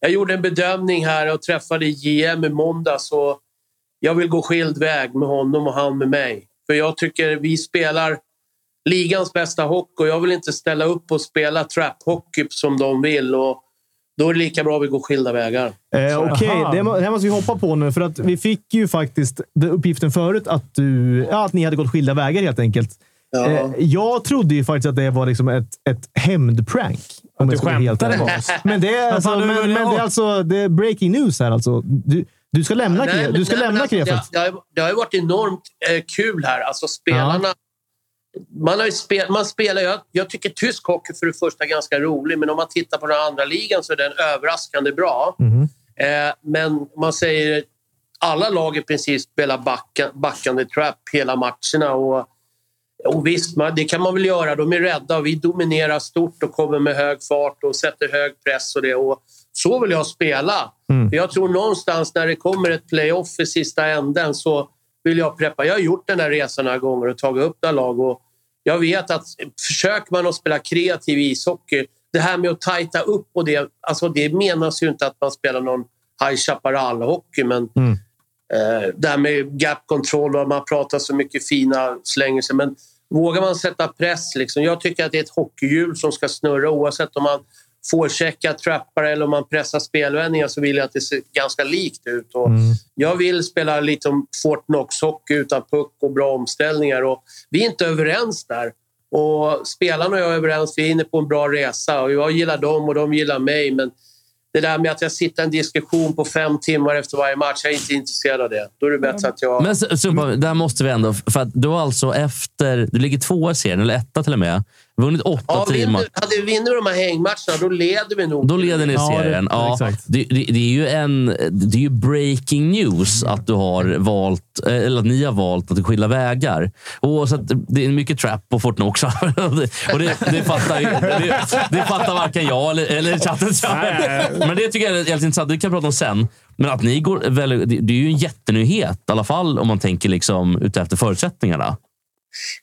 K: jag gjorde en bedömning här och träffade JM i måndags. Och jag vill gå skild väg med honom och han med mig. För jag tycker vi spelar ligans bästa hockey och jag vill inte ställa upp och spela trap-hockey som de vill. Och då är det lika bra att vi går skilda vägar.
A: Eh, Okej,
B: Aha.
A: det, må- det här måste vi hoppa på nu, för att vi fick ju faktiskt den uppgiften förut att, du, ja, att ni hade gått skilda vägar helt enkelt.
K: Ja.
A: Eh, jag trodde ju faktiskt att det var liksom ett, ett hämndprank. Om
B: du
A: jag ska vara helt
B: skämtade
A: ärlig.
B: med oss.
A: Men det är, alltså,
B: fan,
A: men,
B: du
A: men det
B: började
A: är alltså det är breaking news här alltså. Du, du ska lämna,
K: Nej,
A: Kre-
K: men-
A: du ska
K: nej, men
A: lämna
K: alltså,
A: Krefeld.
K: Det, har- det, har- det har ju varit enormt eh, kul här. Alltså spelarna... Man, har ju spel, man spelar jag, jag tycker tysk hockey för det första är ganska rolig, men om man tittar på den andra ligan så är den överraskande bra. [LAUGHS]
B: Mhm.
K: Eh, men man säger alla lag i princip spelar backa, backande trap hela matcherna. Och, och visst, man, det kan man väl göra. De är rädda och vi dominerar stort och kommer med hög fart och sätter hög press. och det. Och så vill jag spela. För jag tror någonstans när det kommer ett playoff i sista änden så vill jag preppa. Jag har gjort den här resan några gånger och tagit upp några lag. Och jag vet att försöker man att spela kreativ ishockey det här med att tajta upp och det, alltså det menas ju inte att man spelar någon High Chaparral-hockey, men
A: Mm.
K: eh, det här med gap control och man pratar så mycket fina slänger sig. Men vågar man sätta press? Liksom? Jag tycker att det är ett hockeyhjul som ska snurra oavsett om man får checka, trappar eller om man pressar spelvändningar så vill jag att det ser ganska likt ut.
J: Mm.
K: Och
B: Mm.
K: Jag vill spela lite om Fortnox-hockey utan puck och bra omställningar. Och vi är inte överens där. Och spelarna och jag är överens. Vi är inne på en bra resa. Och jag gillar dem och de gillar mig. Men det där med att jag sitter i en diskussion på fem timmar efter varje match, jag är inte intresserad av det. Då är det bättre att jag...
D: Men S- Sumpa, där måste vi ändå... För att du har alltså efter... Du ligger tvåa i serien, eller etta till och med. Vunnit åtta,
K: Ja,
D: tio
K: vinner,
D: matcher.
K: hade vi vinner de här hängmatcherna, då leder vi nog.
D: Då leder ni serien. Ja, det, det, det är ju en, det är ju breaking news att du har valt, eh, eller att ni har valt att skilja vägar. Och så att det är mycket trap på Fortnite också. [LAUGHS] Och det, det, fattar, ju- det, det fattar varken jag eller, eller chatten. Men det tycker jag är jävligt intressant. Det kan vi prata om sen. Men att ni går, väl, det, det är ju en jättenyhet, i alla fall om man tänker liksom, utefter förutsättningarna.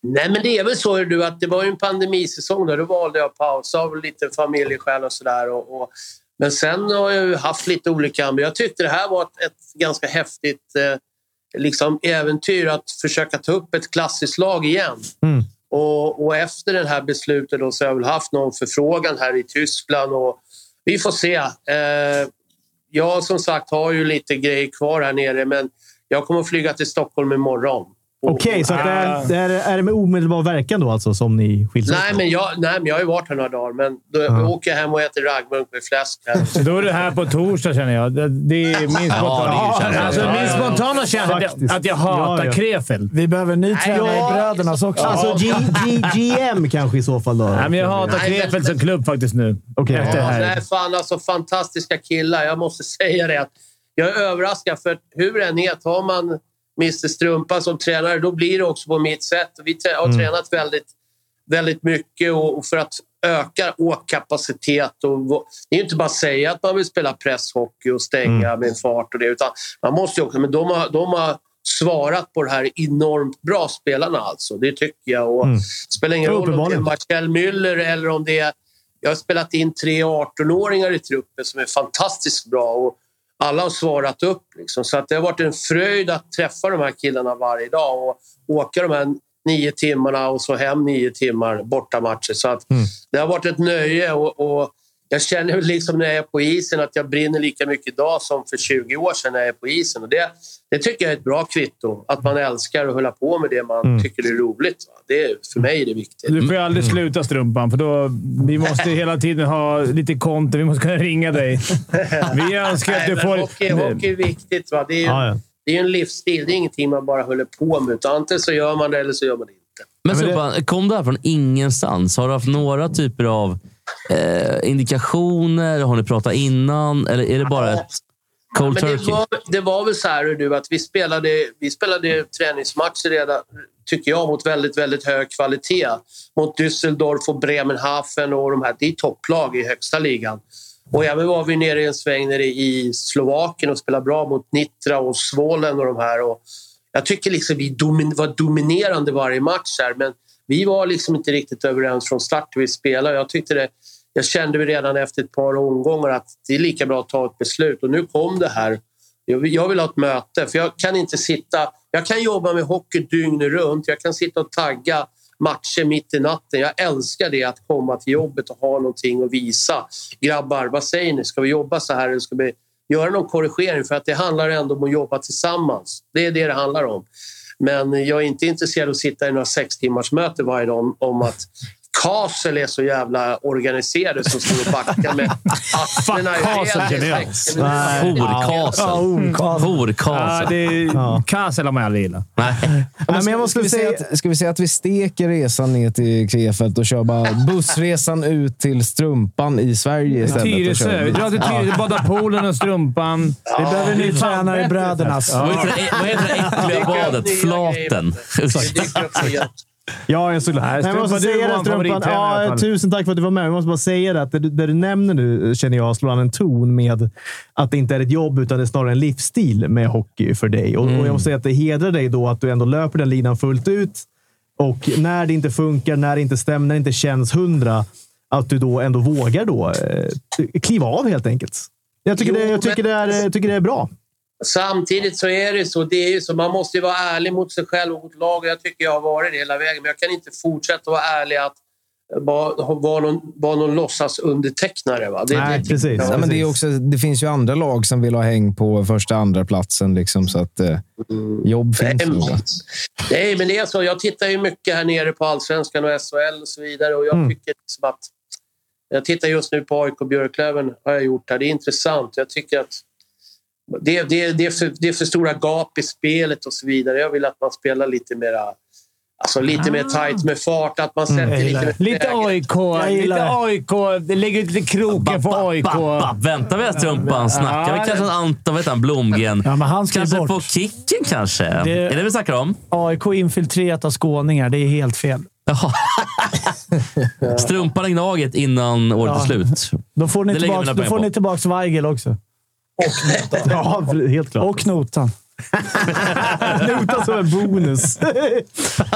K: Nej, men det är väl så hör du, att det var ju en pandemisäsong. Där. Då valde jag att pausa av lite familjeskäl och sådär. Och, och, men sen har jag ju haft lite olika ambitioner. Jag tyckte det här var ett, ett ganska häftigt eh, liksom äventyr att försöka ta upp ett klassiskt lag igen.
B: Mm.
K: Och, och efter det här beslutet då, så har jag väl haft någon förfrågan här i Tyskland. Och vi får se. Eh, jag som sagt har ju lite grejer kvar här nere, men jag kommer att flyga till Stockholm imorgon. Och-
A: Okej, så att det,
K: Ah.
A: är, det är, är det med omedelbar verkan då alltså som ni skiljs åt?
K: Nej men, jag, nej, men jag har ju varit här några dagar, men då
A: Ja.
K: åker jag hem och äter raggmunk med fläsk här.
B: [LAUGHS] Då är du här på torsdag, känner jag. Det, det är min
K: Ja,
B: spontana,
K: det är ju så här.
B: alltså,
K: Ja,
B: min
K: ja.
B: spontana känsla att jag,
A: Faktiskt.
B: att jag hatar
A: Ja, ja.
B: Krefeld.
A: Vi behöver en ny
B: tränare i Brödernas också.
A: Alltså G, G, GM kanske i så fall då?
B: Nej, men jag hatar Krefeld som klubb faktiskt nu.
A: Okej.
B: Efter det
K: Ja,
B: här.
K: nej, fan alltså fantastiska killar. Jag måste [LAUGHS] säga det. att Jag är överraskad, för att hur det än är, tar man Mr Strumpa som tränare, då blir det också på mitt sätt. Vi trä- har
H: Mm.
K: tränat väldigt, väldigt mycket och, och för att öka åkkapacitet. Och, vå- det är ju inte bara att säga att man vill spela presshockey och stänga med fart och det, utan man måste ju också... Men de har, de har svarat på det här enormt bra, spelarna alltså. Det tycker jag. Och spelar ingen
H: Ja,
K: roll om det är
H: uppenbarligen.
K: Marcel Müller eller om det är jag har spelat in tre 18-åringar i truppen som är fantastiskt bra och alla har svarat upp. Liksom. Så att det har varit en fröjd att träffa de här killarna varje dag och åka de här nio timmarna och så hem nio timmar bortamatcher. Så att det har varit ett nöje och, och jag känner väl liksom när jag är på isen att jag brinner lika mycket idag som för 20 år sedan när jag är på isen. Och det, det tycker jag är ett bra kvitto, att man älskar att hålla på med det man
B: Mm.
K: tycker är roligt. va. Det är, för mig är det viktigt.
B: Du får ju aldrig sluta strumpan, för då, vi måste ju hela tiden ha lite konto. Vi måste kunna ringa dig. [LAUGHS] Vi önskar att
K: [LAUGHS] Nej,
B: du
K: men
B: får...
K: Hockey, hockey är viktigt. Va? Det, är ju,
B: Ja, ja.
K: det är ju en livsstil. Det är ingenting man bara håller på med. Utan antingen så gör man det eller så gör man det inte.
D: Men Supan, kom det här från ingenstans? Har du haft några typer av eh, indikationer? Har ni pratat innan? Eller är det bara ett cold
K: Men det,
D: turkey?
K: var, det var väl så här hör du, att vi spelade, vi spelade träningsmatcher redan, tycker jag, mot väldigt, väldigt hög kvalitet. Mot Düsseldorf och Bremenhaven och de här. Det är topplag i högsta ligan. Och även var vi nere i en sväng nere i Slovakien och spelade bra mot Nitra och Svolen och de här. Och jag tycker liksom vi domin- var dominerande varje match här, men vi var liksom inte riktigt överens från start hur vi spelade. Jag tyckte det, jag kände vi redan efter ett par omgångar att det är lika bra att ta ett beslut. Och nu kom det här. Jag vill, jag vill ha ett möte, för jag kan inte sitta... Jag kan jobba med hockey dygnet runt. Jag kan sitta och tagga matcher mitt i natten. Jag älskar det, att komma till jobbet och ha någonting att visa. Grabbar, vad säger ni? Ska vi jobba så här eller ska vi göra någon korrigering? För att det handlar ändå om att jobba tillsammans. Det är det det handlar om. Men jag är inte intresserad av att sitta i några sex timmars möte varje dag om- om att Kassel är så jävla organiserade som står och backar
B: [LAUGHS]
K: med akterna i
B: Kassel känner jag.
D: Horkasen.
B: Ja, horkasen.
D: Horkasen.
B: Ja, det är, Kassel har man aldrig gillat.
E: men jag måste ska, vi säga att, ska vi säga att vi steker resan ner till Krefeld och kör
A: [LAUGHS]
E: bara bussresan ut till Strumpan i Sverige istället? och
B: Tyresö.
E: kör-
B: Vi drar till Tyresö,
E: Ja.
B: badar poolen och strumpan. Vi
E: behöver en ny tränare i
B: Brödernas.
D: Vad heter det- vad heter det äckliga badet? Flaten.
A: Ja, jag är så glad.
B: Nej,
A: Nej, men jag måste
B: Strumpa, du var
A: säga det,
B: en
A: strumpan.
B: favorittränare i alla
A: Ja,
B: fall.
A: tusen tack för att du var med. Jag måste bara säga det, att det, du- det du nämner nu känner jag slår an en ton med att det inte är ett jobb, utan det är snarare en livsstil med hockey för dig. Och,
B: Mm.
A: och jag måste säga att det hedrar dig då att du ändå löper den linan fullt ut. Och när det inte funkar, när det inte stämmer, när det inte känns hundra, att du då ändå vågar då, eh, kliva av helt enkelt. Jag tycker,
K: Jo,
A: det, jag tycker, det, är, jag tycker det är bra.
K: Samtidigt så är det så. Det är ju så. Man måste ju vara ärlig mot sig själv och mot laget. Jag tycker jag har varit det hela vägen. Men jag kan inte fortsätta vara ärlig att bara vara någon, vara någon låtsasundertecknare. Va? Det, det, tycker jag.
E: Ja, men det, är också, det finns ju andra lag som vill ha häng på första andra platsen liksom, så att eh, jobb finns.
K: Nej,
E: ju.
K: men- Nej, men det är så. Jag tittar ju mycket här nere på allsvenskan och SHL och så vidare. Och jag
E: Mm.
K: tycker liksom att... Jag tittar just nu på AIK Björklöven. har jag gjort här. Det är intressant. Jag tycker att det, det, det, är för, det är för stora gap i spelet och så vidare. Jag vill att man spelar lite mera... Alltså lite mer tight med fart. Att man sätter
B: Ah. Mm, Jag gillar
K: lite...
B: det. Lite AIK. Lite AIK. Det lägger lite kroken för AIK.
D: Bapp, vänta med strumpan. Snackar vi
B: Ja,
D: kanske att Anton, vad heter han, Blomgren? kanske på kicken kanske?
L: Det-
D: Är det vi snackar om?
L: AIK infiltrerat av skåningar, det är helt fel.
D: Strumpan i Gnaget innan året
L: Ja.
D: är slut.
L: Då får
D: Det
L: ni
D: lägger
L: tillbaka,
D: mina
L: då
D: pengar
L: får
D: på.
L: ni tillbaka Weigel också.
A: Ja, helt klart.
L: Och knotan.
A: [LAUGHS] Nota som en bonus. Nej,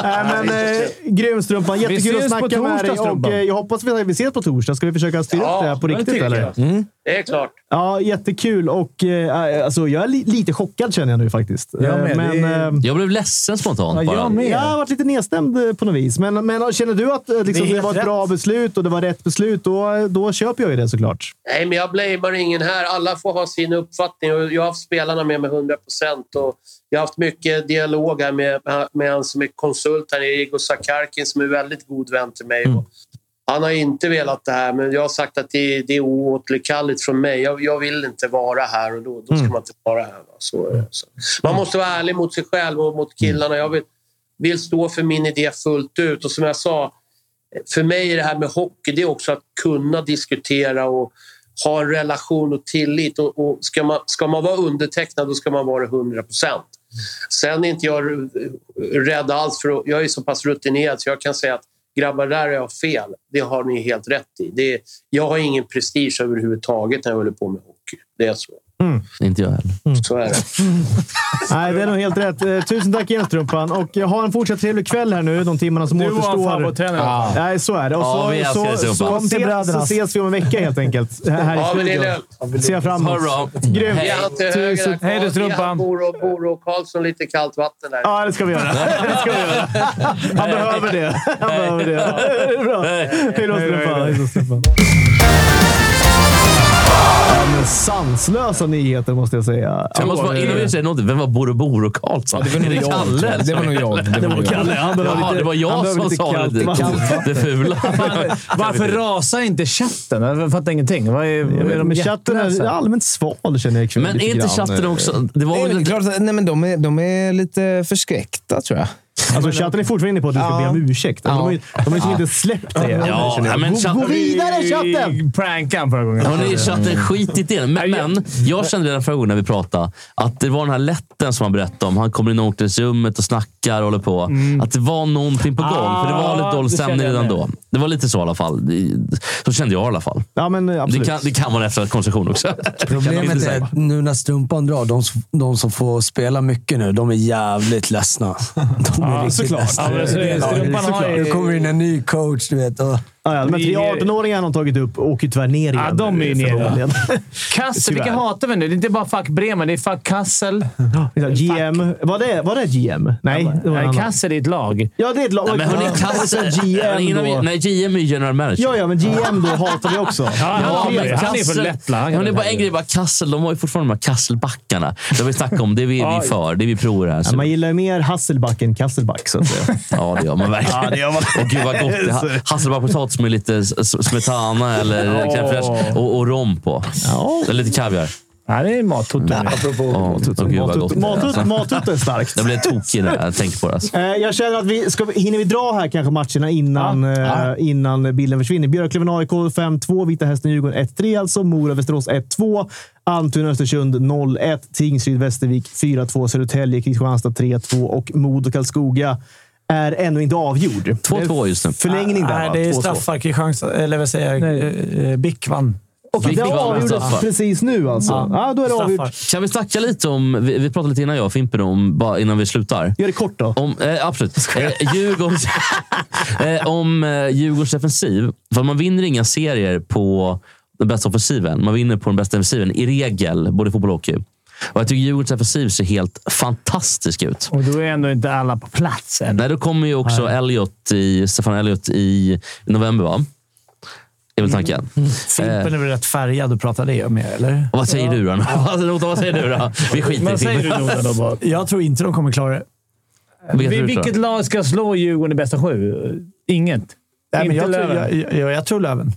A: men, eh, grym Strumpan.
L: Vi
A: Jättekul att
L: ses på
A: snacka med dig.
L: torsdag,
A: Och,
L: Strumpan.
A: eh, jag hoppas vi, vi ses på torsdag. Ska vi försöka styra upp det här på
K: det
A: riktigt?
K: tycker
A: Eller? Mm.
K: jag. Det är klart.
A: Ja, jättekul. Och, eh, alltså, jag är li lite chockad känner jag nu faktiskt.
D: Jag med.
A: Eh, men,
D: Det
A: eh,
D: Jag blev ledsen spontant bara.
A: Jag har varit lite nedstämd eh, på något vis. Men, men känner du att eh, liksom,
K: Det är
A: det,
K: helt
A: var ett
K: rätt.
A: bra beslut och det var rätt beslut, då, då köper jag ju det såklart.
K: Nej, men jag blamear ingen här. Alla får ha sin uppfattning. Och Jag har haft spelarna med mig 100 procent. Jag har haft mycket dialog här med, med han som är konsult här, Igor Sakarkin, som är väldigt god vän till mig. Och Han har inte velat det här, men jag har sagt att det, det är oåterkalleligt från mig. Jag, jag vill inte vara här och då, då ska man inte vara här. Va? Så, är det. så. Man måste vara ärlig mot sig själv och mot killarna. Jag vill, vill stå för min idé fullt ut. Och som jag sa, för mig är det här med hockey det är också att kunna diskutera och ha en relation och tillit. Och, och ska, man, ska man vara undertecknad då ska man vara det 100 procent. Sen är inte jag eh, rädd alls. för att- Jag är så pass rutinerad så jag kan säga att grabbar, där har jag fel. Det har ni helt rätt i. Det är, jag har ingen prestige överhuvudtaget när jag håller på med hockey. Det är så.
D: Inte jag heller.
K: Så är det.
A: [LAUGHS] Nej, det är nog helt rätt. Eh, tusen tack igen Strumpan. Och eh, ha en fortsatt trevlig kväll här nu, de timmarna som
B: Du och han
A: återstår.
B: favorittränare. Ja.
A: Nej, så är det. Och
B: Ja,
A: så,
B: vi älskar dig,
A: så,
B: Strumpan.
A: så, så,
B: Kom till
A: ses, så
B: brödernas.
A: ses vi om en vecka helt enkelt. Här
K: Ja,
A: i
K: men det är
A: studion.
K: lugnt.
A: Ser jag fram emot.
K: Ha det bra.
A: Grymt.
K: Ge han till höger där, Karl. Ge han Boro, Boro och Karlsson lite kallt vatten där.
A: Ja, det ska vi göra. Det ska vi göra.
K: [LAUGHS]
A: Han behöver det. [LAUGHS] Han behöver det. [LAUGHS] Det är bra. Hej då, Strumpan. Hej då, Strumpan. Ja, men Sanslösa nyheter måste jag säga.
D: Jag måste bara, innan vi säger något, vem var Boro Boro Karlsson?
A: Ja, det var nog
D: Är
A: jag, tror
D: Kalle?
A: jag. Det var nog
B: [LAUGHS]
A: jag. Det var
D: Det var
A: nog
D: Kalle.
A: jag. Han behöver
D: Jaha,
A: lite-
D: det var
A: han
D: jag
A: behöver
D: som
A: lite
D: sa
A: kallt
D: det.
A: vatten. [LAUGHS]
D: Det fula.
B: [LAUGHS] Varför
D: [LAUGHS]
B: rasar inte chatten? Jag fattar ingenting. Vad är, är
A: Men chatten är allmänt sval känner jag ikväll.
E: Men
A: lite
E: är inte
A: grann. eh,
E: chatten också- det var
A: Nej,
E: väl
A: men
E: lite-
A: klart att-
E: Nej, men de är, de är lite förskräckta, tror jag.
A: Alltså chatten är fortfarande inne på att du ska
E: Ja.
A: be om ursäkt. De har ju de har ju liksom inte släppt det.
B: Ja,
A: känner jag.
B: men
A: Gå- Gå
B: chatten-
A: vidare chatten!
B: Prankan förra gången.
D: Hörrni, chatten skitit i det. Men, men jag kände redan förra gången när vi pratade att det var den här lätten som han berättade om. Han kommer in i omklädningsrummet och snackar och håller på. Att det var någonting på gång. för det var lite
A: Mm. Ah,
D: dålig
A: det kände
D: stämning
A: jag
D: redan
A: med.
D: då. Det var lite så i alla fall. Det- Så kände jag i alla fall.
A: Ja, men
D: Det
A: absolut.
D: kan, det kan vara efter koncession också.
J: Problemet är att nu när strumpan drar, de, som- de som får spela mycket nu, de är jävligt ledsna. De är
A: Ja,
J: riktigt
A: såklart.
J: ledsna.
A: Ja, men så är Alltså, det.
J: Ja,
A: Strumpan har
J: såklart.
A: ju-
J: Nu kommer in en ny coach, du vet. Och...
A: Ja, ja, men 18-åringarna har tagit upp och åker tyvärr ner igen.
B: Ja, de är ju nere.
A: Förmodligen.
B: Kassel, vilka
A: Tyvärr.
B: hatar vi nu? Det är inte bara fuck Bremen, det är fuck Kassel.
A: GM. Var det, var det GM? Nej, det var en
B: Nej,
A: annan.
B: Kassel är ett lag.
A: Ja, det är ett lag.
D: Nej, men hörni,
A: Ja. [LAUGHS]
D: Kassel...
A: GM
D: innan vi-
A: då.
D: Nej, GM är ju general manager.
A: Ja, ja, men GM då hatar vi också.
D: [LAUGHS] Ja, men
B: han är från
D: Kassel-
B: Lettland. Han
D: Ja, men det är
B: kan
D: bara
B: det
D: en grej. Bara Kassel, de har ju fortfarande de här Kasselbackarna. Det har vi snackat om. Det är vi, vi är för. Det är vi prover här.
A: Ja, man gillar ju mer Hasselback än Kasselback, så att säga.
D: Ja, det gör man verkligen.
A: [LAUGHS] Ja, det gör man.
D: Och gud vad gott det är. Hasselbackpotatis med lite s- s- smetana eller
B: Åh.
D: crème fraîche och, och rom på. Eller lite kaviar.
B: Nej, det är mattoto.
D: Ja, och gud vad gott det är.
A: Matut,
D: alltså.
A: matut är starkt.
D: Jag blev tokig när jag tänkte på det. Alltså.
A: Eh, Jag känner att vi... Ska vi hinner vi dra här kanske matcherna innan, eh, innan bilden försvinner? Björklöven-AIK 5-2, Vita Hästen-Djurgården 1-3 alltså. Mora-Västerås 1-2. Almtuna-Östersund 0-1. Tingsryd-Västervik 4-2. Södertälje, Kristianstad 3-2 och Modo-Karlskoga är ännu inte avgjord. 2-2
D: just nu.
A: Förlängning där,
L: Nej,
A: va?
L: det är
A: 2-2.
L: straffar Kristianstad. Eller vad säger jag? Eh, eh, BIK vann.
A: Okej, det avgjordes precis nu alltså. Ja, då är det avgjort.
D: Kan vi snacka lite om, vi, vi pratade lite innan jag och Fimpen om, bara innan vi slutar.
A: Gör det kort då.
D: Om, eh, absolut.
A: [LAUGHS]
D: Eh, Djurgårdens, eh, om eh, Djurgårdens defensiv. För man vinner inga serier på den bästa offensiven. Man vinner på den bästa defensiven i regel, både i fotboll och hockey. Och jag tycker Djurgårdens defensiv ser helt fantastisk ut.
B: Och då är ändå inte alla på plats än.
D: Nej, då kommer ju också Elliot i, Stefan Elliot i november, va? Är väl tanken.
B: Mm. [LAUGHS]
L: Fimpen är väl rätt färgad att prata det med, eller?
D: Och vad säger du då? Alltså, Nota, [LAUGHS] vad säger du då? Vi skiter i
L: Vad säger du, Nota, då, bara? [LAUGHS] Jag tror inte de kommer klara det.
D: Vilket
B: Vi-
D: tror du,
B: Vilket
D: tror
B: lag ska slå Djurgården i bästa sju? Inget.
L: Nej, men
B: Inte
L: jag, tror,
B: Löven.
L: jag, jag, jag tror Löven.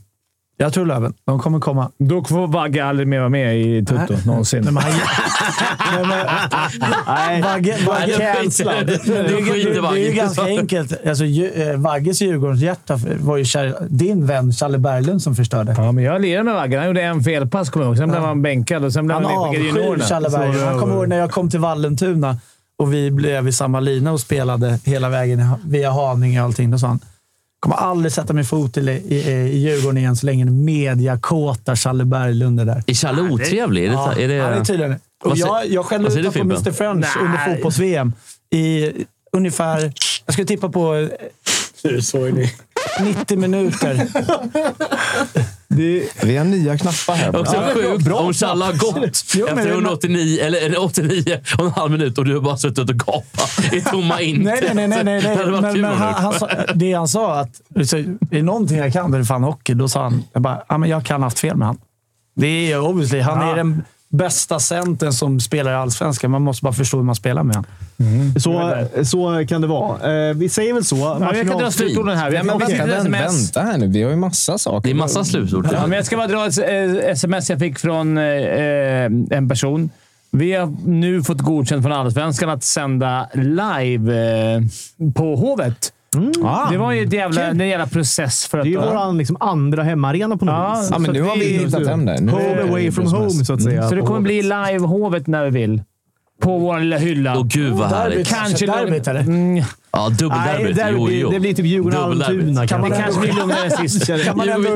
L: Jag tror Löven. De kommer komma.
B: Då får Vagge aldrig mer vara med i Toto någonsin. Nej, [LAUGHS]
L: Nej, Vagge, Vagge,
B: då skiter-
L: Cancellad.
B: då
L: det, är ju-
B: skiter
L: det, är
B: Vagge.
L: ju ganska enkelt. Alltså, ju- eh, Vagges Djurgårdshjärta var ju kär, din vän Charlie Berglund som förstörde.
B: Ja, men jag lirade med Vagge. Han gjorde en felpass, kommer jag ihåg. Sen blev han bänkad och sen blev
L: Han
B: han nedskickad i
L: avskyr
B: juniorerna.
L: Charlie Berglund. Han kommer ihåg när jag kom till Vallentuna och vi blev i samma lina och spelade hela vägen i- via Haninge och allting. Då sa han kommer aldrig sätta min fot i, i, eh, i Djurgården igen så länge den mediakåta Charlie Berglund är där.
D: Är Challe otrevlig? Är det-
L: ja,
D: är det-
L: han är tydligen
D: Vad
L: och
D: sä-
L: jag, jag
D: vad
L: skällde
D: säger
L: ut
D: du,
L: honom på
D: Fimpen?
L: Mr French under
B: Nej.
L: fotbolls-VM i ungefär, jag skulle tippa på eh, 90
D: [LAUGHS]
L: minuter.
E: Vi har nya knappar här.
D: jag. Också sjukt om Challe har gått
E: Jo, men-
D: efter 189, eller eller 89 och en halv minut och du har bara suttit och gapat i tomma intet.
L: Nej, nej, nej. nej, nej,
D: [LAUGHS] Det
L: nej.
D: hade varit
L: Men,
D: kul
L: men
D: om du
L: han,
D: gjort.
L: han sa, det han sa att så, är det någonting jag kan, då är det fan hockey. Då sa han, jag bara, ja, men jag kan ha haft fel med han. Det är ju obviously. Han är den bästa centern som spelar i Allsvenskan. Man måste bara förstå hur man spelar med honom.
A: Mm. Så, så kan det vara. Eh, vi säger väl så. Martin
B: jag kan dra
A: Ahlqvist.
B: slutorden här. Vi har
A: Ja, men
B: fått
A: vi-
B: ett
A: vänta,
B: sms.
A: vänta.
E: Vänta här nu, vi har ju massa saker.
D: Det är massa slutord.
B: Ja, men jag ska bara dra ett eh, sms jag fick från eh, eh, en person. Vi har nu fått godkänt från Allsvenskan att sända live eh, på Hovet. Det var ju ett jävla, en jävla process för att...
A: Det är ju vår liksom, andra hemmaarena på något
B: Ja,
A: vis.
B: Ja, men så nu det har vi är- hittat hem där. Nu är
A: Home
B: det
A: away
B: hur
A: from
B: som
A: home,
B: helst.
A: så att säga.
L: Mm.
B: Så det
A: på
B: kommer bli live Hovet när vi vill. På vår lilla hylla. Åh
D: gud vad härligt.
B: Kanske
L: Derbyt, eller?
B: Mm.
D: Ja,
B: Nej,
D: dubbelderbyt.
B: derby,
D: Jo, jo.
B: det blir typ Djurgården-Almtuna
D: Dubbelderbyt.
B: kanske. Det kanske blir lugnare
J: [LAUGHS]
B: än sist. Kan man ändå-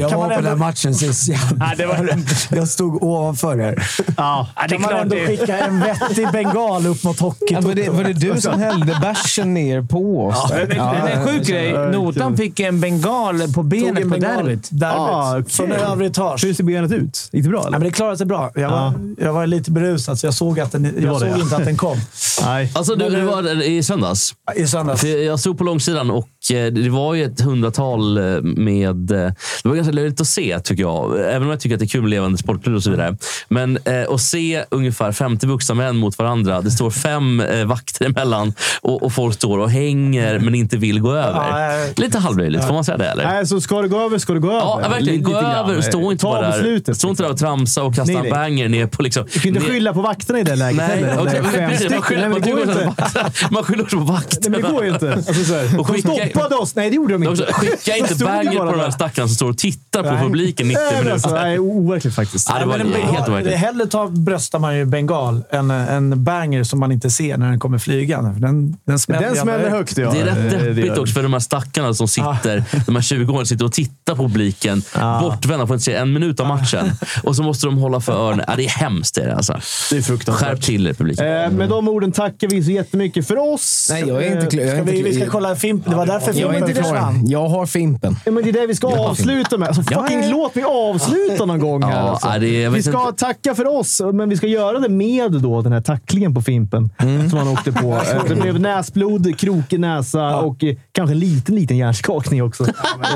J: Jag
B: Kan
J: var på
B: man
J: den här
B: ändå-
J: matchen sist.
B: [LAUGHS] Ja, det var...
J: Jag stod ovanför er.
B: Ja, det är
L: kan man
B: klart
L: ändå
B: det.
L: skicka en vettig bengal upp mot hockey?
E: Ja, var, det, var det du som hällde bärsen ner på oss?
B: Ja, men,
E: Ja,
B: men en sjuk grej. Notan fick en bengal på
L: Tog
B: benet
L: en
B: på
L: bengal.
B: derbyt.
L: Derbyt.
A: Ah, okej.
L: Från övre etage.
A: Hur ser benet ut? Gick det bra?
L: Ja, men
A: Eller?
L: det klarade sig bra. Jag var, jag var lite berusad, så jag såg, att den, jag
A: var
L: såg
A: det, ja.
L: inte att den kom.
A: Nej.
D: Alltså, du, det var där i söndags.
L: I söndags.
D: För jag stod på långsidan och eh, det var ju ett hundratal eh, med... eh, Det var ganska löjligt att se, tycker jag. Även om jag tycker att det är kul med levande sportklubb och så vidare. Men eh, att se ungefär 50 vuxna män mot varandra. Det står fem eh, vakter emellan och, och folk står och hänger men inte vill gå över. Lite halvlöjligt, får man säga det? Eller?
A: Nej, så ska det gå över ska det gå
D: Ja,
A: över.
D: verkligen.
A: Lite
D: Gå
A: grann.
D: över och stå inte
A: Ta
D: bara där,
A: beslutet.
D: stå inte där och tramsa och kasta
A: Nej,
D: en
A: nej.
D: banger ner på... Liksom,
A: Du kan inte
D: ner-
A: skylla på vakterna i det läget
D: Nej,
A: heller.
D: okej,
A: Nej,
D: men
A: fem
D: precis.
A: stycken.
D: Man skyller
A: Nej, men
D: man
A: det går
D: skyller också på
A: inte.
D: vakterna. Man skyller också på
A: Nej,
D: vakterna.
A: men det går ju
D: [LAUGHS]
A: inte. Alltså, så här,
D: Och
A: de
D: skicka-
A: stoppade oss. Nej, det gjorde de
D: De
A: inte.
D: sa, skicka
A: De
D: inte
A: stod ju
D: banger
A: bara
D: på de
A: där.
D: här stackarna som står och tittar på
A: Nej.
D: publiken 90
A: Nej, men alltså,
D: minuter.
A: Nej, overkligt faktiskt.
D: Ja, det var
L: Men en
D: helt
L: bengal,
D: overkligt.
L: hellre ta, bröstar man ju bengal än en banger som man inte ser när den kommer flygande. För Den, den smäller,
A: Den smäller högt, ja.
D: Det är
A: Eh,
D: rätt
A: det gör
D: deppigt
A: det. Ah.
D: också för de här stackarna som sitter, de här 20-åringarna sitter och tittar på publiken.
A: Ah.
D: Bortvända, får inte se en minut av matchen. Och så måste de hålla för öronen. Ja, det är hemskt. Det är det, alltså.
A: Det är fruktansvärt.
D: Skärp till er publiken.
A: Eh, med de orden tackar vi så jättemycket för oss.
E: Nej, jag är inte
A: Eh,
E: klar- jag är
L: Ska
E: inte
L: vi, vi ska
E: klar-
L: kolla Fimpen. Det var därför
E: Jag är
L: Fimpen
E: inte klar
L: försvann.
E: än. Jag har Fimpen.
A: Ja, men det är det vi ska avsluta med. Alltså,
E: Ja,
A: fucking
E: ja, ja.
A: låt mig avsluta någon gång här.
D: Ja,
A: Alltså.
D: ja, det är- jag
A: vi
D: vet
A: ska
D: inte.
A: tacka för oss, men vi ska göra det med då, den här tacklingen på Fimpen som
E: Mm.
A: han åkte
D: [LAUGHS]
A: på. Eh, Det blev näsblod, krokig näsa och eh, kanske en liten, liten hjärnskakning
D: [LAUGHS]
A: också.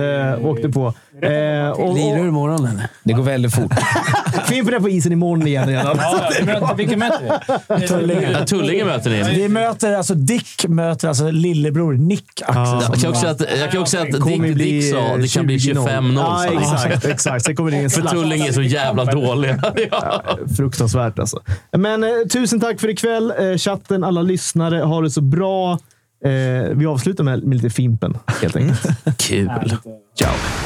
A: eh, åkte på. Eh, och,
J: Lirar du
A: och,
J: imorgon eller?
E: Det går väldigt fort.
A: [LAUGHS] Fimpen är på isen imorgon igen. redan.
B: Ja, vi möter- Vilka möter
A: [LAUGHS]
B: vi?
D: Ja, Tullinge möter ni.
L: Vi möter alltså Dick möter alltså lillebror Nick Axelsson.
D: Jag kan också säga att, jag kan också säga att Dick,
A: kommer bli
D: Dick sa det kan bli
A: 20-0.
D: 25-0.
A: Ja,
D: sa han.
A: exakt. exakt. Sen kommer det en
D: För
A: slash.
D: Tullinge är så jävla dåliga.
A: Fruktansvärt alltså. Men eh, tusen tack för ikväll. Eh, chatten, alla lyssnare. Ha det så bra. Eh, vi avslutar med, med lite Fimpen, helt enkelt.
D: Kul. Ciao.